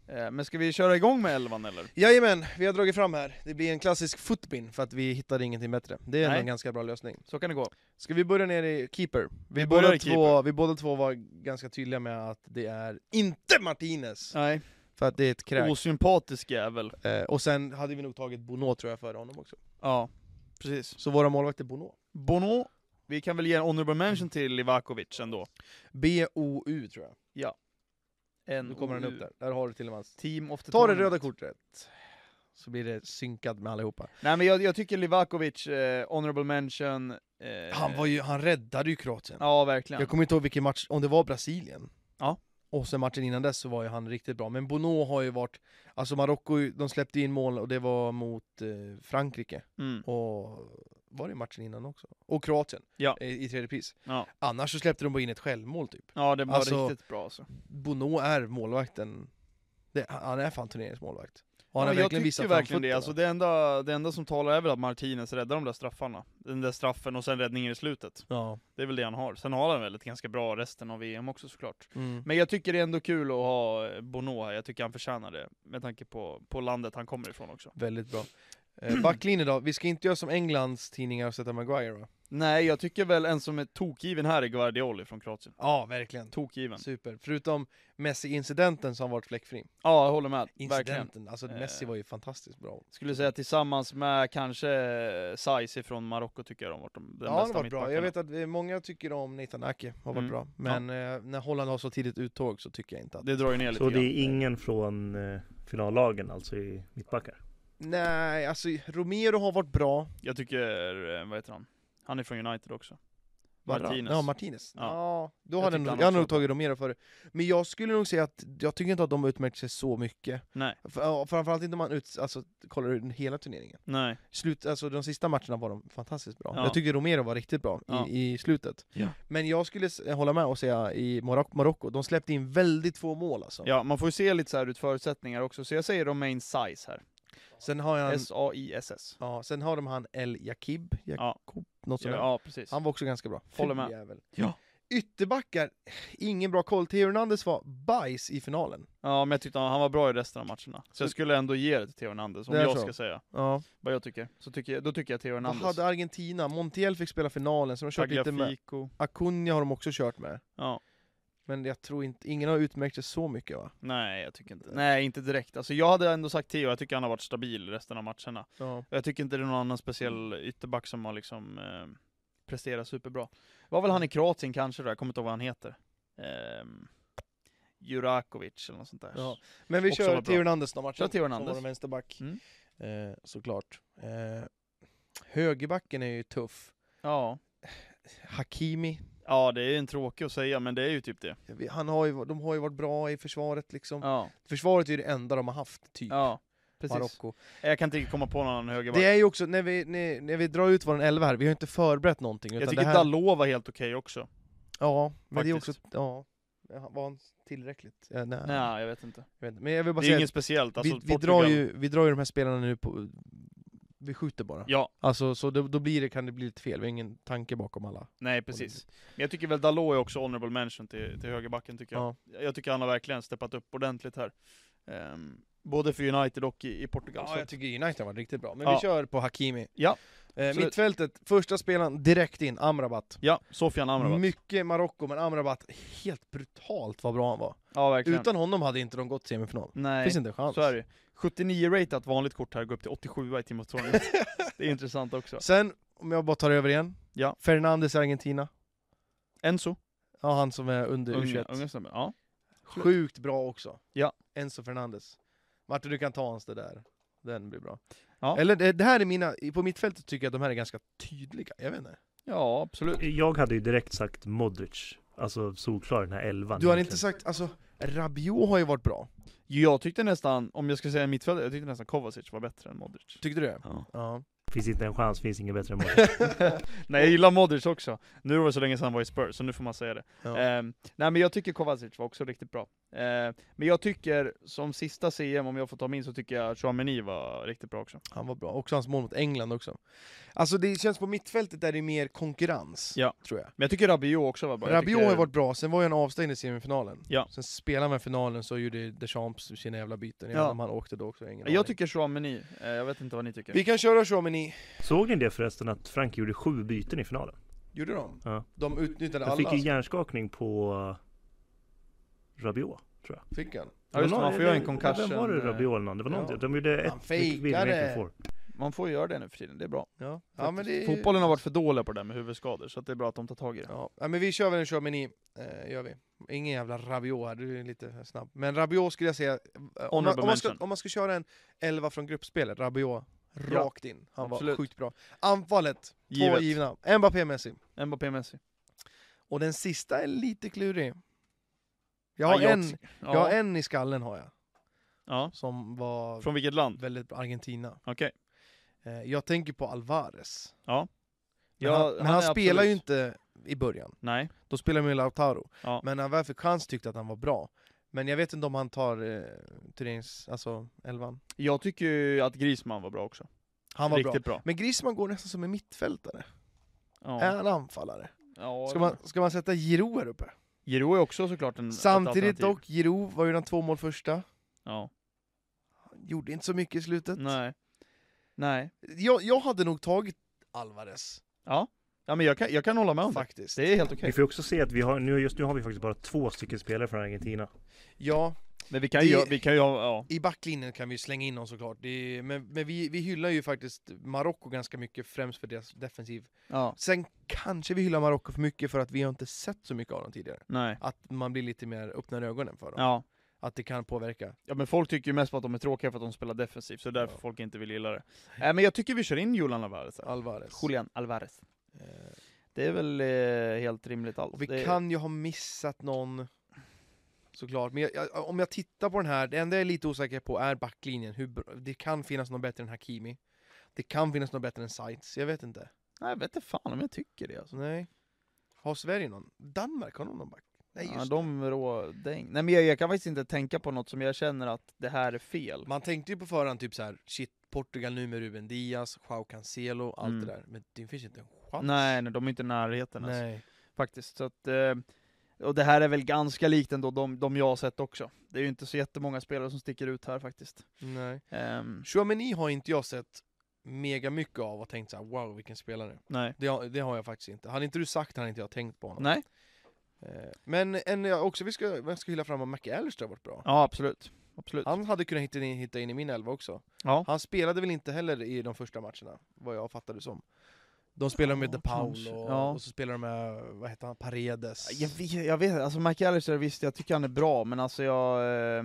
Speaker 3: Eh, men ska vi köra igång med elvan eller?
Speaker 1: Jajamän, vi har dragit fram här. Det blir en klassisk footbin för att vi hittade ingenting bättre. Det är ändå
Speaker 3: Nej.
Speaker 1: en ganska bra lösning.
Speaker 3: Så kan det gå.
Speaker 1: Ska vi börja ner i keeper? Vi,
Speaker 3: Vi börjar
Speaker 1: båda,
Speaker 3: i
Speaker 1: två, vi båda två var ganska tydliga med att det är INTE Martinez!
Speaker 3: Nej,
Speaker 1: För att det är ett kräk.
Speaker 3: osympatisk jävel.
Speaker 1: Eh, och sen hade vi nog tagit Bono tror jag före honom också.
Speaker 3: Ja, precis.
Speaker 1: Så våra målvakter Bono.
Speaker 3: Bono Vi kan väl ge en honorable mention till Livakovic ändå.
Speaker 1: B-O-U tror jag.
Speaker 3: En
Speaker 1: Nu kommer den upp där. Där har du till och med hans.
Speaker 3: Team of the
Speaker 1: Ta det
Speaker 3: tournament.
Speaker 1: röda kortet. Så blir det synkat med allihopa.
Speaker 3: Nej men jag, jag tycker Livakovic, eh, honorable mention. Eh,
Speaker 1: Han, var ju, han räddade ju Kroatien.
Speaker 3: Ja verkligen.
Speaker 1: Jag kommer inte ihåg vilken match, om det var Brasilien.
Speaker 3: Ja.
Speaker 1: Och sen matchen innan dess så var ju han riktigt bra. Men Bono har ju varit, alltså Marocko, de släppte in mål och det var mot eh, Frankrike.
Speaker 3: Mm.
Speaker 1: Och var det matchen innan också? Och Kroatien eh,
Speaker 3: Ja.
Speaker 1: i, i tredje pris.
Speaker 3: Ja.
Speaker 1: Annars så släppte de bara in ett självmål typ.
Speaker 3: ja det var
Speaker 1: Alltså-
Speaker 3: riktigt bra alltså.
Speaker 1: Bono är målvakten, det, han är fan turneringsmålvakт. Och han
Speaker 3: Ja,
Speaker 1: har
Speaker 3: men jag
Speaker 1: verkligen
Speaker 3: tycker
Speaker 1: visat
Speaker 3: verkligen det.
Speaker 1: framfötterna.
Speaker 3: Alltså, det, enda, det enda som talar är väl att Martinez räddar de där straffarna. Den där straffen och sen räddningen i slutet.
Speaker 1: Ja.
Speaker 3: Det är väl det han har. Sen har han väl ett ganska bra resten av VM också såklart.
Speaker 1: Mm.
Speaker 3: Men jag tycker det är ändå kul att ha eh, Bono här. Jag tycker han förtjänar det. Med tanke på, på landet han kommer ifrån också.
Speaker 1: Väldigt bra. Eh, backlinje då, vi ska inte göra som Englands tidningar och sätta Maguire va?
Speaker 3: Nej, jag tycker väl en som är tokgiven här är Guardioli från Kroatien.
Speaker 1: Ja, verkligen.
Speaker 3: Tokgiven.
Speaker 1: Super. Förutom Messi-incidenten som har varit fläckfri.
Speaker 3: Ja, jag håller med. Verkligen.
Speaker 1: Incidenten, alltså Messi
Speaker 3: Eh.
Speaker 1: var ju fantastiskt bra.
Speaker 3: Skulle säga tillsammans med kanske Saiz från Marocko tycker jag de har varit de,
Speaker 1: ja,
Speaker 3: den
Speaker 1: han
Speaker 3: bästa
Speaker 1: har varit bra.
Speaker 3: mittbackarna.
Speaker 1: Jag vet att eh, många tycker om Nathan Ake, har varit
Speaker 3: Mm.
Speaker 1: bra. Men eh, när Holland har så tidigt uttåg så tycker jag inte att...
Speaker 3: Det drar ju ner lite
Speaker 2: Så det
Speaker 3: grann.
Speaker 2: är ingen från eh, finallagen, alltså i mittbackar?
Speaker 1: Nej, alltså Romero har varit bra.
Speaker 3: Jag tycker, eh, vad heter han? Han är från United också.
Speaker 1: Vadå?
Speaker 3: Martinez.
Speaker 1: Ja, Martinez.
Speaker 3: Ja.
Speaker 1: Ja. då
Speaker 3: Jag
Speaker 1: hade jag, nog-
Speaker 3: tyckte han
Speaker 1: jag hade
Speaker 3: också
Speaker 1: nog tagit Romero för det. Men jag skulle nog säga att jag tycker inte att de utmärkt sig så mycket.
Speaker 3: Nej.
Speaker 1: F- ja, Framförallt inte om man ut, alltså, kollar ur den hela turneringen.
Speaker 3: Nej.
Speaker 1: Slut, alltså, de sista matcherna var de fantastiskt bra.
Speaker 3: Ja.
Speaker 1: Jag tyckte Romero var riktigt bra
Speaker 3: Ja.
Speaker 1: i, i slutet.
Speaker 3: Ja.
Speaker 1: Men jag skulle s- hålla med och säga i Marok- Marocko, de släppte in väldigt få mål alltså.
Speaker 3: Ja, man får ju se lite så här ut förutsättningar också, så jag säger Romain Saiz här.
Speaker 1: Sen har han,
Speaker 3: S-A-I-S-S.
Speaker 1: ja, sen har de han El Jakib, Jak-
Speaker 3: Ja,
Speaker 1: något
Speaker 3: ja,
Speaker 1: sånt där.
Speaker 3: ja, precis.
Speaker 1: Han var också ganska bra.
Speaker 3: Håller
Speaker 1: Ful
Speaker 3: med.
Speaker 1: jävel.
Speaker 3: Ja.
Speaker 1: Ytterbackar, ingen bra koll. Theo Hernandez var bajs i finalen.
Speaker 3: Ja, men jag tyckte han han var bra i resten av matcherna. Så jag skulle ändå ge det till Theo Hernandez, om
Speaker 1: Mm. Det är
Speaker 3: jag
Speaker 1: så.
Speaker 3: ska säga
Speaker 1: Ja.
Speaker 3: vad jag tycker. Så tycker jag, då tycker jag Theo
Speaker 1: Vad
Speaker 3: Hernandez.
Speaker 1: hade Argentina? Montiel fick spela finalen, så de har kört lite med.
Speaker 3: Tagliafico.
Speaker 1: Acuna har de också kört med.
Speaker 3: Ja.
Speaker 1: Men jag tror inte, ingen har utmärkt sig så mycket va?
Speaker 3: Nej, jag tycker inte Nej, inte direkt. Alltså jag hade ändå sagt Theo, jag tycker han har varit stabil i resten av matcherna.
Speaker 1: Ja.
Speaker 3: Jag tycker inte det är någon annan speciell
Speaker 1: Mm.
Speaker 3: ytterback som har liksom eh, presterat superbra. Var väl han i Kroatien kanske då, jag kommer inte ihåg vad han heter. Eh, Jurakovic eller något sånt där.
Speaker 1: Ja. Men vi
Speaker 3: Också
Speaker 1: kör
Speaker 3: var bra.
Speaker 1: Theo Hernandez då, matchen.
Speaker 3: Kör Theo
Speaker 1: Som
Speaker 3: Hernandez.
Speaker 1: var de vänsterback.
Speaker 3: Mm.
Speaker 1: Eh, såklart. Eh, högerbacken är ju tuff.
Speaker 3: Ja.
Speaker 1: Hakimi,
Speaker 3: ja, det är en tråkig att säga, men det är ju typ det.
Speaker 1: han har ju, de har ju varit bra i försvaret liksom.
Speaker 3: Ja,
Speaker 1: Försvaret är ju det enda de har haft, typ.
Speaker 3: ja precis.
Speaker 1: Marocko.
Speaker 3: Jag kan inte riktigt komma på någon högerback.
Speaker 1: Det är ju också, när vi, när, när vi drar ut vår elva här, vi har ju inte förberett någonting. Utan
Speaker 3: Jag tycker
Speaker 1: det här,
Speaker 3: Dalot var helt okej också.
Speaker 1: Ja, men det är också,
Speaker 3: faktiskt.
Speaker 1: ja. Var han tillräckligt? Ja, nej.
Speaker 3: Nej, jag vet inte.
Speaker 1: Jag vet inte. Men jag vill bara
Speaker 3: Det är
Speaker 1: säga,
Speaker 3: inget speciellt.
Speaker 1: att
Speaker 3: Alltså,
Speaker 1: vi, vi, drar ju, vi drar ju de här spelarna nu på, vi skjuter bara.
Speaker 3: Ja,
Speaker 1: Alltså, så då, då blir det, kan det bli lite fel, vi har ingen tanke bakom alla.
Speaker 3: nej precis. Men jag tycker väl Dalot är också honorable mention till, till högerbacken tycker jag.
Speaker 1: Ja.
Speaker 3: Jag tycker han har verkligen steppat upp ordentligt här. Ehm, både för United och i, i Portugal.
Speaker 1: Ja,
Speaker 3: så
Speaker 1: jag
Speaker 3: att-
Speaker 1: tycker United var riktigt bra, men
Speaker 3: Ja.
Speaker 1: vi kör på Hakimi.
Speaker 3: Ja,
Speaker 1: Eh,
Speaker 3: absolut.
Speaker 1: mittfältet, första spelaren direkt in, Amrabat.
Speaker 3: ja Sofian Amrabat.
Speaker 1: Mycket Marocko, men Amrabat, helt brutalt vad bra han var.
Speaker 3: ja, verkligen.
Speaker 1: Utan honom hade inte de gått till semifinal.
Speaker 3: Nej,
Speaker 1: Finns inte en chans.
Speaker 3: så är det ju. 79 ratat vanligt kort här, går upp till 87 i Team of Tournament. Det är intressant också.
Speaker 1: Sen, om jag bara tar över igen.
Speaker 3: Ja.
Speaker 1: Fernandes i Argentina.
Speaker 3: Enzo,
Speaker 1: Ja, han som är under
Speaker 3: unga,
Speaker 1: U21.
Speaker 3: unga snubben. Ja.
Speaker 1: Sjukt bra också.
Speaker 3: Ja.
Speaker 1: Enzo Fernandes. Martin, du kan ta hans det där. Den blir bra.
Speaker 3: Ja.
Speaker 1: Eller det, det här är mina, på mittfältet tycker jag att de här är ganska tydliga. Jag vet inte.
Speaker 3: ja, absolut.
Speaker 2: Jag hade ju direkt sagt Modric, alltså solklar den här elvan.
Speaker 1: Du har
Speaker 2: egentligen.
Speaker 1: inte sagt, alltså Rabiot har ju varit bra.
Speaker 3: Jag tyckte nästan, om jag ska säga mittfältare, jag tyckte nästan Kovacic var bättre än Modric.
Speaker 1: Tyckte du det?
Speaker 3: Ja.
Speaker 1: Ja.
Speaker 2: Finns inte en chans, finns ingen bättre än Modric.
Speaker 3: Nej, jag gillar Modric också. Nu var det så länge sedan han var i Spurs, så nu får man säga det.
Speaker 1: ja.
Speaker 3: Ehm, nej men jag tycker Kovacic var också riktigt bra. Ehm, men jag tycker, som sista CM, om jag får ta min, så tycker jag Chouameni var riktigt bra också.
Speaker 1: Han var bra. Också hans mål mot England också. Alltså det känns på mittfältet där det är mer konkurrens,
Speaker 3: Ja.
Speaker 1: tror jag.
Speaker 3: Men jag tycker Rabiot också var bra. Jag
Speaker 1: Rabiot
Speaker 3: tycker,
Speaker 1: har ju varit bra, sen var ju han avstängd i semifinalen.
Speaker 3: Ja.
Speaker 1: Sen spelade han finalen så gjorde Deschamps sina jävla byten. Jag vet
Speaker 3: Ja.
Speaker 1: inte om han åkte då också, ingen aning.
Speaker 3: Jag tycker Chouameni, eh, jag vet inte vad ni tycker.
Speaker 1: Vi kan köra Chouameni.
Speaker 2: Såg ni det förresten att Frank gjorde sju byten i finalen?
Speaker 1: Gjorde de?
Speaker 2: Ja.
Speaker 1: De utnyttjade
Speaker 2: Jag
Speaker 1: alla.
Speaker 2: fick ju hjärnskakning på Rabiot.
Speaker 1: Fick han?
Speaker 3: ja, just det,
Speaker 2: Någon-
Speaker 3: man får göra en
Speaker 2: Vem var
Speaker 3: concussion.
Speaker 2: det
Speaker 3: eh,
Speaker 2: Rabiot eller någon? Det var
Speaker 1: Ja.
Speaker 2: någon, de gjorde
Speaker 1: Han
Speaker 2: ett byte
Speaker 1: fejkade.
Speaker 2: mer än för få.
Speaker 3: Man får ju göra det nu för tiden, det är bra.
Speaker 1: Ja, ja men det är...
Speaker 3: Fotbollen har varit för dålig på det där med huvudskador, så att det är bra att de tar tag i det.
Speaker 1: Ja, ja, men vi kör väl en körmeny, eh, gör vi. Ingen jävla Rabiot här, du är lite snabb. Men Rabiot skulle jag säga, eh, om man,
Speaker 3: Honorable
Speaker 1: om, man ska,
Speaker 3: mention.
Speaker 1: om man ska köra en 11 från gruppspelet, Rabiot rakt in. Han var
Speaker 3: absolut.
Speaker 1: sjukt bra. Anfallet, två
Speaker 3: Givet.
Speaker 1: givna. Mbappé, Messi.
Speaker 3: Mbappé Messi.
Speaker 1: Och den sista är lite klurig. Jag har, en, jag har en i skallen har jag,
Speaker 3: Ja.
Speaker 1: som var
Speaker 3: Från vilket land?
Speaker 1: väldigt bra, Argentina.
Speaker 3: Okej.
Speaker 1: Eh, jag tänker på Alvarez.
Speaker 3: Ja.
Speaker 1: Men
Speaker 3: Ja,
Speaker 1: han, men
Speaker 3: han
Speaker 1: han,
Speaker 3: är
Speaker 1: spelar ju
Speaker 3: absolut-
Speaker 1: inte i början.
Speaker 3: Nej.
Speaker 1: Då spelar man ju Lautaro.
Speaker 3: Ja.
Speaker 1: Men när han väl fick chans tyckte att han var bra. Men jag vet inte om han tar eh, turnerings... Alltså elvan.
Speaker 3: Jag tycker ju att Griezmann var bra också.
Speaker 1: Han var bra.
Speaker 3: Riktigt bra.
Speaker 1: Men Griezmann går nästan som en mittfältare. Är
Speaker 3: Ja.
Speaker 1: han anfallare?
Speaker 3: Ja,
Speaker 1: Äh, Ska man, ska man sätta Giroud här uppe?
Speaker 3: Giroud är också såklart en Mm, ett
Speaker 1: Samtidigt
Speaker 3: alternativ.
Speaker 1: dock, Giroud var ju den två mål första.
Speaker 3: Ja.
Speaker 1: Han gjorde inte så mycket i slutet.
Speaker 3: Nej. Nej.
Speaker 1: Jag, jag hade nog tagit Alvarez,
Speaker 3: Ja men jag kan, jag kan hålla med om det.
Speaker 1: faktiskt.
Speaker 3: Det är helt okej.
Speaker 2: Vi får ju också se att vi har, nu, just nu har vi faktiskt bara två stycken spelare från Argentina.
Speaker 1: Ja,
Speaker 3: Men vi kan ju,
Speaker 1: Det-
Speaker 3: göra- vi kan ju, ha- ja.
Speaker 1: i backlinjen kan vi slänga in någon såklart. Det är, men men vi, vi hyllar ju faktiskt Marocko ganska mycket, främst för deras defensiv
Speaker 3: Ja.
Speaker 1: Sen kanske vi hyllar Marocko för mycket för att vi har inte sett så mycket av dem tidigare.
Speaker 3: Nej.
Speaker 1: Att man blir lite mer öppnar ögonen för dem.
Speaker 3: Ja.
Speaker 1: Att det kan påverka.
Speaker 3: ja, men folk tycker ju mest på att de är tråkiga för att de spelar defensivt, så därför
Speaker 1: Ja.
Speaker 3: folk inte vill gilla det. Nej men jag tycker vi kör in Julian Alvarez här.
Speaker 1: Alvarez.
Speaker 3: Julian Alvarez.
Speaker 1: Eh,
Speaker 3: Det är väl eh, helt rimligt allt.
Speaker 1: och vi
Speaker 3: det...
Speaker 1: kan ju ha missat någon såklart. Men jag, jag, om jag tittar på den här, det enda jag är lite osäker på är backlinjen. Hur, bra- det kan finnas någon bättre än Hakimi. Det kan finnas någon bättre än Saitz. Jag vet inte.
Speaker 3: Nej jag vet inte fan om jag tycker det alltså.
Speaker 1: Så nej. Har Sverige någon? Danmark, har de någon back? Nej just
Speaker 3: ja,
Speaker 1: det.
Speaker 3: de rådäng. Nej men jag, jag kan faktiskt inte tänka på något som jag känner att det här är fel.
Speaker 1: Man tänkte ju på förhand typ så här, shit, Portugal nu med Ruben Diaz, Joao Cancelo, allt
Speaker 3: Mm.
Speaker 1: det där. Men det finns ju inte en chans.
Speaker 3: Nej, nej, de är inte i närheten alltså,
Speaker 1: Nej.
Speaker 3: faktiskt. Så att, eh, och det här är väl ganska likt ändå de, de jag har sett också. Det är ju inte så jättemånga spelare som sticker ut här faktiskt.
Speaker 1: Nej.
Speaker 3: Ehm,
Speaker 1: Chouameni har inte jag sett mega mycket av och tänkt så här: wow vilken spelare.
Speaker 3: nej.
Speaker 1: Det har, det har jag faktiskt inte. Hade inte du sagt hade inte jag tänkt på honom.
Speaker 3: Nej?
Speaker 1: Eh, Men en jag också vi ska, jag ska hylla fram att McAllister har varit bra.
Speaker 3: Ja, absolut. Absolut.
Speaker 1: Han hade kunnat hitta in, hitta in i min elva också.
Speaker 3: Ja.
Speaker 1: Han spelade väl inte heller i de första matcherna, vad jag fattade som. De spelar med
Speaker 3: Ja,
Speaker 1: De Paul
Speaker 3: kanske.
Speaker 1: och,
Speaker 3: Ja.
Speaker 1: och så spelar de med, vad heter han, Paredes.
Speaker 3: Jag vet, jag vet alltså McAllister visst, jag tycker han är bra, men alltså jag... Eh,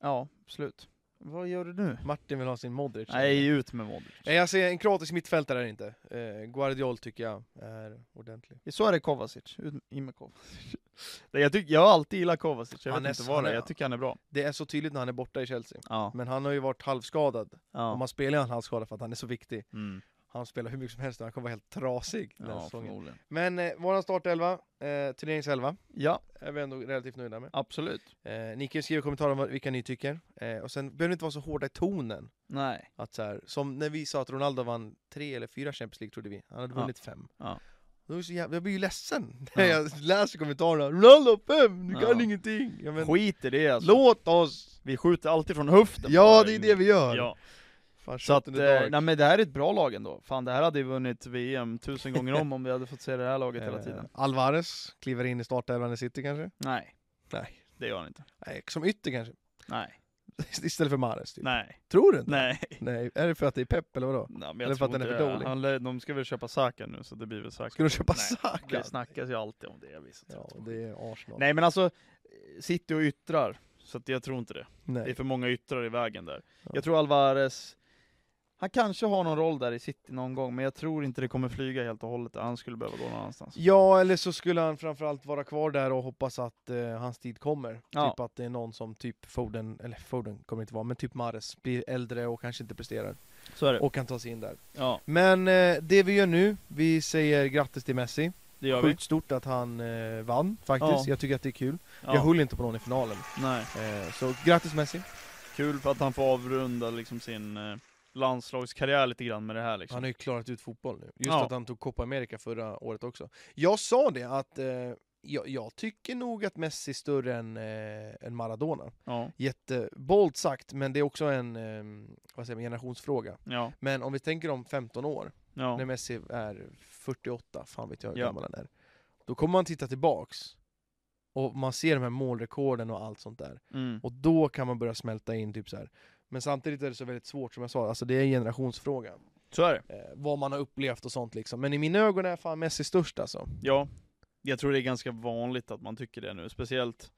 Speaker 3: ja, absolut. Vad gör du nu? Eh.
Speaker 1: Martin vill ha sin Modric.
Speaker 3: Nej, ut med Modric.
Speaker 1: Nej, jag ser en kroatisk mittfältare är det inte. Eh, Guardiol tycker jag är ordentlig.
Speaker 3: Så är det Kovacic, ut med- in med Kovacic. Nej, jag, tycker, jag har alltid gillat Kovacic, jag
Speaker 1: Han
Speaker 3: vet
Speaker 1: är-
Speaker 3: inte vad det
Speaker 1: han
Speaker 3: är,
Speaker 1: är-
Speaker 3: jag tycker han är bra.
Speaker 1: Det är så tydligt när han är borta i Chelsea.
Speaker 3: Ja.
Speaker 1: Men han har ju varit halvskadad.
Speaker 3: ja.
Speaker 1: Och man spelar ju han halvskadad för att han är så viktig.
Speaker 3: Mm.
Speaker 1: Han spelar hur mycket som helst och han kommer vara helt trasig den här
Speaker 3: Ja,
Speaker 1: säsongen.
Speaker 3: förmodligen.
Speaker 1: Men eh, våran startelva, eh, turneringselva,
Speaker 3: Ja,
Speaker 1: är vi ändå relativt nöjda med.
Speaker 3: absolut.
Speaker 1: Eh, ni kan ju skriva kommentarer om vad- vilka ni tycker. Eh, och sen behöver ni inte vara så hårda i tonen.
Speaker 3: Nej.
Speaker 1: Att så här, som när vi sa att Ronaldo vann tre eller fyra Champions League trodde vi. Han hade
Speaker 3: Ja.
Speaker 1: vunnit fem.
Speaker 3: Ja.
Speaker 1: Då är det så jävla, jag blir ju ledsen
Speaker 3: Ja.
Speaker 1: när jag läser kommentarerna. Ronaldo fem, du
Speaker 3: Ja.
Speaker 1: kan ingenting! Ja, men,
Speaker 3: Skit i det alltså.
Speaker 1: låt oss!
Speaker 3: Vi skjuter alltid från höften.
Speaker 1: Ja, det är det vi gör!
Speaker 3: Ja.
Speaker 1: Fan,
Speaker 3: Så att, eh,
Speaker 1: eh,
Speaker 3: nej men det här är ett bra lag ändå. Fan det här hade ju vunnit VM tusen gånger om om vi hade fått se det här laget hela tiden.
Speaker 1: Eh, Alvarez kliver in i startelvan i City kanske?
Speaker 3: Nej,
Speaker 1: Nej.
Speaker 3: det gör han inte.
Speaker 1: Nej, som ytter kanske?
Speaker 3: Nej,
Speaker 1: Istället för Mahrez typ.
Speaker 3: nej,
Speaker 1: Tror du inte?
Speaker 3: nej.
Speaker 1: Nej. Är det för att det är Pep eller vadå?
Speaker 3: nej men
Speaker 1: Eller
Speaker 3: jag
Speaker 1: för
Speaker 3: tror
Speaker 1: att den
Speaker 3: inte
Speaker 1: är för
Speaker 3: det.
Speaker 1: dålig.
Speaker 3: Han, lär- de ska väl köpa Saka nu så det blir väl Saka.
Speaker 1: Ska de köpa
Speaker 3: Nej.
Speaker 1: Saka?
Speaker 3: Det snackas ju alltid om det. Visst.
Speaker 1: Ja, det är Arsenal.
Speaker 3: Nej men alltså, City och yttrar. Så att jag tror inte det. Det är
Speaker 1: Nej.
Speaker 3: för många yttrar i vägen där.
Speaker 1: Ja.
Speaker 3: Jag tror Alvarez, han kanske har någon roll där i City någon gång, men jag tror inte det kommer flyga helt och hållet. Han skulle behöva gå någon annanstans.
Speaker 1: Ja, eller så skulle han framförallt vara kvar där och hoppas att eh, hans tid kommer.
Speaker 3: Ja.
Speaker 1: Typ att det är någon som typ Foden, eller Foden kommer inte vara, men typ Mahrez blir äldre och kanske inte presterar.
Speaker 3: Så är det.
Speaker 1: Och kan ta sig in där.
Speaker 3: ja,
Speaker 1: Men eh, det vi gör nu, vi säger grattis till Messi.
Speaker 3: det gör vi.
Speaker 1: Sjukt stort att han eh, vann faktiskt.
Speaker 3: Ja.
Speaker 1: Jag tycker att det är kul.
Speaker 3: Ja.
Speaker 1: Jag höll inte på någon i finalen.
Speaker 3: Nej.
Speaker 1: Eh, så grattis Messi.
Speaker 3: Kul för att han får avrunda liksom sin eh, landslagskarriär lite grann med det här liksom.
Speaker 1: Han har ju klarat ut fotboll nu. Just
Speaker 3: Ja.
Speaker 1: att han tog Copa America förra året också. Jag sa det att eh, jag, jag tycker nog att Messi är större än, eh, än Maradona.
Speaker 3: Ja,
Speaker 1: Jättebolt sagt, men det är också en eh, vad säger man, generationsfråga.
Speaker 3: ja,
Speaker 1: Men om vi tänker om 15 år,
Speaker 3: ja.
Speaker 1: när Messi är 48, fan vet jag hur
Speaker 3: Ja.
Speaker 1: gammal han är. Då kommer man titta tillbaks och man ser de här målrekorden och allt sånt där.
Speaker 3: Mm.
Speaker 1: Och då kan man börja smälta in typ så här. Men samtidigt är det så väldigt svårt som jag sa, alltså det är en generationsfråga.
Speaker 3: Så är det.
Speaker 1: Eh, vad man har upplevt och sånt liksom. Men i mina ögon är fan Messi störst alltså.
Speaker 3: Ja. Jag tror det är ganska vanligt att man tycker det nu, speciellt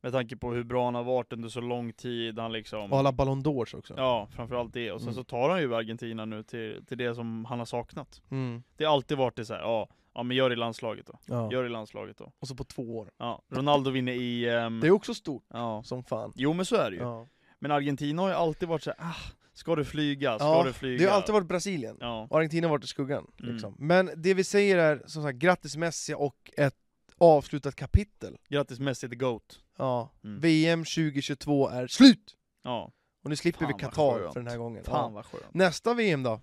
Speaker 3: med tanke på hur bra han har varit under så lång tid, han liksom...
Speaker 1: Och alla Ballon d'Ors också.
Speaker 3: Ja, framförallt det. Och sen
Speaker 1: Mm.
Speaker 3: så tar han ju Argentina nu till, till det som han har saknat.
Speaker 1: Mm.
Speaker 3: Det har alltid varit det så här, ja, ja men gör det i landslaget då.
Speaker 1: Ja.
Speaker 3: Gör det i landslaget då.
Speaker 1: Och så på två år.
Speaker 3: Ja, Ronaldo vinner i... ehm,
Speaker 1: Det är också stort
Speaker 3: ja.
Speaker 1: som fan.
Speaker 3: Jo men så är det ju.
Speaker 1: Ja.
Speaker 3: Men Argentina har ju alltid varit så här, ah, ska du flyga? Ska
Speaker 1: Ja,
Speaker 3: Alltså, du flyga?
Speaker 1: Det har alltid varit Brasilien.
Speaker 3: Ja.
Speaker 1: Och Argentina har varit i skuggan.
Speaker 3: Mm.
Speaker 1: Liksom. Men det vi säger är som sagt grattis Messi och ett avslutat kapitel.
Speaker 3: Grattis Messi the GOAT.
Speaker 1: Ja.
Speaker 3: Mm.
Speaker 1: VM 2022 är slut!
Speaker 3: Ja,
Speaker 1: Och nu slipper
Speaker 3: Fan,
Speaker 1: vi
Speaker 3: vad
Speaker 1: Qatar
Speaker 3: skönt.
Speaker 1: för den här gången.
Speaker 3: fan
Speaker 1: Ja.
Speaker 3: vad skönt.
Speaker 1: Nästa VM då?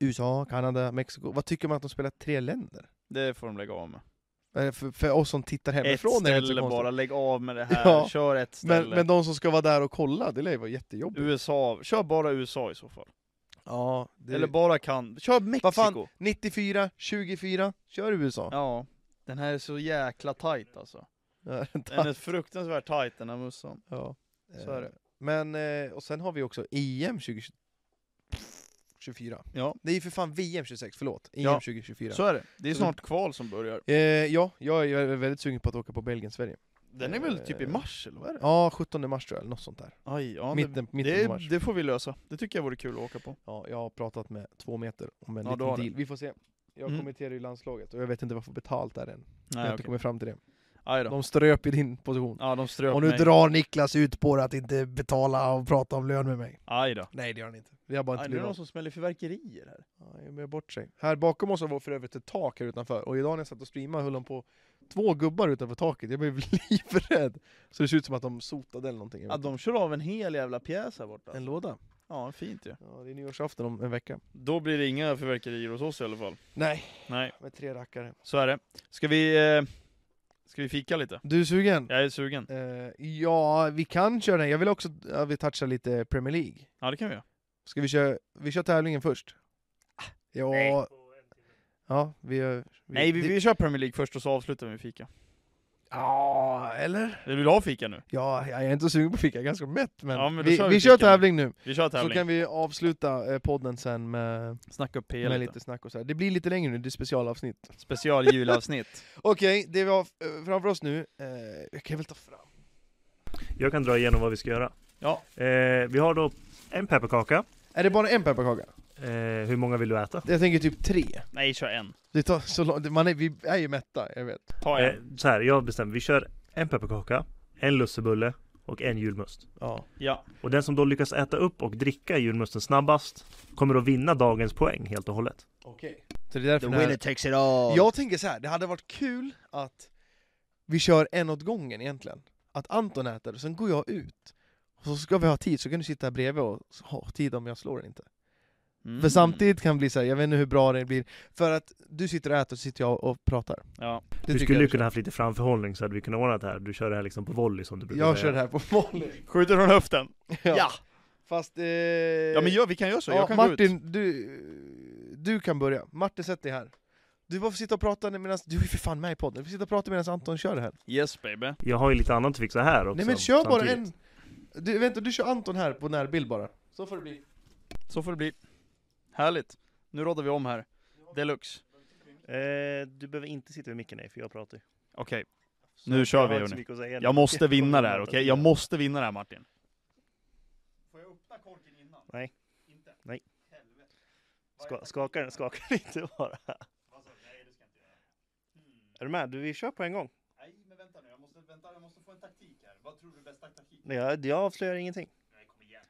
Speaker 1: USA, Kanada, Mexiko. Vad tycker man att de spelar tre länder?
Speaker 3: Det får de lägga av med.
Speaker 1: Eh, För, för oss som tittar
Speaker 3: Ett
Speaker 1: hemifrån är det inte
Speaker 3: ställe
Speaker 1: så konstigt.
Speaker 3: bara, lägg av med det här,
Speaker 1: Ja.
Speaker 3: kör ett
Speaker 1: Men,
Speaker 3: ställe.
Speaker 1: men de som ska vara där och kolla, det lär ju vara jättejobbigt.
Speaker 3: USA, kör bara USA i så fall.
Speaker 1: Ja, det...
Speaker 3: Eller bara kan. kör Mexiko!
Speaker 1: fan? 94, 24, kör USA.
Speaker 3: Ja, den här är så jäkla tight alltså.
Speaker 1: Ja.
Speaker 3: Den är fruktansvärt tight den här mussan.
Speaker 1: Ja,
Speaker 3: Så är det.
Speaker 1: Men, eh, och sen har vi också E EM 2024.
Speaker 3: Ja.
Speaker 1: Det är ju för fan VM 26, förlåt. EM
Speaker 3: Ja.
Speaker 1: 2024.
Speaker 3: Så är det. Det är
Speaker 1: Så-
Speaker 3: snart kval som börjar.
Speaker 1: Eh, ja, jag är väldigt sugen på att åka på Belgien-Sverige.
Speaker 3: Den är
Speaker 1: Eh.
Speaker 3: väl typ i mars eller vad är det?
Speaker 1: Ja, 17 mars tror jag, eller något sånt där.
Speaker 3: Aj, ja, det,
Speaker 1: mitten, mitten på
Speaker 3: det,
Speaker 1: mars.
Speaker 3: det får vi lösa. Det tycker jag vore kul att åka på.
Speaker 1: Ja, jag har pratat med två meter om en
Speaker 3: Ja, du
Speaker 1: liten
Speaker 3: har
Speaker 1: deal. Vi får se. Jag
Speaker 3: Mm.
Speaker 1: kommenterar ju landslaget och jag vet inte vad jag får betalt där än. jag har
Speaker 3: Nej,
Speaker 1: inte
Speaker 3: okej.
Speaker 1: kommit fram till det.
Speaker 3: Aj då.
Speaker 1: De ströp i din position.
Speaker 3: Ja, de ströp
Speaker 1: och nu
Speaker 3: mig.
Speaker 1: drar Niklas ut på det att inte betala och prata om lön med mig.
Speaker 3: Aj då.
Speaker 1: Nej det gör han inte. Vi har bara
Speaker 3: Aj,
Speaker 1: inte
Speaker 3: nu är
Speaker 1: blivit
Speaker 3: det
Speaker 1: av.
Speaker 3: någon som smäller fyrverkerier här.
Speaker 1: Ja, jag ber bort sig. Här bakom oss var för övrigt ett tak här utanför och idag när jag satt och streamade höll de på två gubbar utanför taket. Jag blev livrädd! Så det ser ut som att de sotade eller någonting. jag
Speaker 3: Ja,
Speaker 1: vet
Speaker 3: de kör av en hel jävla pjäs här borta.
Speaker 1: inte. En låda.
Speaker 3: Ja, fint ju.
Speaker 1: Ja, det är nyårsafton om en vecka.
Speaker 3: Då blir det inga fyrverkerier hos oss i alla fall.
Speaker 1: Nej,
Speaker 3: Nej,
Speaker 1: med tre rackare.
Speaker 3: så är det. Ska vi, eh, ska vi fika lite?
Speaker 1: Du är sugen?
Speaker 3: Jag är sugen.
Speaker 1: Eh, ja, vi kan köra den. Jag vill också att vi touchar lite Premier League.
Speaker 3: Ja, det kan vi göra.
Speaker 1: Ska vi köra, vi kör tävlingen först? Ja, ja vi, gör- vi...
Speaker 3: Nej, vi,
Speaker 1: det-
Speaker 3: vi kör Premier League först och så avslutar vi med fika.
Speaker 1: Ja, eller?
Speaker 3: Vill du ha fika nu?
Speaker 1: Ja, jag är inte sugen på fika, jag är ganska mätt men...
Speaker 3: Ja, men då
Speaker 1: vi,
Speaker 3: kör
Speaker 1: kör,
Speaker 3: vi
Speaker 1: vi kör
Speaker 3: fika nu.
Speaker 1: tävling nu.
Speaker 3: Vi kör
Speaker 1: Så
Speaker 3: tävling.
Speaker 1: kan vi avsluta eh, podden sen med,
Speaker 3: Snacka upp PL
Speaker 1: med
Speaker 3: lite.
Speaker 1: lite snack och så här. Det blir lite längre nu, det är specialavsnitt.
Speaker 3: Special julavsnitt.
Speaker 1: Okej, det vi har eh, framför oss nu, eh, jag kan väl ta fram...
Speaker 2: Jag kan dra igenom vad vi ska göra.
Speaker 3: Ja.
Speaker 2: Eh, vi har då en pepparkaka.
Speaker 1: Är det bara en pepparkaka?
Speaker 2: Eh, hur många vill du äta?
Speaker 1: Jag tänker typ tre.
Speaker 3: Nej, kör en.
Speaker 1: Det tar så långt, man är, vi är ju mätta, jag vet.
Speaker 3: Ta
Speaker 2: Eh,
Speaker 3: en.
Speaker 2: så här, jag bestämmer. Vi kör en pepparkaka, en lussebulle och en julmust.
Speaker 1: Ja.
Speaker 3: Ja.
Speaker 2: Och den som då lyckas äta upp och dricka julmusten snabbast kommer att vinna dagens poäng helt och hållet.
Speaker 1: Okej. Så det är därför den här...
Speaker 3: takes it all.
Speaker 1: Jag tänker så här, det hade varit kul att vi kör en åt gången egentligen. Att Anton äter, och sen går jag ut. Och så ska vi ha tid, så kan du sitta här bredvid och ha tid om jag slår den inte.
Speaker 3: Mm.
Speaker 1: För samtidigt kan det bli så här, jag vet inte hur bra det blir, för att du sitter och äter och sitter jag och pratar.
Speaker 3: Ja.
Speaker 1: Det
Speaker 2: Du
Speaker 1: tycker
Speaker 2: skulle ju
Speaker 1: jag
Speaker 2: kunna haft lite framförhållning så hade vi kunnat ordna det här. Du kör det här liksom på volley som du brukar
Speaker 1: Jag
Speaker 2: säga.
Speaker 1: kör det här på volley.
Speaker 3: Skjuter från höften. Ja. ja.
Speaker 1: Fast... Eh...
Speaker 3: men gör, vi kan göra så.
Speaker 1: ja,
Speaker 3: jag kan gå ut.
Speaker 1: Martin, du, du kan börja. Martin, sätt dig här. Du får sitta och prata medan, du är ju för fan med i podden, du får sitta och prata medan Anton kör det här.
Speaker 3: Yes baby.
Speaker 2: Jag har ju lite annat att fixa här också.
Speaker 1: Nej men kör bara
Speaker 2: samtidigt.
Speaker 1: en... Du, vänta, du kör Anton här på närbild bara. Så får det bli.
Speaker 3: Så får det bli. Härligt. Nu råddar vi om här. Deluxe.
Speaker 2: Eh, du behöver inte sitta vid micken nej, för jag pratar ju.
Speaker 3: Okej.
Speaker 2: Så
Speaker 3: Nu
Speaker 2: jag
Speaker 3: kör
Speaker 2: har
Speaker 3: vi,
Speaker 2: inte så
Speaker 3: hörni.
Speaker 2: mycket att säga nu.
Speaker 3: Jag måste vinna det här, okej? Jag
Speaker 2: måste.
Speaker 3: måste vinna det här Martin. Får jag öppna korken innan?
Speaker 2: Nej.
Speaker 3: Inte?
Speaker 2: Nej.
Speaker 3: Helvete.
Speaker 2: Ska, skaka den, skaka den inte bara. Är du med? Du, vi kör på en gång.
Speaker 3: Nej men vänta nu, jag måste, vänta, jag måste få en taktik här. Vad tror du är bästa taktik?
Speaker 2: Nej, Jag, jag avslöjar ingenting.
Speaker 3: Nej kom igen.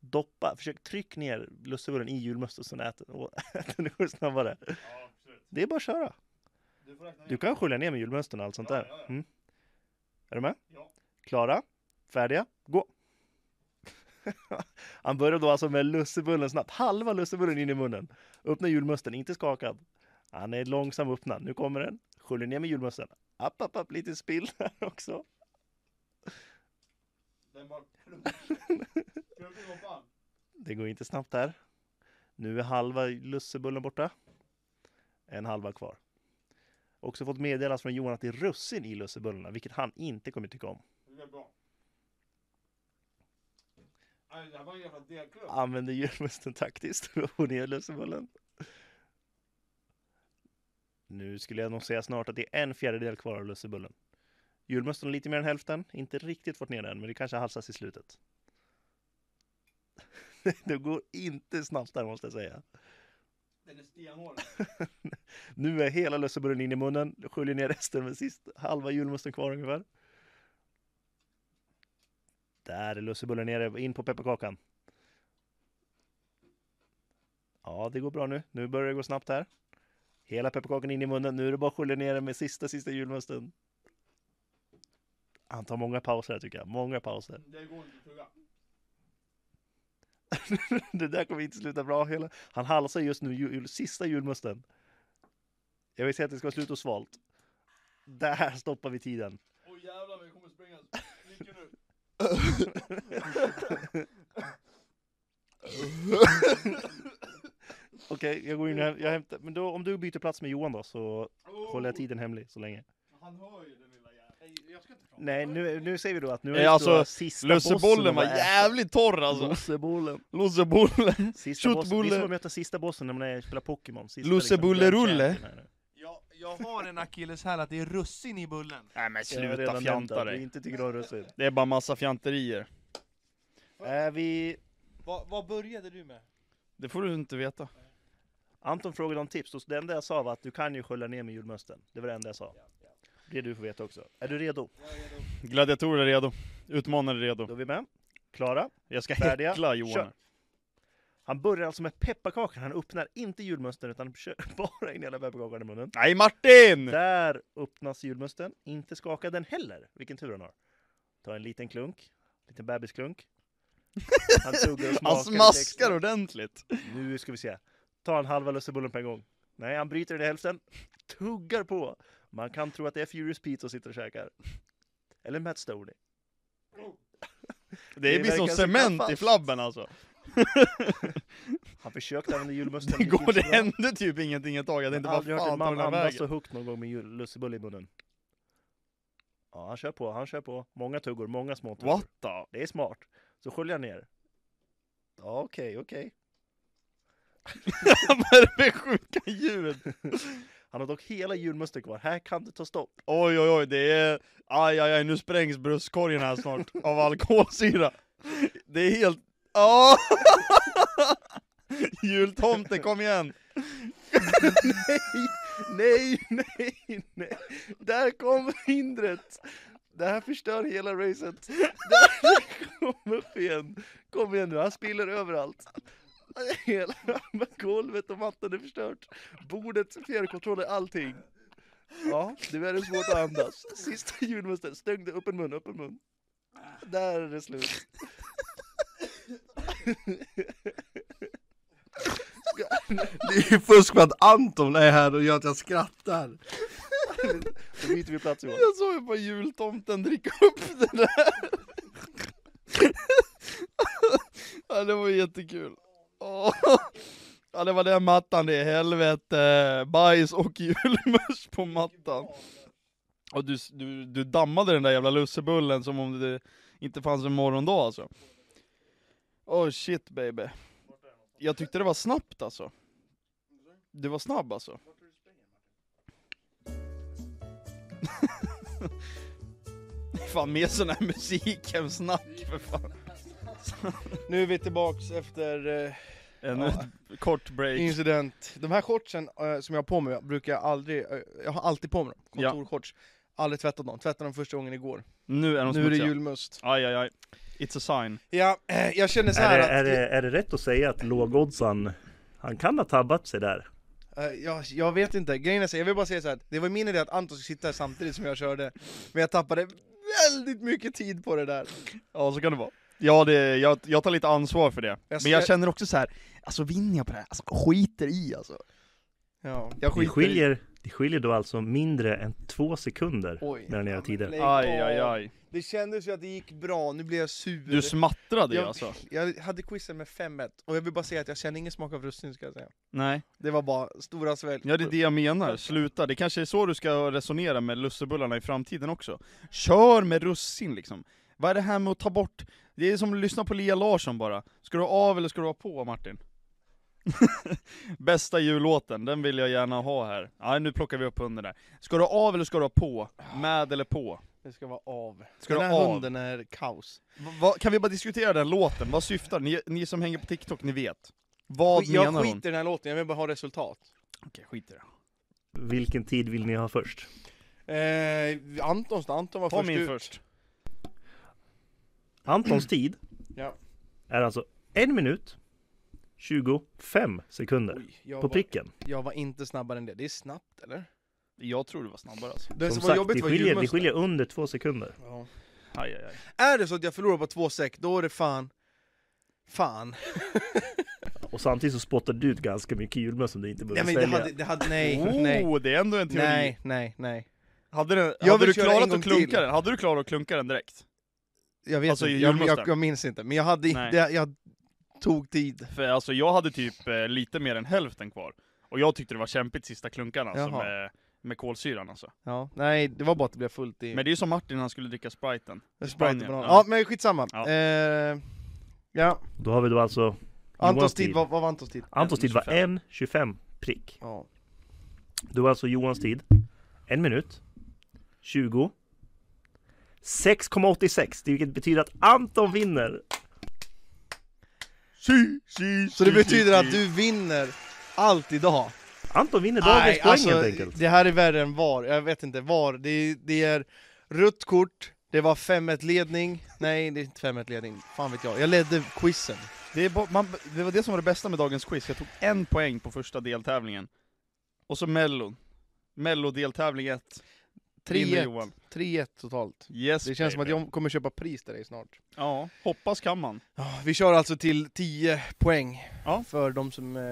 Speaker 2: Doppa, försök tryck ner lussebullen i julmust och sen ät den. Och ät den, det går snabbare.
Speaker 3: Ja absolut.
Speaker 2: Det är bara att köra.
Speaker 3: Du får räkna
Speaker 2: Du kan skölja ner med julmusten och allt sånt
Speaker 3: Ja,
Speaker 2: där.
Speaker 3: ja, ja.
Speaker 2: Mm. Är du med?
Speaker 3: Ja.
Speaker 2: Klara? Färdiga? Gå! Han börjar då alltså med lussebullen snabbt. Halva lussebullen in i munnen. Öppna julmusten, inte skakad. Han är långsam öppnad. Nu kommer den. Sköljer ner med julmusten. App, app, app, lite spill här också.
Speaker 3: Den bara... Klumpig som fan.
Speaker 2: Det går inte snabbt där. Nu är halva lussebullen borta. En halva kvar. Också fått meddelas från Johan att det är russin i lussebullarna, vilket han inte kommer tycka om.
Speaker 3: Det är bra.
Speaker 1: Det här var en jävla delklubb.
Speaker 2: Använder julmusten taktiskt för att få ner lösebullen. Nu skulle jag nog säga snart att det är en fjärdedel kvar av lussebullen. Julmusten har lite mer än hälften, inte riktigt fått ner den, men det kanske halsas i slutet. Det går inte snabbt där måste jag säga.
Speaker 1: Den är stenhård.
Speaker 2: Nu är hela lussebullen in i munnen, sköljer ner resten med sist halva julmusten kvar ungefär. Där är lussebullen nere, in på pepparkakan. Ja, det går bra nu. Nu börjar det gå snabbt här. Hela pepparkakan in i munnen. Nu är det bara att skölja ner den med sista, sista julmusten. Han tar många pauser här tycker jag. Många pauser.
Speaker 1: Det går inte att tugga.
Speaker 2: det där kommer inte sluta bra. Hela. Han halsar just nu jul, jul, sista julmusten. Jag vill säga att det ska vara slut och svalt. Där stoppar vi tiden.
Speaker 1: Åh jävlar, vi kommer springa. Nicke nu.
Speaker 2: Okej, jag går in och häm- jag hämtar. Men då, om du byter plats med Johan då så håller jag tiden hemlig så länge.
Speaker 1: Han hör ju den lilla jäveln. Nej, jag ska inte prata.
Speaker 2: Nej, nu, nu säger vi då att nu är
Speaker 3: Ja,
Speaker 2: det
Speaker 3: alltså,
Speaker 2: då sista
Speaker 3: Lussebollen var
Speaker 2: bossen att
Speaker 3: jävligt torr
Speaker 2: äta.
Speaker 3: alltså!
Speaker 2: Lussebollen.
Speaker 3: Lussebollen!
Speaker 2: Sista bossen. Det är
Speaker 3: Köttbulle.
Speaker 2: som att möta sista bossen när man är, spelar Pokémon. Sista,
Speaker 3: Lussebullerulle.
Speaker 2: grand champion här nu.
Speaker 1: Jag, jag har en akilleshäl att det är russin i bullen.
Speaker 3: Nej men
Speaker 2: Jag har
Speaker 3: sluta
Speaker 2: redan nämnt
Speaker 3: fjanta
Speaker 2: att vi
Speaker 3: dig.
Speaker 2: inte tycker om russin.
Speaker 3: Det är bara massa fjanterier.
Speaker 2: Är Äh, vi...
Speaker 1: Vad, vad började du med?
Speaker 3: Det får du inte veta.
Speaker 2: Anton frågade om tips och det enda jag sa var att du kan ju skölja ner med julmösten. Det var det enda jag sa. Det du får veta också. Är du redo?
Speaker 1: Jag är redo.
Speaker 3: Gladiatorer är redo. Utmanare är
Speaker 2: Då
Speaker 3: redo.
Speaker 2: är vi med. Klara?
Speaker 3: Jag ska
Speaker 2: Färdiga.
Speaker 3: häckla
Speaker 2: Kör.
Speaker 3: Johan.
Speaker 2: Han börjar alltså med pepparkakan. Han öppnar inte julmösten utan kör bara in hela pepparkakan i munnen.
Speaker 3: Nej Martin!
Speaker 2: Där öppnas julmösten. Inte skaka den heller. Vilken tur han har. Ta en liten klunk. Liten bebisklunk. Han tuggar och smakar
Speaker 3: Han
Speaker 2: lite
Speaker 3: smaskar
Speaker 2: extra.
Speaker 3: ordentligt.
Speaker 2: Nu ska vi se. Ta en halva lussebullen på en gång. Nej, han bryter den i hälften. Tuggar på. Man kan tro att det är Furious Pete som sitter och käkar. Eller Matt Stoney.
Speaker 3: Det blir som
Speaker 2: verkar sitta
Speaker 3: cement i
Speaker 2: fast.
Speaker 3: flabben alltså.
Speaker 2: Han försökte använda julmusten.
Speaker 3: Det,
Speaker 2: gick
Speaker 3: går, det
Speaker 2: inte bra.
Speaker 3: hände typ ingenting ett tag, jag tänkte
Speaker 2: Jag har aldrig
Speaker 3: vad
Speaker 2: hört en
Speaker 3: fan tar
Speaker 2: man
Speaker 3: den här
Speaker 2: andas så
Speaker 3: vägen?
Speaker 2: högt någon gång med jul- lussebulle i munnen. Ja, han kör på, han kör på. Många tuggor, många små tuggor.
Speaker 3: What the?
Speaker 2: Det är smart. Så sköljer han ner. Ja, okej, okej.
Speaker 3: Vad är det för sjuka ljud?
Speaker 2: Han har dock hela julmusten kvar. Här kan det ta stopp.
Speaker 3: Oj oj oj, det är... Aj aj aj, nu sprängs bröstkorgen här snart av alkoholsyra. Det är helt... Oh! Jultomte, kom igen!
Speaker 2: Nej, nej, nej. Där kom hindret. Det här förstör hela racet. Där kom upp igen. Kom igen nu, han spiller överallt. Hela golvet och mattan är förstört. Bordet, fjärrkontrollen, allting. Ja, nu är det svårt att andas. Sista julmusten, stängde öppen mun, öppen mun. Där är det slut.
Speaker 1: Det är ju fusk med att Anton är här och gör att jag skrattar.
Speaker 2: Då byter vi plats Johan.
Speaker 3: Jag såg ju på jultomten dricka upp det där! ja, det var jättekul. Åh. Ja, det var den mattan det, helvete. Bajs och julmust på mattan. Och du, du, du dammade den där jävla lussebullen som om det inte fanns en morgondag alltså. Oh shit baby. Jag tyckte det var snabbt alltså. Du var snabb alltså. fan med sån här musik än snack för fan.
Speaker 1: Nu är vi tillbaks efter eh,
Speaker 3: En
Speaker 1: Ja.
Speaker 3: kort break.
Speaker 1: incident. De här shortsen eh, som jag har på mig brukar jag aldrig, eh, jag har alltid på mig dem.
Speaker 3: Ja.
Speaker 1: Kontorshorts. Aldrig tvättat dem, tvättade dem första gången igår.
Speaker 3: nu är de
Speaker 1: Nu är det
Speaker 3: smutsiga.
Speaker 1: julmust.
Speaker 3: Aj aj aj. It's a sign.
Speaker 1: Ja, eh, jag känner så här att...
Speaker 2: är det rätt att säga att lågoddsaren, han kan ha tabbat sig där?
Speaker 1: Eh, jag, jag vet inte, grejen är så, jag vill bara säga så här, att det var min idé att Anton skulle sitta här samtidigt som jag körde, men jag tappade väldigt mycket tid på det där.
Speaker 3: Ja så kan det vara. Ja, det, jag, jag tar lite ansvar för det.
Speaker 1: Jag
Speaker 3: Men jag
Speaker 1: ska-
Speaker 3: känner också så här. alltså vinner jag på det här? Alltså skiter i alltså.
Speaker 1: Ja.
Speaker 3: Jag skiter i.
Speaker 2: det skiljer då alltså mindre än två sekunder
Speaker 1: Oj.
Speaker 2: mellan era
Speaker 1: men
Speaker 2: tider.
Speaker 1: lägg
Speaker 3: Aj aj
Speaker 1: av.
Speaker 3: aj.
Speaker 1: Det kändes ju att det gick bra, nu blev jag sur.
Speaker 3: Du smattrade ju
Speaker 1: jag,
Speaker 3: alltså.
Speaker 1: jag hade quizen med 5-1, och jag vill bara säga att jag kände ingen smak av russin ska jag säga.
Speaker 3: Nej.
Speaker 1: Det var bara stora svälj.
Speaker 3: Ja det är det jag menar, sluta. Det kanske är så du ska resonera med lussebullarna i framtiden också. Kör med russin liksom. Vad är det här med att ta bort? Det är som att lyssna på Lia Larsson bara. Ska du ha av eller ska du ha på Martin? Bästa jullåten, den vill jag gärna ha här. Ja, nu plockar vi upp hunden där. Ska du ha av eller ska du ha på? Med eller på?
Speaker 2: Det ska vara av.
Speaker 3: Ska du
Speaker 1: den
Speaker 3: ha
Speaker 1: här
Speaker 3: av?
Speaker 1: hunden är kaos.
Speaker 3: Va- va- kan vi bara diskutera den låten? Vad syftar ni, ni som hänger på TikTok, ni vet. Vad
Speaker 1: jag
Speaker 3: menar
Speaker 1: skiter
Speaker 3: hon?
Speaker 1: i den här låten, jag vill bara ha resultat.
Speaker 3: Okej, skit i det.
Speaker 4: Vilken tid vill ni ha först?
Speaker 1: Eh, Antons, Anton var
Speaker 3: Ta
Speaker 1: först
Speaker 3: min
Speaker 1: ut.
Speaker 3: först.
Speaker 4: Antons tid
Speaker 1: Ja.
Speaker 4: är alltså en minut 25 sekunder
Speaker 1: Oj, jag,
Speaker 4: på
Speaker 1: var,
Speaker 4: pricken.
Speaker 1: jag var inte snabbare än det. Det är snabbt eller?
Speaker 3: Jag tror det var snabbare alltså.
Speaker 1: Det
Speaker 4: Som
Speaker 1: som var
Speaker 4: sagt,
Speaker 1: jobbigt
Speaker 4: det
Speaker 1: var
Speaker 4: skiljer, det
Speaker 1: julmusten.
Speaker 4: skiljer under två sekunder.
Speaker 1: Ja.
Speaker 3: Aj, aj, aj.
Speaker 1: Är det så att jag förlorar på två sek, då är det fan... Fan.
Speaker 4: Och samtidigt så spottade du ut ganska mycket julmust som du inte
Speaker 1: Nej
Speaker 4: behöver
Speaker 1: men det
Speaker 4: sälja.
Speaker 1: hade, det hade, nej,
Speaker 3: oh,
Speaker 1: nej.
Speaker 3: det är ändå en teori.
Speaker 1: Nej, nej, nej.
Speaker 3: Hade, den,
Speaker 1: Jag
Speaker 3: hade
Speaker 1: vill
Speaker 3: du
Speaker 1: köra en
Speaker 3: klarat
Speaker 1: gång
Speaker 3: att klunka
Speaker 1: till.
Speaker 3: den? Hade du klarat att klunka den direkt?
Speaker 1: Jag vet
Speaker 3: Alltså,
Speaker 1: inte, jag,
Speaker 3: julmusten.
Speaker 1: jag, jag minns inte. Men jag hade
Speaker 3: Nej.
Speaker 1: inte, jag, jag tog tid.
Speaker 3: För alltså jag hade typ eh, lite mer än hälften kvar. Och jag tyckte det var kämpigt sista klunkan alltså
Speaker 1: Jaha.
Speaker 3: med, med kolsyran alltså.
Speaker 1: Ja, nej, det var bara att det blev fullt i...
Speaker 3: Men det är ju som Martin när han skulle dricka spriten.
Speaker 1: Sprite och
Speaker 3: Spanien,
Speaker 1: banan.
Speaker 3: ja.
Speaker 1: Ja men skitsamma.
Speaker 3: Ja.
Speaker 1: Eh, ja.
Speaker 4: Då har vi då alltså Johans
Speaker 1: Antons
Speaker 4: tid.
Speaker 1: tid, vad, vad var Antons tid?
Speaker 4: Antons tid var
Speaker 3: 1.25.
Speaker 4: 1.25 prick.
Speaker 1: Ja.
Speaker 4: Då var alltså Johans tid en minut 20 6,86, det vilket betyder att Anton vinner!
Speaker 1: Så det betyder att du vinner allt idag? alltså,
Speaker 4: Anton vinner dagens poäng helt enkelt.
Speaker 1: det här är värre än VAR, jag vet inte VAR, det är, det är rött kort, det var 5-1-ledning, nej det är inte 5-1-ledning, fan vet jag, jag ledde quizen.
Speaker 3: Det, är bo- man, det var det som var det bästa med dagens quiz, jag tog en poäng på första deltävlingen. Och så mellon. Mello deltävling 1.
Speaker 1: 3-1, 3-1 totalt.
Speaker 3: Yes,
Speaker 1: Det känns som att
Speaker 3: baby.
Speaker 1: jag kommer köpa pris till dig snart.
Speaker 3: Ja, hoppas kan man.
Speaker 1: Ja, Vi kör alltså till 10 poäng
Speaker 3: Ja.
Speaker 1: för de som eh,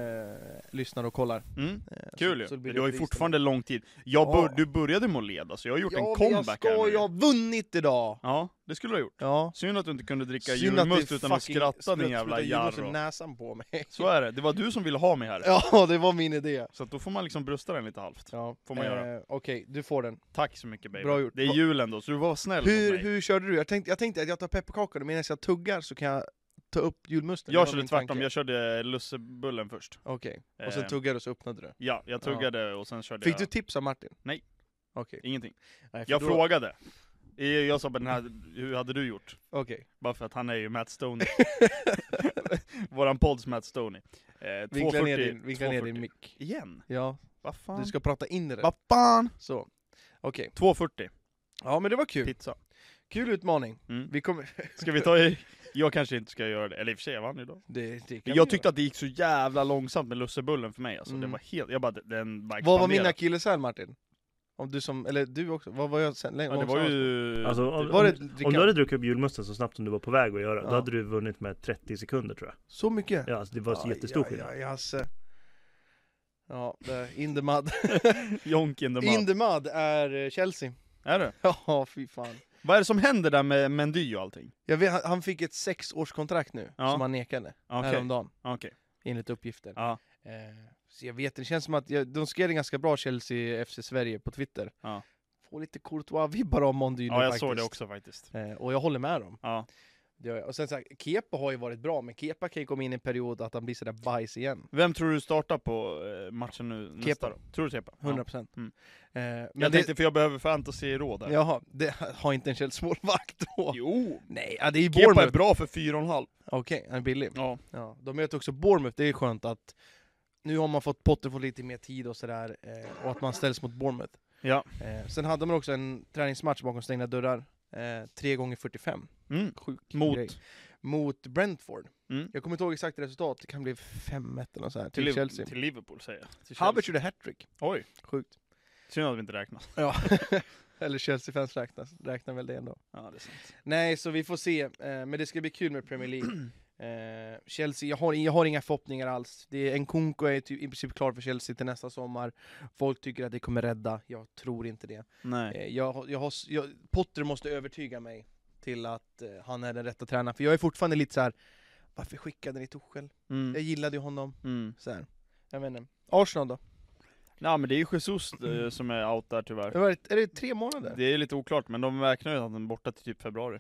Speaker 1: lyssnar och kollar.
Speaker 3: Mm.
Speaker 1: Eh,
Speaker 3: Kul
Speaker 1: så-
Speaker 3: ju.
Speaker 1: så det blir
Speaker 3: Du har ju
Speaker 1: lite pris
Speaker 3: fortfarande lång tid. Jag
Speaker 1: Ja.
Speaker 3: bör, du började med att leda, så jag har gjort en
Speaker 1: Ja, men jag
Speaker 3: comeback här
Speaker 1: ska,
Speaker 3: nu.
Speaker 1: jag har vunnit idag!
Speaker 3: Ja, det skulle du ha gjort.
Speaker 1: Ja.
Speaker 3: Synd att du inte kunde dricka
Speaker 1: Synd att det
Speaker 3: julmust utan att
Speaker 1: fucking
Speaker 3: skratta din
Speaker 1: sprutsprutar
Speaker 3: jävla
Speaker 1: julmust i
Speaker 3: jarro.
Speaker 1: näsan på mig.
Speaker 3: Så är det, det var du som ville ha mig här.
Speaker 1: Ja, det var min idé.
Speaker 3: Så att då får man liksom brösta den lite halvt.
Speaker 1: Ja.
Speaker 3: Får man göra.
Speaker 1: Eh, Okej, du får den.
Speaker 3: Tack så mycket baby.
Speaker 1: Bra gjort.
Speaker 3: Det är
Speaker 1: Va-
Speaker 3: jul ändå, så du var snäll mot
Speaker 1: Hur,
Speaker 3: mig.
Speaker 1: hur körde du? Jag tänkte, jag tänkte att jag tar pepparkakan och medan jag tuggar så kan jag ta upp julmusten. Det
Speaker 3: Jag
Speaker 1: var
Speaker 3: körde
Speaker 1: min
Speaker 3: tvärtom,
Speaker 1: tanke.
Speaker 3: jag körde lussebullen först.
Speaker 1: Okej, och
Speaker 3: Eh,
Speaker 1: sen tuggade du så öppnade du.
Speaker 3: Ja, jag tuggade och sen körde
Speaker 1: Fick
Speaker 3: jag
Speaker 1: du tips av Martin?
Speaker 3: Nej.
Speaker 1: Okej.
Speaker 3: ingenting.
Speaker 1: Nej, för
Speaker 3: Jag
Speaker 1: då-
Speaker 3: frågade. Eh, Jag sa bara den här, hur hade du gjort?
Speaker 1: Okej,
Speaker 3: Bara för att han är ju Matt Stoney. Våran podds Matt Stoney. Eh,
Speaker 1: vinkla ner
Speaker 3: 240,
Speaker 1: din, vinkla ner din
Speaker 3: 240.
Speaker 1: mick.
Speaker 3: Igen?
Speaker 1: Ja,
Speaker 3: Vad fan?
Speaker 1: du ska prata in i den.
Speaker 3: Vad fan?
Speaker 1: Så. Okej.
Speaker 3: 240,
Speaker 1: Ja men det var kul.
Speaker 3: pizza.
Speaker 1: Kul utmaning.
Speaker 3: Mm.
Speaker 1: Vi kommer...
Speaker 3: Ska vi ta i? Jag kanske inte ska göra det, eller i och för sig, jag vann ju då.
Speaker 1: Det, det kan
Speaker 3: Men jag
Speaker 1: vi
Speaker 3: tyckte att det gick så jävla långsamt med lussebullen för mig alltså,
Speaker 1: Mm.
Speaker 3: det var helt, jag bara, den bara
Speaker 1: göra. Vad var min
Speaker 3: expanderade.
Speaker 1: akilleshäl Martin? Om du som, eller du också, vad var jag sen?
Speaker 3: Ja, det var ju... typ
Speaker 4: Alltså, om,
Speaker 1: Var det
Speaker 4: om, om du
Speaker 1: Rickard?
Speaker 4: hade druckit upp julmusten så snabbt som du var på väg att göra,
Speaker 1: Ja.
Speaker 4: då hade du vunnit med 30 sekunder tror jag.
Speaker 1: Så mycket?
Speaker 4: Ja, alltså, det var så
Speaker 1: Aj,
Speaker 4: jättestor
Speaker 1: aj,
Speaker 4: skillnad.
Speaker 1: aj, Hasse. Ja, där, in the mud.
Speaker 3: Jonk in the
Speaker 1: in
Speaker 3: mud.
Speaker 1: the mud är eh, Chelsea.
Speaker 3: Är det?
Speaker 1: Ja, fy fan.
Speaker 3: Vad är det som händer där med Mendy och allting?
Speaker 1: Jag vet, han, han fick ett sexårskontrakt nu,
Speaker 3: Ja.
Speaker 1: som han nekade
Speaker 3: Ah, Okej,
Speaker 1: häromdagen,
Speaker 3: okej.
Speaker 1: enligt uppgifter.
Speaker 3: Ja.
Speaker 1: Eh, så jag vet, det känns som att jag, de skrev en ganska bra Chelsea FC Sverige på Twitter.
Speaker 3: Ja.
Speaker 1: Får lite Courtois-vibbar av Mondy nu
Speaker 3: Ja, jag
Speaker 1: faktiskt.
Speaker 3: såg det också faktiskt.
Speaker 1: Eh, och jag håller med dem.
Speaker 3: Ja.
Speaker 1: Det gör jag. Och sen så här, Kepa har ju varit bra, men Kepa kan ju komma in i en period att han blir sådär bajs igen.
Speaker 3: Vem tror du startar på eh, matchen nu nästa
Speaker 1: Kepa.
Speaker 3: då? Tror du Kepa?
Speaker 1: 100%.
Speaker 3: Ja.
Speaker 1: procent.
Speaker 3: Mm.
Speaker 1: Eh, men
Speaker 3: Jag
Speaker 1: det-
Speaker 3: tänkte, för jag behöver fantasy-råd där.
Speaker 1: Jaha, det har inte en Chelsea-målvakt då?
Speaker 3: Jo!
Speaker 1: Nej, ja, det är ju
Speaker 3: Kepa är
Speaker 1: Bournemouth.
Speaker 3: bra för 4,5.
Speaker 1: Okej, han är billig.
Speaker 3: Ja.
Speaker 1: Ja, de möter också Bournemouth, det är skönt att nu har man fått Potter få lite mer tid och sådär, eh, och att man ställs mot Bournemouth.
Speaker 3: Ja.
Speaker 1: Eh, sen hade man också en träningsmatch bakom stängda dörrar, eh, 3 gånger 45
Speaker 3: Mm.
Speaker 1: Sjuk
Speaker 3: Mot.
Speaker 1: grej. Mot Brentford.
Speaker 3: Mm.
Speaker 1: Jag kommer inte ihåg exakt resultat, det kan bli 5-1 eller något sådär, till,
Speaker 3: Liv-
Speaker 1: Chelsea.
Speaker 3: till Liverpool säger jag. Till Chelsea.
Speaker 1: Havertz gjorde hattrick.
Speaker 3: Oj,
Speaker 1: Sjukt.
Speaker 3: synd att vi inte räknas.
Speaker 1: Ja. eller Chelsea-fans räknas, räknar väl det ändå.
Speaker 3: Ja, det är sant.
Speaker 1: Nej, så vi får se. Eh, men det ska bli kul med Premier League. Eh, Chelsea, jag har, jag har inga förhoppningar alls. Det är, Nkunku är typ, i princip klar för Chelsea till nästa sommar. Folk tycker att det kommer rädda. Jag tror inte det.
Speaker 3: Nej.
Speaker 1: Eh, jag, har- jag har, s- jag, Potter måste övertyga mig till att eh, han är den rätta tränaren. För jag är fortfarande lite så här. varför skickade ni Tuchel? Jag
Speaker 3: Mm.
Speaker 1: gillade ju honom.
Speaker 3: Mm.
Speaker 1: Så här. Jag vet inte. Arsenal då?
Speaker 3: Nej men det är ju Jesus eh, som är out där tyvärr.
Speaker 1: Är det, är det tre månader?
Speaker 3: Det är lite oklart, men de räknar ju att han är borta till typ februari.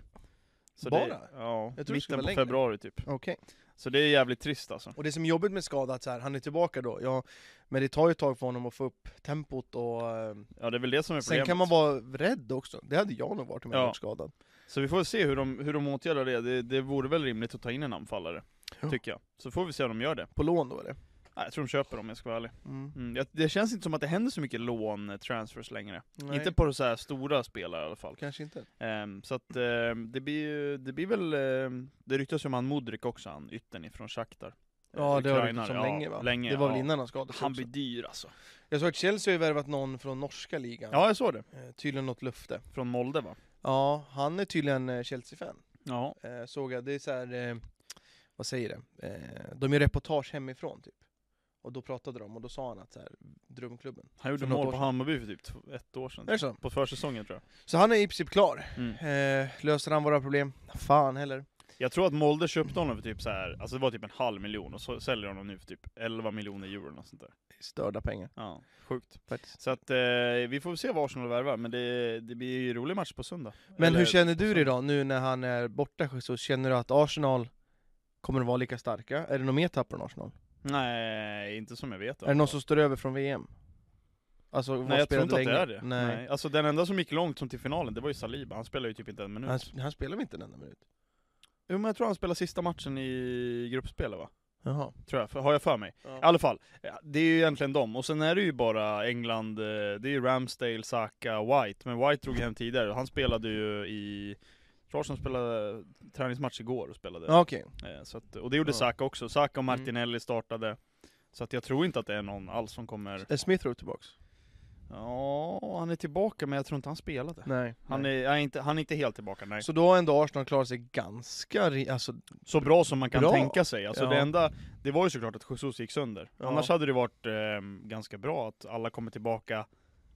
Speaker 3: Så
Speaker 1: Bara?
Speaker 3: Det, ja,
Speaker 1: Jag tror det skulle
Speaker 3: mitten
Speaker 1: vara
Speaker 3: på
Speaker 1: längre.
Speaker 3: februari typ.
Speaker 1: Okej.
Speaker 3: Så det är jävligt trist alltså.
Speaker 1: Och det som är jobbigt med skada, att så här, han är tillbaka då, ja, men det tar ju ett tag för honom att få upp tempot och... eh,
Speaker 3: Ja det är väl det som är
Speaker 1: sen
Speaker 3: problemet.
Speaker 1: kan man vara rädd också, det hade jag nog varit om jag
Speaker 3: Ja.
Speaker 1: varit skadad.
Speaker 3: Så vi får se hur de, hur de åtgärdar det. det. Det vore väl rimligt att ta in en anfallare,
Speaker 1: Ja.
Speaker 3: tycker jag. Så får vi se om de gör det.
Speaker 1: På lån då eller?
Speaker 3: Nej, jag tror de köper dem om jag ska vara ärlig.
Speaker 1: Mm.
Speaker 3: Mm. Jag, det känns inte som att det händer så mycket lån-transfers längre.
Speaker 1: Nej,
Speaker 3: Inte på så här stora spelare i alla fall.
Speaker 1: kanske inte.
Speaker 3: Ehm, så att ehm, det blir ju, det blir väl, ehm, det ryktas ju om han Mudrik också, han yttern ifrån Shakhtar. eh,
Speaker 1: Ja, det har
Speaker 3: Ukrainare,
Speaker 1: ryktats om
Speaker 3: ja,
Speaker 1: länge va?
Speaker 3: länge,
Speaker 1: det var väl
Speaker 3: ja.
Speaker 1: innan han skadades
Speaker 3: Han
Speaker 1: också.
Speaker 3: blir dyr alltså.
Speaker 1: Jag såg att Chelsea har ju värvat någon från norska ligan.
Speaker 3: Ja, jag såg det.
Speaker 1: Eh, Tydligen något löfte.
Speaker 3: Från Molde va?
Speaker 1: Ja, han är tydligen eh, Chelsea-fan.
Speaker 3: Ja.
Speaker 1: Eh, såg jag, det är så här, eh, vad säger det? Eh, de gör reportage hemifrån typ. Och då pratade de och då sa han att så här, drömklubben.
Speaker 3: Han gjorde
Speaker 1: För något
Speaker 3: mål
Speaker 1: år
Speaker 3: på
Speaker 1: sedan.
Speaker 3: Hammarby för typ t- ett år sedan.
Speaker 1: Är det så?
Speaker 3: På försäsongen tror jag.
Speaker 1: Så han är i princip klar.
Speaker 3: Mm.
Speaker 1: Eh, löser han våra problem? Fan heller.
Speaker 3: Jag tror att Molde köpte honom för typ så här, alltså det var typ en halv miljon och så säljer de honom nu för typ 11 miljoner euro eller något sånt där.
Speaker 1: Störda pengar
Speaker 3: Ja, sjukt.
Speaker 1: faktiskt.
Speaker 3: Så att eh, vi får se vad Arsenal värvar, men det, det blir ju en rolig match på söndag.
Speaker 1: Men
Speaker 3: Eller-
Speaker 1: hur känner du dig då nu när han är borta? Så känner du att Arsenal kommer att vara lika starka? Är det något mer tapp från Arsenal?
Speaker 3: Nej, inte som jag vet.
Speaker 1: Är det någon som står över från VM? Alltså, var
Speaker 3: Nej jag tror
Speaker 1: spelade
Speaker 3: inte
Speaker 1: länge?
Speaker 3: att det är det.
Speaker 1: Nej.
Speaker 3: Nej. Alltså den enda som gick långt som till finalen, det var ju Saliba, han spelade ju typ inte en minut.
Speaker 1: Han, han spelar väl inte en enda minut?
Speaker 3: Jo men jag tror han spelade sista matchen i gruppspelet va?
Speaker 1: Jaha.
Speaker 3: Tror jag, för, har jag för mig.
Speaker 1: Ja.
Speaker 3: I alla fall, ja, det är ju egentligen dem. Och sen är det ju bara England, eh, det är ju Ramsdale, Saka, White. Men White drog hem tidigare, han spelade ju i... Jag tror Arsenal spelade träningsmatch igår och spelade.
Speaker 1: Ja, Okej.
Speaker 3: Eh, Så att, och det gjorde
Speaker 1: Ja.
Speaker 3: Saka också. Saka och
Speaker 1: Mm.
Speaker 3: Martinelli startade. Så att jag tror inte att det är någon alls som kommer...
Speaker 1: Är Smith Rowe tillbaks?
Speaker 3: Ja, han är tillbaka men jag tror inte han spelade.
Speaker 1: Nej.
Speaker 3: Han är, jag är inte, han är inte helt tillbaka, nej. Så,
Speaker 1: Så då har ändå Arsenal klarat sig ganska... ri- Alltså,
Speaker 3: bra som man kan
Speaker 1: Bra.
Speaker 3: tänka sig. Alltså
Speaker 1: Ja.
Speaker 3: det enda, det var ju såklart att Jesus gick sönder.
Speaker 1: Ja.
Speaker 3: Annars hade det varit ehm, ganska bra att alla kommer tillbaka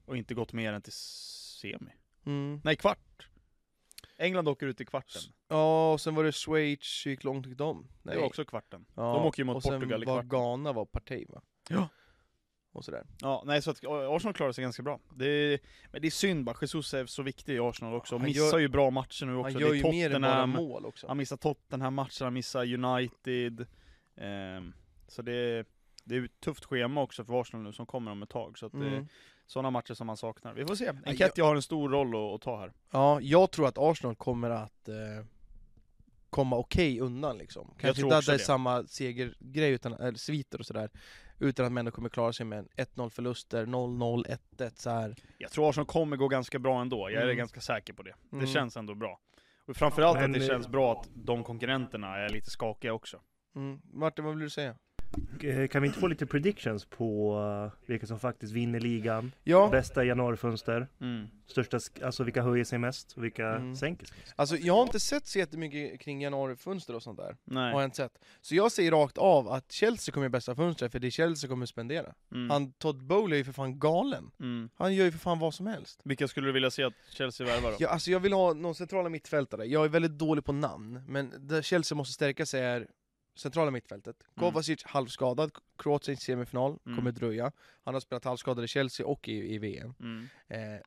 Speaker 3: och inte gått mer än till semi.
Speaker 1: mm.
Speaker 3: Nej, kvart. England åker ut i kvarten.
Speaker 1: Ja, och sen var det Schweiz, hur gick långt gick de? Nej.
Speaker 3: Det var också kvarten.
Speaker 1: Ja,
Speaker 3: de åker ju mot Portugal i
Speaker 1: Och sen var
Speaker 3: kvarten.
Speaker 1: Ghana var parti va?
Speaker 3: Ja.
Speaker 1: Och sådär.
Speaker 3: Ja, nej så att eh, Arsenal klarar sig ganska bra. Det är, men det är synd bara, Jesus är så viktig i Arsenal också.
Speaker 1: Han
Speaker 3: missar
Speaker 1: gör-
Speaker 3: ju bra matcher nu också.
Speaker 1: Han
Speaker 3: Det
Speaker 1: gör ju
Speaker 3: är
Speaker 1: mer än bara
Speaker 3: Tottenham.
Speaker 1: mål också.
Speaker 3: Han missar Tottenham-matchen, han missar United. Ehm, så det, det är ju ett tufft schema också för Arsenal nu som kommer om ett tag. Så att det är
Speaker 1: Mm.
Speaker 3: sådana matcher som man saknar. Vi får se.
Speaker 1: jag-
Speaker 3: Enketia har en stor roll att, att ta här.
Speaker 1: Ja, jag tror att Arsenal kommer att eh, komma okej undan liksom. Kanske
Speaker 3: tror
Speaker 1: inte att
Speaker 3: också
Speaker 1: det är
Speaker 3: det.
Speaker 1: samma segergrej, utan, eller sviter och sådär. Utan att man ändå kommer klara sig med en 1-0 förluster, 0-0, 1-1 såhär.
Speaker 3: Jag tror Arsenal kommer gå ganska bra ändå. Jag är
Speaker 1: Mm.
Speaker 3: ganska säker på det.
Speaker 1: Mm.
Speaker 3: Det känns ändå bra. Och framförallt
Speaker 4: Men-
Speaker 3: att det
Speaker 1: eh,
Speaker 3: känns bra att de konkurrenterna är lite skakiga också.
Speaker 1: Mm. Martin, vad vill du säga?
Speaker 4: Eh, Kan vi inte få lite predictions på eh, vilka som faktiskt vinner ligan?
Speaker 1: Ja,
Speaker 4: Bästa januarifönster?
Speaker 3: Mm.
Speaker 4: Största, sk- alltså vilka höjer sig mest och vilka
Speaker 1: Mm.
Speaker 4: sänker sig mest?
Speaker 1: alltså jag har inte sett så jättemycket kring januarifönster och sånt där.
Speaker 3: Nej.
Speaker 1: Har jag inte sett. Så jag säger rakt av att Chelsea kommer i bästa fönstret, för det är Chelsea som kommer spendera.
Speaker 3: Mm.
Speaker 1: Han, Todd Bowley är ju för fan galen.
Speaker 3: Mm.
Speaker 1: Han gör ju för fan vad som helst.
Speaker 3: Vilka skulle du vilja se att Chelsea värvar då?
Speaker 1: Ja, alltså jag vill ha någon centrala mittfältare. Jag är väldigt dålig på namn, men där Chelsea måste stärka sig är centrala mittfältet. Kovacic halvskadad, Kroatien i semifinal,
Speaker 3: Mm.
Speaker 1: kommer dröja. Han har spelat halvskadad i Chelsea och i, i VM.
Speaker 3: Mm.
Speaker 1: Eh,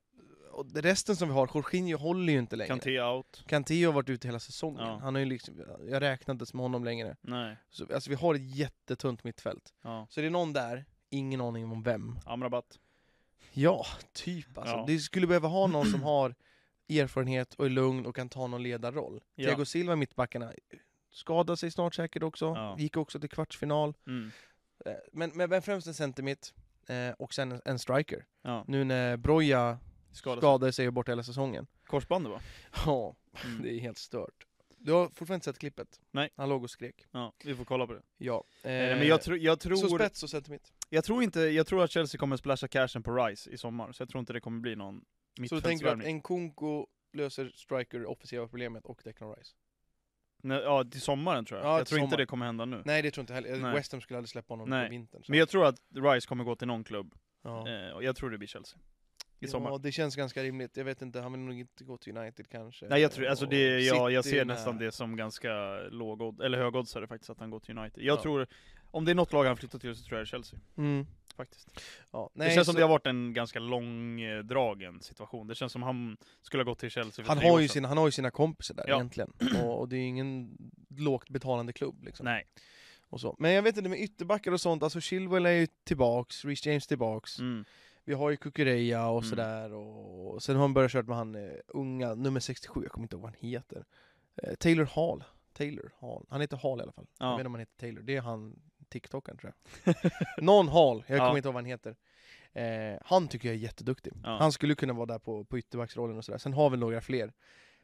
Speaker 1: och det resten som vi har, Jorginho håller ju inte längre.
Speaker 3: Kanté out?
Speaker 1: Kanté har varit ute hela säsongen.
Speaker 3: Ja.
Speaker 1: Han har ju liksom, jag räknade som honom längre.
Speaker 3: Nej.
Speaker 1: Så, alltså vi har ett jättetunt mittfält.
Speaker 3: Ja.
Speaker 1: Så det är någon där, ingen aning om vem.
Speaker 3: Amrabat?
Speaker 1: Ja, typ alltså.
Speaker 3: Ja.
Speaker 1: Du skulle behöva ha någon som har erfarenhet och är lugn och kan ta någon ledarroll.
Speaker 3: Ja.
Speaker 1: Thiago Silva i mittbackarna skadade sig snart säkert också,
Speaker 3: Ja.
Speaker 1: gick också till kvartsfinal.
Speaker 3: Mm.
Speaker 1: Eh, Men, men men främst en centermitt eh, och sen en, en striker.
Speaker 3: Ja.
Speaker 1: Nu när Broja
Speaker 3: Skadad.
Speaker 1: skadade sig och är borta hela säsongen.
Speaker 3: Korsbandet va?
Speaker 1: Ja,
Speaker 3: Mm.
Speaker 1: det är helt stört. Du har fortfarande inte sett klippet?
Speaker 3: Nej.
Speaker 1: Han låg och skrek.
Speaker 3: Ja, vi får kolla på det.
Speaker 1: Ja.
Speaker 3: Nej,
Speaker 1: eh,
Speaker 3: men jag, tro, jag,
Speaker 1: Så
Speaker 3: tror,
Speaker 1: spets och centermitt.
Speaker 3: jag tror inte, jag tror att Chelsea kommer splasha cashen på Rice i sommar, så jag tror inte det kommer bli någon
Speaker 1: Så du tänker att
Speaker 3: mittfältsvärvning.
Speaker 1: Nkunku löser striker det offensiva problemet och Declan Rice?
Speaker 3: Nej, Ja, till sommaren tror jag.
Speaker 1: Ja,
Speaker 3: jag
Speaker 1: till
Speaker 3: tror inte
Speaker 1: sommaren.
Speaker 3: det kommer hända nu.
Speaker 1: Nej det tror jag inte heller,
Speaker 3: Nej.
Speaker 1: West Ham skulle aldrig släppa honom
Speaker 3: Nej.
Speaker 1: på vintern. så.
Speaker 3: Men jag tror att Rice kommer gå till någon klubb,
Speaker 1: ja.
Speaker 3: eh, och jag tror det blir Chelsea. I sommar.
Speaker 1: ja, det känns ganska rimligt, jag vet inte, han vill nog inte gå till United kanske.
Speaker 3: Nej jag tror, alltså det,
Speaker 1: Och
Speaker 3: jag, jag
Speaker 1: City
Speaker 3: ser
Speaker 1: med-
Speaker 3: nästan det som ganska låg, odd- eller högoddsare faktiskt, att han går till United. Jag
Speaker 1: Ja.
Speaker 3: tror, om det är något lag han flyttar till så tror jag det är Chelsea.
Speaker 1: Mm.
Speaker 3: faktiskt.
Speaker 1: Ja,
Speaker 3: Det känns som det har varit en ganska långdragen situation. Det känns som han skulle ha gått till Chelsea för
Speaker 1: han,
Speaker 3: tre
Speaker 1: har
Speaker 3: år
Speaker 1: ju
Speaker 3: sedan.
Speaker 1: sina, han har ju sina kompisar där
Speaker 3: Ja.
Speaker 1: egentligen. Och, och det är ju ingen lågt betalande klubb liksom.
Speaker 3: Nej.
Speaker 1: Och så. Men jag vet inte, med ytterbackar och sånt, alltså Chilwell är ju tillbaks, Reece James tillbaks.
Speaker 3: Mm.
Speaker 1: Vi har ju Kukureya och
Speaker 3: Mm.
Speaker 1: sådär. Och, och sen har han börjat köra med han eh, unga, nummer 67, jag kommer inte ihåg vad han heter. Eh, Taylor Hall. Taylor Hall. Han heter Hall i alla fall. Jag
Speaker 3: Ja.
Speaker 1: vet inte om han heter Taylor, det är han TikTokern tror jag. Någon Hall, jag
Speaker 3: Ja.
Speaker 1: kommer inte ihåg vad han heter. Eh, han tycker jag är jätteduktig.
Speaker 3: Ja.
Speaker 1: Han skulle kunna vara där på, på ytterbacksrollen och sådär. Sen har vi några fler.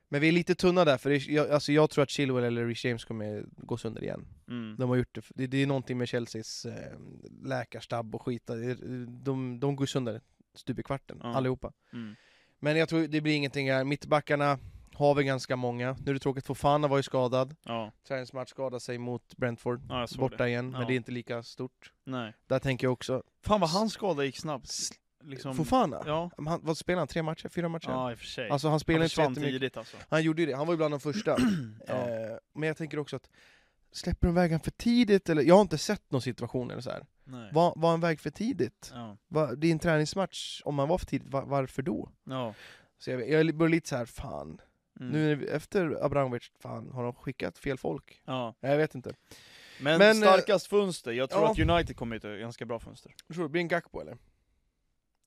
Speaker 1: Men vi är lite tunna där, för det, är- jag, alltså jag tror att Chilwell eller Rich James kommer gå sönder igen.
Speaker 3: Mm.
Speaker 1: De har gjort det, det, det är någonting med Chelseas eh, läkarstab och skit, Det är- de, de går sönder stup i kvarten,
Speaker 3: Ja.
Speaker 1: allihopa.
Speaker 3: Mm.
Speaker 1: Men jag tror det blir ingenting här, mittbackarna har vi ganska många, nu är det tråkigt, Fofana var ju skadad,
Speaker 3: Ja.
Speaker 1: träningsmatch skadade sig mot Brentford,
Speaker 3: ja, jag såg
Speaker 1: borta
Speaker 3: det.
Speaker 1: igen, men
Speaker 3: Ja.
Speaker 1: det är inte lika stort.
Speaker 3: Nej.
Speaker 1: Där tänker jag också,
Speaker 5: Fan vad hans skada gick snabbt.
Speaker 3: Liksom...
Speaker 1: Fofana,
Speaker 3: Ja.
Speaker 1: Men han, vad spelar han, tre matcher, fyra matcher?
Speaker 3: ja, i och för sig.
Speaker 1: Alltså han spelar
Speaker 3: han
Speaker 1: inte så
Speaker 3: försvann
Speaker 1: jättemycket,
Speaker 3: tidigt alltså.
Speaker 1: han gjorde ju det, han var ju bland de första.
Speaker 3: Ja.
Speaker 1: eh, men jag tänker också att, släpper de vägen för tidigt? Eller, jag har inte sett någon situation eller så här.
Speaker 3: Nej.
Speaker 1: Var, var han väg för tidigt?
Speaker 3: Ja.
Speaker 1: Va, det är en träningsmatch, om man var för tidigt, va, varför då?
Speaker 3: Ja.
Speaker 1: Så jag, jag börjar lite så här, fan,
Speaker 3: Mm.
Speaker 1: nu är vi, efter Abramovic, fan, har de skickat fel folk?
Speaker 3: ja.
Speaker 1: Nej, Jag vet inte.
Speaker 3: Men,
Speaker 1: Men, eh,
Speaker 3: starkast fönster. Jag tror
Speaker 1: ja.
Speaker 3: att United kommer ut ett ganska bra fönster.
Speaker 1: Jag tror det blir en Gakpo eller?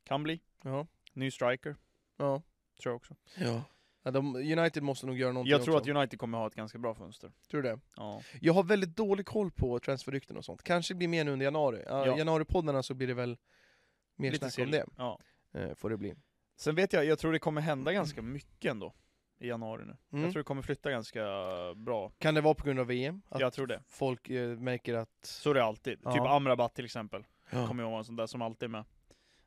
Speaker 3: Kan bli.
Speaker 1: Ja.
Speaker 3: Ny striker,
Speaker 1: Ja.
Speaker 3: tror jag också.
Speaker 1: ja. de, United måste nog göra någonting
Speaker 3: Jag tror
Speaker 1: också.
Speaker 3: att United kommer ha ett ganska bra fönster.
Speaker 1: Tror du det?
Speaker 3: Ja.
Speaker 1: Jag har väldigt dålig koll på transferrykten och sånt. Kanske blir mer nu under januari. Ja.
Speaker 3: Ja.
Speaker 1: Januaripoddarna så blir det väl mer snack om
Speaker 3: sill.
Speaker 1: det.
Speaker 3: Ja.
Speaker 1: Eh, får det bli.
Speaker 3: Sen vet jag, jag tror det kommer hända ganska mycket ändå. I januari nu.
Speaker 1: Mm.
Speaker 3: Jag tror det kommer flytta ganska bra.
Speaker 1: Kan det vara på grund av VM? Att
Speaker 3: Jag tror det.
Speaker 1: folk eh, märker att...
Speaker 3: Så är det alltid.
Speaker 1: Ja.
Speaker 3: Typ Amrabat till exempel.
Speaker 1: Ja.
Speaker 3: Kommer jag ihåg en sån där som alltid är med.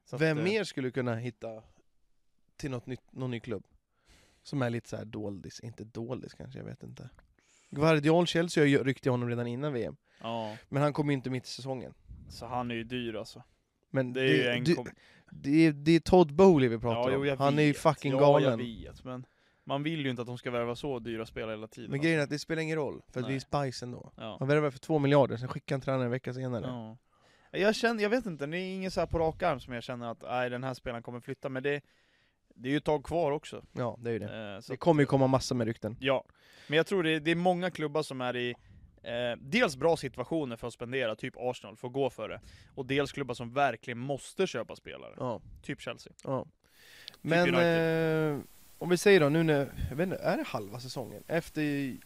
Speaker 3: Så att,
Speaker 1: Vem
Speaker 3: eh,
Speaker 1: mer skulle kunna hitta till något nytt, någon ny klubb? Som är lite så här doldis, inte doldis kanske, jag vet inte. Guardiol Chelsea jag ryckte honom redan innan VM,
Speaker 3: Ja,
Speaker 1: men han kom ju inte mitt i säsongen.
Speaker 3: så han är ju dyr alltså.
Speaker 1: Men
Speaker 3: Det är ju en...
Speaker 1: det,
Speaker 3: kom-
Speaker 1: det, är, det är Todd Bowley vi pratar
Speaker 3: jo,
Speaker 1: om,
Speaker 3: jag
Speaker 1: han är ju
Speaker 3: vet.
Speaker 1: fucking
Speaker 3: ja,
Speaker 1: galen.
Speaker 3: jag vet. Men man vill ju inte att de ska värva så dyra spelare hela tiden.
Speaker 1: Men grejen är att det spelar ingen roll, för att det är
Speaker 3: alltså. Nej.
Speaker 1: spice ändå.
Speaker 3: Ja.
Speaker 1: Han värvar för två miljarder, sen skickar han tränaren en vecka senare.
Speaker 3: Ja. Jag känner, jag vet inte, det är ingen så här på rak arm som jag känner att nej, den här spelaren kommer flytta, men det, det är ju ett tag kvar också.
Speaker 1: Ja, det är ju det.
Speaker 3: Eh, så
Speaker 1: Det
Speaker 3: att-
Speaker 1: kommer ju komma massor med rykten.
Speaker 3: Ja, men jag tror det, det är många klubbar som är i eh, dels bra situationer för att spendera, typ Arsenal, för att gå för det. Och dels klubbar som verkligen måste köpa spelare,
Speaker 1: Ja.
Speaker 3: typ Chelsea.
Speaker 1: Ja.
Speaker 3: Typ
Speaker 1: Men eh, om vi säger då nu när, jag vet inte, är det halva säsongen? Efter
Speaker 3: Det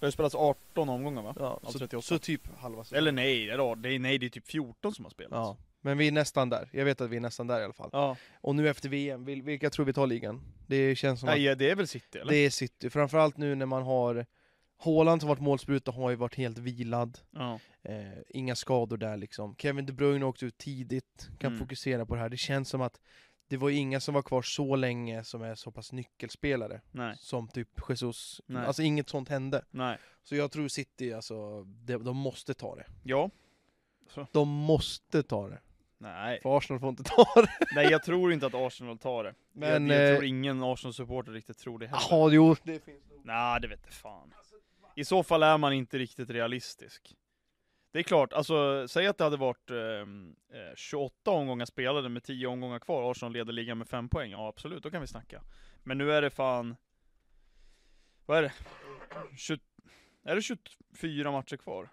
Speaker 3: har ju spelats 18 omgångar va?
Speaker 1: Ja,
Speaker 3: Av
Speaker 1: så,
Speaker 3: 38.
Speaker 1: så typ halva säsongen.
Speaker 3: Eller nej, eller, ja, det är, nej, det är typ 14 som har spelats.
Speaker 1: Ja. Men vi är nästan där, jag vet att vi är nästan där i alla fall.
Speaker 3: ja.
Speaker 1: Och nu efter VM, vil- vilka tror vi tar ligan? Det känns som
Speaker 3: Nej, ja, det är väl City
Speaker 1: att
Speaker 3: eller?
Speaker 1: det är City, framförallt nu när man har Haaland som varit målspruta har ju varit helt vilad,
Speaker 3: Ja.
Speaker 1: eh, inga skador där liksom. Kevin De Bruyne åkte ut tidigt, kan
Speaker 3: Mm.
Speaker 1: fokusera på det här. Det känns som att det var ju inga som var kvar så länge som är så pass nyckelspelare,
Speaker 3: Nej,
Speaker 1: som typ Jesus.
Speaker 3: Nej.
Speaker 1: Alltså inget sånt hände.
Speaker 3: nej.
Speaker 1: Så jag tror City, alltså, de, de måste ta det.
Speaker 3: Ja.
Speaker 1: De måste ta det.
Speaker 3: Nej.
Speaker 1: För Arsenal får inte ta det.
Speaker 3: nej, jag tror inte att Arsenal tar det.
Speaker 1: Men...
Speaker 3: jag, jag
Speaker 1: eh,
Speaker 3: tror ingen Arsenal-supporter riktigt tror det heller.
Speaker 1: Jaha, jo.
Speaker 3: Nej, det vet jag fan. I så fall är man inte riktigt realistisk. Det är klart, alltså säg att det hade varit ehm, eh, 28 omgångar spelade med 10 omgångar kvar, Arsenal leder ligan med 5 poäng, ja absolut, då kan vi snacka. Men nu är det fan, vad är det? 20, är det 24 matcher kvar?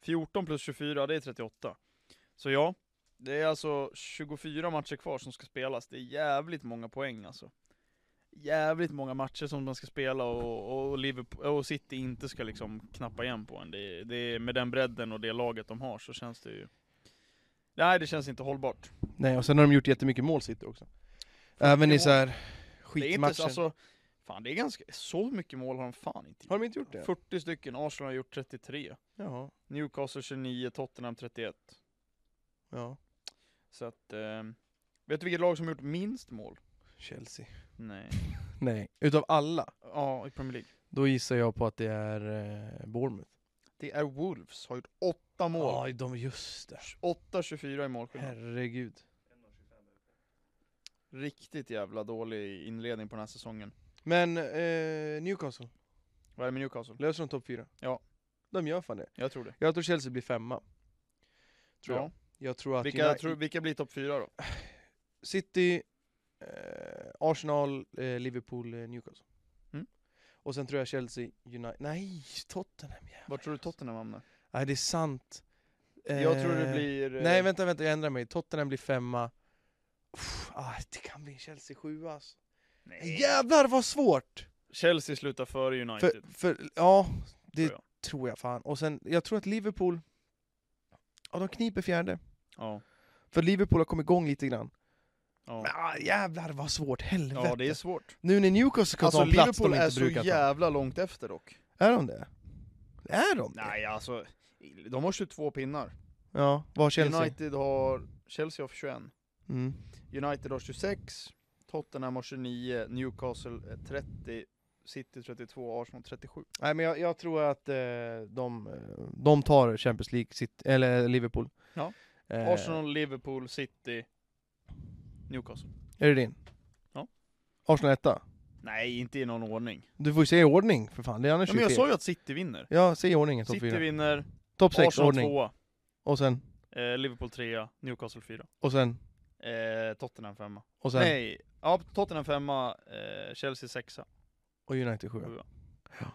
Speaker 3: 14 plus 24, det är 38. Så ja, det är alltså 24 matcher kvar som ska spelas, det är jävligt många poäng alltså jävligt många matcher som man ska spela och, och, Liverpool, och City inte ska liksom knappa igen på en. Det, det, är- med den bredden och det laget de har så känns det ju... Nej, det känns inte hållbart.
Speaker 1: Nej, och sen har de gjort jättemycket mål City också. Även i
Speaker 3: mål.
Speaker 1: så här
Speaker 3: Det är inte,
Speaker 1: skitmatcher.
Speaker 3: så- alltså, fan, det är ganska... Så mycket mål har de fan inte
Speaker 1: Har
Speaker 3: gjort.
Speaker 1: de inte gjort det?
Speaker 3: 40 stycken, Arsenal har gjort 33.
Speaker 1: Jaha.
Speaker 3: Newcastle 29, Tottenham 31.
Speaker 1: Ja.
Speaker 3: Så att... Eh, vet du vilket lag som har gjort minst mål?
Speaker 1: Chelsea.
Speaker 3: Nej.
Speaker 1: Nej, utav alla.
Speaker 3: Ja, i Premier League.
Speaker 1: Då gissar jag på att det är eh, Bournemouth.
Speaker 3: Det är Wolves, har gjort 8 mål.
Speaker 1: Ja, de, just det.
Speaker 3: 8-24 i målskillnad.
Speaker 1: Herregud.
Speaker 3: Riktigt jävla dålig inledning på den här säsongen.
Speaker 1: Men eh, Newcastle,
Speaker 3: Vad är det med Newcastle?
Speaker 1: löser de topp fyra?
Speaker 3: Ja.
Speaker 1: De gör fan det.
Speaker 3: Jag tror det.
Speaker 1: Jag tror Chelsea blir femma. Tror
Speaker 3: ja.
Speaker 1: jag. Jag tror att
Speaker 3: Vilka,
Speaker 1: United-
Speaker 3: tror, vilka blir topp fyra då?
Speaker 1: City, eh, Arsenal, eh, Liverpool, eh, Newcastle.
Speaker 3: Mm.
Speaker 1: Och sen tror jag Chelsea, United... Nej, Tottenham! jävlar.
Speaker 3: Vart tror du Tottenham hamnar?
Speaker 1: Nej, det är sant.
Speaker 3: Jag tror
Speaker 1: Eh,
Speaker 3: det blir... eh,
Speaker 1: Nej, vänta, vänta, jag ändrar mig. Tottenham blir femma. Uff, ah, det kan bli en Chelsea sjua alltså.
Speaker 3: nej.
Speaker 1: Jävlar vad svårt!
Speaker 3: Chelsea slutar före United.
Speaker 1: För, för, ja, det
Speaker 3: Tror
Speaker 1: tror jag. fan. Och sen, jag tror att Liverpool... Ja, de kniper fjärde.
Speaker 3: Ja.
Speaker 1: För Liverpool har kommit igång lite grann.
Speaker 3: Ja.
Speaker 1: Men, ah, jävlar vad svårt, helvete.
Speaker 3: ja, det är svårt.
Speaker 1: Nu när Newcastle kan ta
Speaker 3: Alltså
Speaker 1: en plats
Speaker 3: Liverpool
Speaker 1: de
Speaker 3: är
Speaker 1: inte
Speaker 3: så
Speaker 1: brukar ta.
Speaker 3: jävla långt efter dock.
Speaker 1: Är de det? Är de det?
Speaker 3: Nej alltså, de har 22 pinnar.
Speaker 1: Ja, var Chelsea?
Speaker 3: United har, Chelsea har 21.
Speaker 1: Mm.
Speaker 3: United har 26, Tottenham har 29, Newcastle eh, 30, City 32, Arsenal 37.
Speaker 1: Nej men jag, jag tror att eh, de, eh, de tar Champions League, sitt, eller Liverpool.
Speaker 3: Ja.
Speaker 1: Eh,
Speaker 3: Arsenal, Liverpool, City, Newcastle.
Speaker 1: Är det din?
Speaker 3: Ja.
Speaker 1: Arsenal etta.
Speaker 3: Nej, inte i någon ordning.
Speaker 1: Du får ju säga i ordning för fan, det är annars
Speaker 3: Ja, men jag
Speaker 1: ju
Speaker 3: sa
Speaker 1: fel.
Speaker 3: ju att City vinner.
Speaker 1: Ja, säg i ordningen, topp
Speaker 3: City
Speaker 1: fyra.
Speaker 3: vinner,
Speaker 1: Topp sex,
Speaker 3: Arsenal
Speaker 1: ordning.
Speaker 3: tvåa,
Speaker 1: Och sen,
Speaker 3: eh, Liverpool trea, Newcastle fyra,
Speaker 1: och sen,
Speaker 3: eh, Tottenham femma.
Speaker 1: och sen.
Speaker 3: Nej, ja, Tottenham femma, eh, Chelsea sexa.
Speaker 1: Och United sjua.
Speaker 3: Sjua.
Speaker 1: Ja.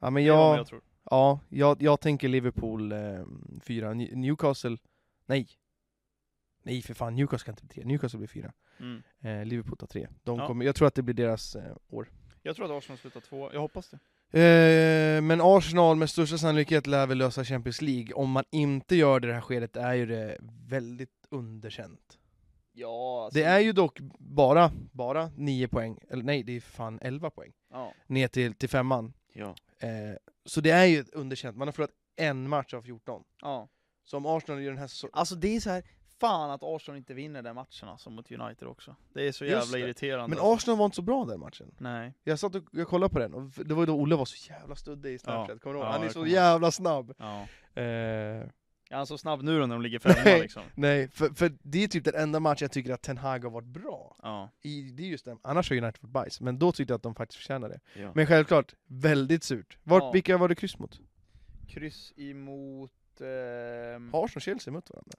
Speaker 1: Ja men
Speaker 3: Det är de
Speaker 1: jag,
Speaker 3: jag tror.
Speaker 1: ja, jag, jag tänker Liverpool eh, fyra, New- Newcastle, nej. Nej för fan, Newcastle kan inte bli tre, Newcastle blir fyra.
Speaker 3: Mm.
Speaker 1: Eh, Liverpool tar tre. De
Speaker 3: Ja.
Speaker 1: kommer, jag tror att det blir deras eh, år.
Speaker 3: Jag tror att Arsenal slutar tvåa, jag hoppas det.
Speaker 1: Eh, men Arsenal med största sannolikhet lär väl lösa Champions League. Om man inte gör det i det här skedet är ju det väldigt underkänt.
Speaker 3: Ja, alltså,
Speaker 1: Det är ju dock bara, bara 9 poäng, eller nej det är fan 11 poäng,
Speaker 3: Ja.
Speaker 1: ner till, till femman.
Speaker 3: Ja.
Speaker 1: Eh, så det är ju ett underkänt, man har förlorat en match av 14.
Speaker 3: ja.
Speaker 1: Så om Arsenal gör den här säsongen...
Speaker 3: Alltså det är så här, fan att Arsenal inte vinner den matchen alltså mot United också. Det är så
Speaker 1: Just
Speaker 3: jävla
Speaker 1: det.
Speaker 3: irriterande.
Speaker 1: Men Arsenal var inte så bra den matchen.
Speaker 3: Nej.
Speaker 1: Jag satt och jag kollade på den, och det var ju då Olle var så jävla studdig i Snapchat,
Speaker 3: Ja.
Speaker 1: kommer du ihåg?
Speaker 3: Ja,
Speaker 1: Han är
Speaker 3: jag
Speaker 1: så
Speaker 3: kommer ihåg.
Speaker 1: jävla snabb!
Speaker 3: Ja.
Speaker 1: Eh,
Speaker 3: Är han så snabb nu då när de ligger femma
Speaker 1: Nej.
Speaker 3: liksom?
Speaker 1: nej, för, för det är typ den enda match jag tycker att Ten Hag har varit bra.
Speaker 3: Ja.
Speaker 1: i, det är just den. Annars har United varit bajs, men då tyckte jag att de faktiskt förtjänade det.
Speaker 3: Ja.
Speaker 1: Men självklart, väldigt surt. Vart,
Speaker 3: Ja. Mm.
Speaker 1: Vilka var det kryss mot?
Speaker 3: Kryss emot... ehm,
Speaker 1: Har Arsenal och Chelsea mot varandra?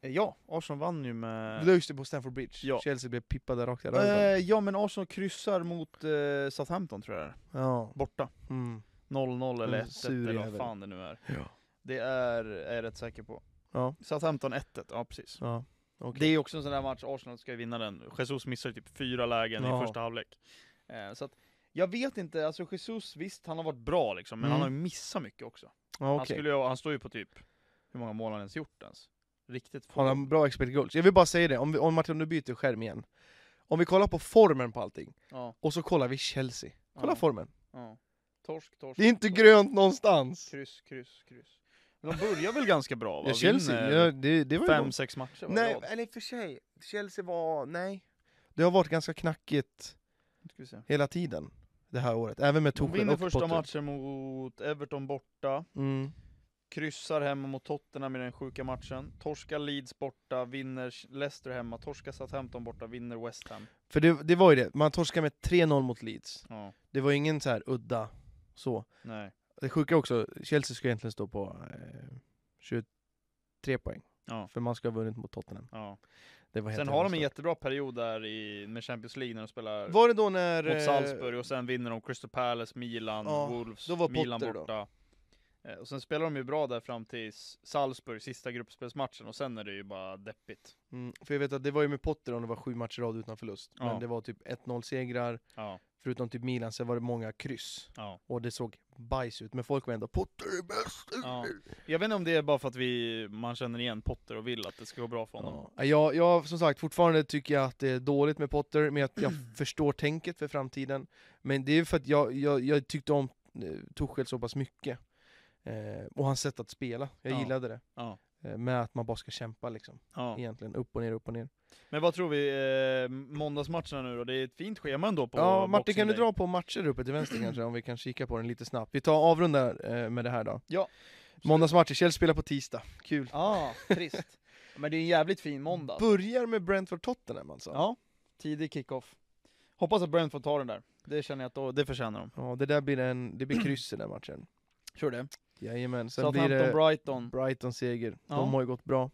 Speaker 3: Ja, Arsenal vann ju
Speaker 1: Det
Speaker 3: med...
Speaker 1: var just det på Stamford Bridge.
Speaker 3: Ja.
Speaker 1: Chelsea blev pippade rakt i röven.
Speaker 3: Eh, ja men Arsenal kryssar mot eh, Southampton tror jag det är.
Speaker 1: Ja.
Speaker 3: Borta.
Speaker 1: Mm.
Speaker 3: 0-0 eller
Speaker 1: Mm,
Speaker 3: 1-1
Speaker 1: sur
Speaker 3: eller vad
Speaker 1: jävel.
Speaker 3: fan det nu är.
Speaker 1: Ja.
Speaker 3: Det är, är jag rätt säker på.
Speaker 1: Ja.
Speaker 3: Southampton 1-1, ja precis.
Speaker 1: ja.
Speaker 3: Det är också en sån där match, Arsenal ska ju vinna den. Jesus missar ju typ fyra lägen
Speaker 1: Ja.
Speaker 3: i första halvlek. Eh, så att, jag vet inte, alltså Jesus, visst han har varit bra liksom, men
Speaker 1: Mm.
Speaker 3: han har ju missat mycket också.
Speaker 1: ja
Speaker 3: Han,
Speaker 1: okej.
Speaker 3: skulle, ju- han står ju på typ, hur många mål har han ens gjort ens? Riktigt få.
Speaker 1: Har han bra expert goals? Jag vill bara säga det, om, vi, om Martin du byter skärm igen. Om vi kollar på formen på allting,
Speaker 3: Ja,
Speaker 1: och så kollar vi Chelsea. Kolla
Speaker 3: ja,
Speaker 1: formen.
Speaker 3: ja. Torsk, torsk.
Speaker 1: Det är inte
Speaker 3: torsk.
Speaker 1: grönt någonstans!
Speaker 3: Kryss, kryss, kryss. Men de börjar väl ganska bra? Va?
Speaker 1: Ja, Chelsea, ja, det, det var ju bra.
Speaker 3: fem, sex matcher var
Speaker 1: Nej,
Speaker 3: rad.
Speaker 1: eller i och för sig. Chelsea var... Nej. Det har varit ganska knackigt.
Speaker 3: Ska vi se.
Speaker 1: hela tiden det här året, även med
Speaker 3: De
Speaker 1: Torshäll
Speaker 3: vinner
Speaker 1: och
Speaker 3: första
Speaker 1: Potter.
Speaker 3: matchen mot Everton borta.
Speaker 1: Mm.
Speaker 3: kryssar hemma mot Tottenham i den sjuka matchen, torskar Leeds borta, vinner Leicester hemma, torskar Southampton borta, vinner West Ham.
Speaker 1: För det, det var ju det, man torskade med 3-0 mot Leeds.
Speaker 3: Ja,
Speaker 1: Det var ingen så här udda så.
Speaker 3: nej.
Speaker 1: Det sjuka också, Chelsea ska egentligen stå på eh, 23 poäng.
Speaker 3: Ja.
Speaker 1: För man ska ha vunnit mot Tottenham.
Speaker 3: Ja.
Speaker 1: Det var helt
Speaker 3: Sen har de
Speaker 1: jävla
Speaker 3: en
Speaker 1: stört.
Speaker 3: jättebra period där i, med Champions League när de spelar
Speaker 1: Var det då när...
Speaker 3: mot
Speaker 1: eh,
Speaker 3: Salzburg och sen vinner de Crystal Palace, Milan,
Speaker 1: Ja,
Speaker 3: Wolves,
Speaker 1: då var
Speaker 3: Milan
Speaker 1: Potter då.
Speaker 3: borta. Eh, Och sen spelar de ju bra där fram till Salzburg, sista gruppspelsmatchen, och sen är det ju bara deppigt.
Speaker 1: Mm, för jag vet att det var ju med Potter om det var sju matcher i rad utan förlust.
Speaker 3: Ja.
Speaker 1: Men det var typ 1-0 segrar,
Speaker 3: Ja,
Speaker 1: förutom typ Milan, sen var det många kryss.
Speaker 3: ja.
Speaker 1: Och det såg bajs ut, men folk var ändå 'Potter är bäst!'
Speaker 3: ja. Jag vet inte om det är bara för att vi, man känner igen Potter och vill att det ska gå bra för honom.
Speaker 1: Ja. Jag, jag, som sagt, fortfarande tycker jag att det är dåligt med Potter, men jag, jag förstår tänket för framtiden. Men det är för att jag, jag, jag tyckte om eh, Tuchel så pass mycket. Eh, och hans sätt att spela, jag
Speaker 3: Ja.
Speaker 1: gillade det.
Speaker 3: Ja.
Speaker 1: Eh, med att man bara ska kämpa liksom,
Speaker 3: Ja.
Speaker 1: egentligen. Upp och ner, upp och ner.
Speaker 3: Men vad tror vi, eh, måndagsmatcherna nu då? Det är ett fint schema ändå på
Speaker 1: ja, Martin
Speaker 3: Boxing
Speaker 1: kan du
Speaker 3: Day.
Speaker 1: dra på matcher uppe till vänster kanske, om vi kan kika på den lite snabbt. Vi tar avrundar eh, med det här då.
Speaker 3: Ja.
Speaker 1: Måndagsmatcher, Chelsea spelar på tisdag. Kul.
Speaker 3: Ja, trist. Men det är en jävligt fin måndag.
Speaker 1: Börjar med Brentford-Tottenham alltså.
Speaker 3: Ja, tidig kickoff. Hoppas att Brentford tar den där. Det känner jag att då, det förtjänar de.
Speaker 1: Ja, det där blir en, det blir kryss i den matchen.
Speaker 3: Tror du det?
Speaker 1: Jajamän, sen blir
Speaker 3: Southampton,
Speaker 1: det
Speaker 3: Brighton.
Speaker 1: Brighton-seger.
Speaker 3: Ja.
Speaker 1: De har ju gått bra.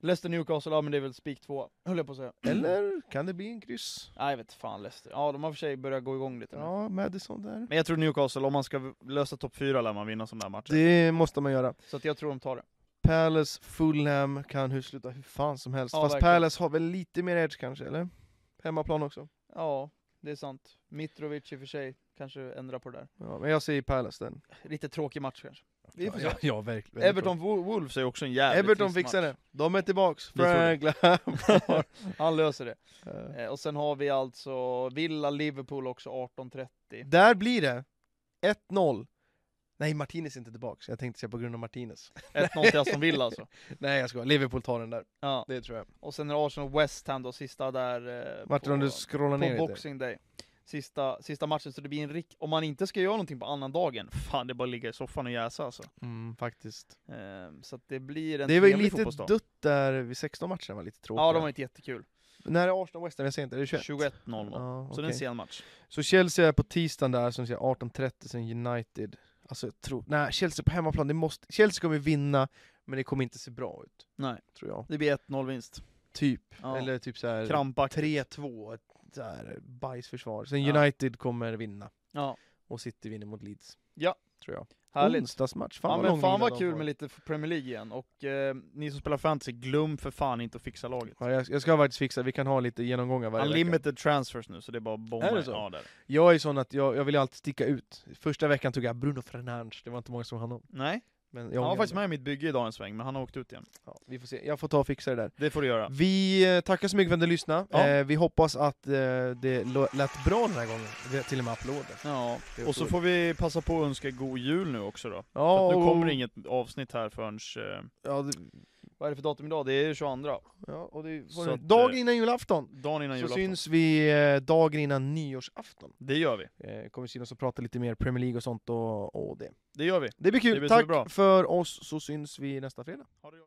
Speaker 3: Leicester, Newcastle, ja men det är väl spik två, höll jag på att säga.
Speaker 1: Eller kan det bli en kryss?
Speaker 3: Nej, jag vet fan Leicester. Ja, de har för sig börjat gå igång lite nu.
Speaker 1: Ja, Madison där.
Speaker 3: Men jag tror Newcastle, om man ska lösa topp fyra lär man vinna sådana där matcher.
Speaker 1: Det måste man göra.
Speaker 3: Så att jag tror de tar det.
Speaker 1: Palace, Fulham kan hur sluta hur fan som helst.
Speaker 3: Ja,
Speaker 1: Fast
Speaker 3: verkligen.
Speaker 1: Palace har väl lite mer edge kanske, eller? Hemmaplan också.
Speaker 3: Ja, det är sant. Mitrovic i och för sig kanske ändrar på det där.
Speaker 1: Ja, men jag säger Palace den.
Speaker 3: Lite tråkig match kanske. Vi får se.
Speaker 1: ja, ja verkligen.
Speaker 3: Everton Wo- Wolves är också en jävligt
Speaker 1: Everton
Speaker 3: trist
Speaker 1: fixar
Speaker 3: match.
Speaker 1: det. De är tillbaks.
Speaker 3: Vi tror det.
Speaker 1: Frank Lampard.
Speaker 3: Han löser det.
Speaker 1: Eh,
Speaker 3: Eh, och sen har vi alltså Villa, Liverpool också 18.30.
Speaker 1: Där blir det 1-0. Nej, Martinez är inte tillbaks. Jag tänkte säga på grund av Martinez.
Speaker 3: 1-0 till Aston Villa alltså.
Speaker 1: Nej, jag skojar. Liverpool tar den där.
Speaker 3: Ja.
Speaker 1: Det tror jag.
Speaker 3: Och sen är det Arsenal West Ham då, sista där eh,
Speaker 1: Martin, om du scrollar ner
Speaker 3: på
Speaker 1: lite.
Speaker 3: Boxing Day. Sista, sista matchen, så det blir en rik... Om man inte ska göra någonting på annan dagen, fan det är bara att ligga i soffan och jäsa alltså.
Speaker 1: Mm, faktiskt.
Speaker 3: Ehm, så att det blir en
Speaker 1: Det var ju
Speaker 3: trevlig
Speaker 1: lite
Speaker 3: fotbollsdag.
Speaker 1: dött där vid 16-matchen, var lite tråkigt.
Speaker 3: Ja, de var inte jättekul.
Speaker 1: När är Arsenal West Ham? Jag ser inte, är det 21?
Speaker 3: 21-0 va?
Speaker 1: Ja,
Speaker 3: Så det är
Speaker 1: okej.
Speaker 3: en sen match.
Speaker 1: Så Chelsea är på tisdagen där, som säger 18.30, sen United. Alltså jag tror, nej Chelsea på hemmaplan, det måste, Chelsea kommer vinna, men det kommer inte se bra ut.
Speaker 3: Nej.
Speaker 1: Tror jag.
Speaker 3: Det blir 1-0 vinst.
Speaker 1: Typ.
Speaker 3: Ja.
Speaker 1: Eller typ såhär
Speaker 3: Krampaktigt.
Speaker 1: 3-2, ett så här bajsförsvar. Sen
Speaker 3: Ja.
Speaker 1: United kommer vinna,
Speaker 3: Ja,
Speaker 1: och City vinner mot Leeds.
Speaker 3: Ja.
Speaker 1: Tror jag.
Speaker 3: härligt.
Speaker 1: Onsdagsmatch, fan
Speaker 3: Fan,
Speaker 1: vad
Speaker 3: ja,
Speaker 1: lång
Speaker 3: men fan
Speaker 1: vila
Speaker 3: vad
Speaker 1: de
Speaker 3: kul
Speaker 1: får.
Speaker 3: med lite Premier League igen, och eh, ni som spelar fantasy, glöm för fan inte att fixa laget.
Speaker 1: Ja, jag, jag ska faktiskt fixa, vi kan ha lite genomgångar varje vecka.
Speaker 3: Unlimited transfers nu, så det är bara att bomba.
Speaker 1: Är det så?
Speaker 3: Ja, där.
Speaker 1: Jag är sån att jag, jag vill ju alltid sticka ut. Första veckan tog jag Bruno Fernandes, det var inte många som hann om.
Speaker 3: Nej,
Speaker 1: Men jag
Speaker 3: han var
Speaker 1: ångrar
Speaker 3: faktiskt
Speaker 1: mig.
Speaker 3: med i mitt bygge idag en sväng, men han har åkt ut igen.
Speaker 1: Ja, vi får se, jag får ta och fixa det där.
Speaker 3: Det får du göra.
Speaker 1: Vi eh, tackar så mycket för att ni lyssnade.
Speaker 3: Ja.
Speaker 1: Eh, vi hoppas att eh, det lo- lät bra den här gången. Det är till och med applåder.
Speaker 3: Ja,
Speaker 1: Det är
Speaker 3: och så
Speaker 1: otroligt.
Speaker 3: får vi passa på att önska god jul nu också då.
Speaker 1: Ja,
Speaker 3: För att nu
Speaker 1: och-
Speaker 3: kommer det inget avsnitt här förrän... Eh,
Speaker 1: Ja, det,
Speaker 3: vad är det för datum idag? Det är 22.
Speaker 1: ja, och det
Speaker 3: Så att,
Speaker 1: dagen
Speaker 3: eh,
Speaker 1: innan julafton!
Speaker 3: Dagen innan
Speaker 1: Så
Speaker 3: julafton.
Speaker 1: syns vi eh, dagen innan nyårsafton.
Speaker 3: Det gör vi.
Speaker 1: Eh, kommer synas och prata lite mer Premier League och sånt och, och det.
Speaker 3: Det gör vi.
Speaker 1: Det blir kul!
Speaker 3: Det blir
Speaker 1: Tack
Speaker 3: superbra.
Speaker 1: för oss, så syns vi nästa fredag.
Speaker 3: Ha det gott.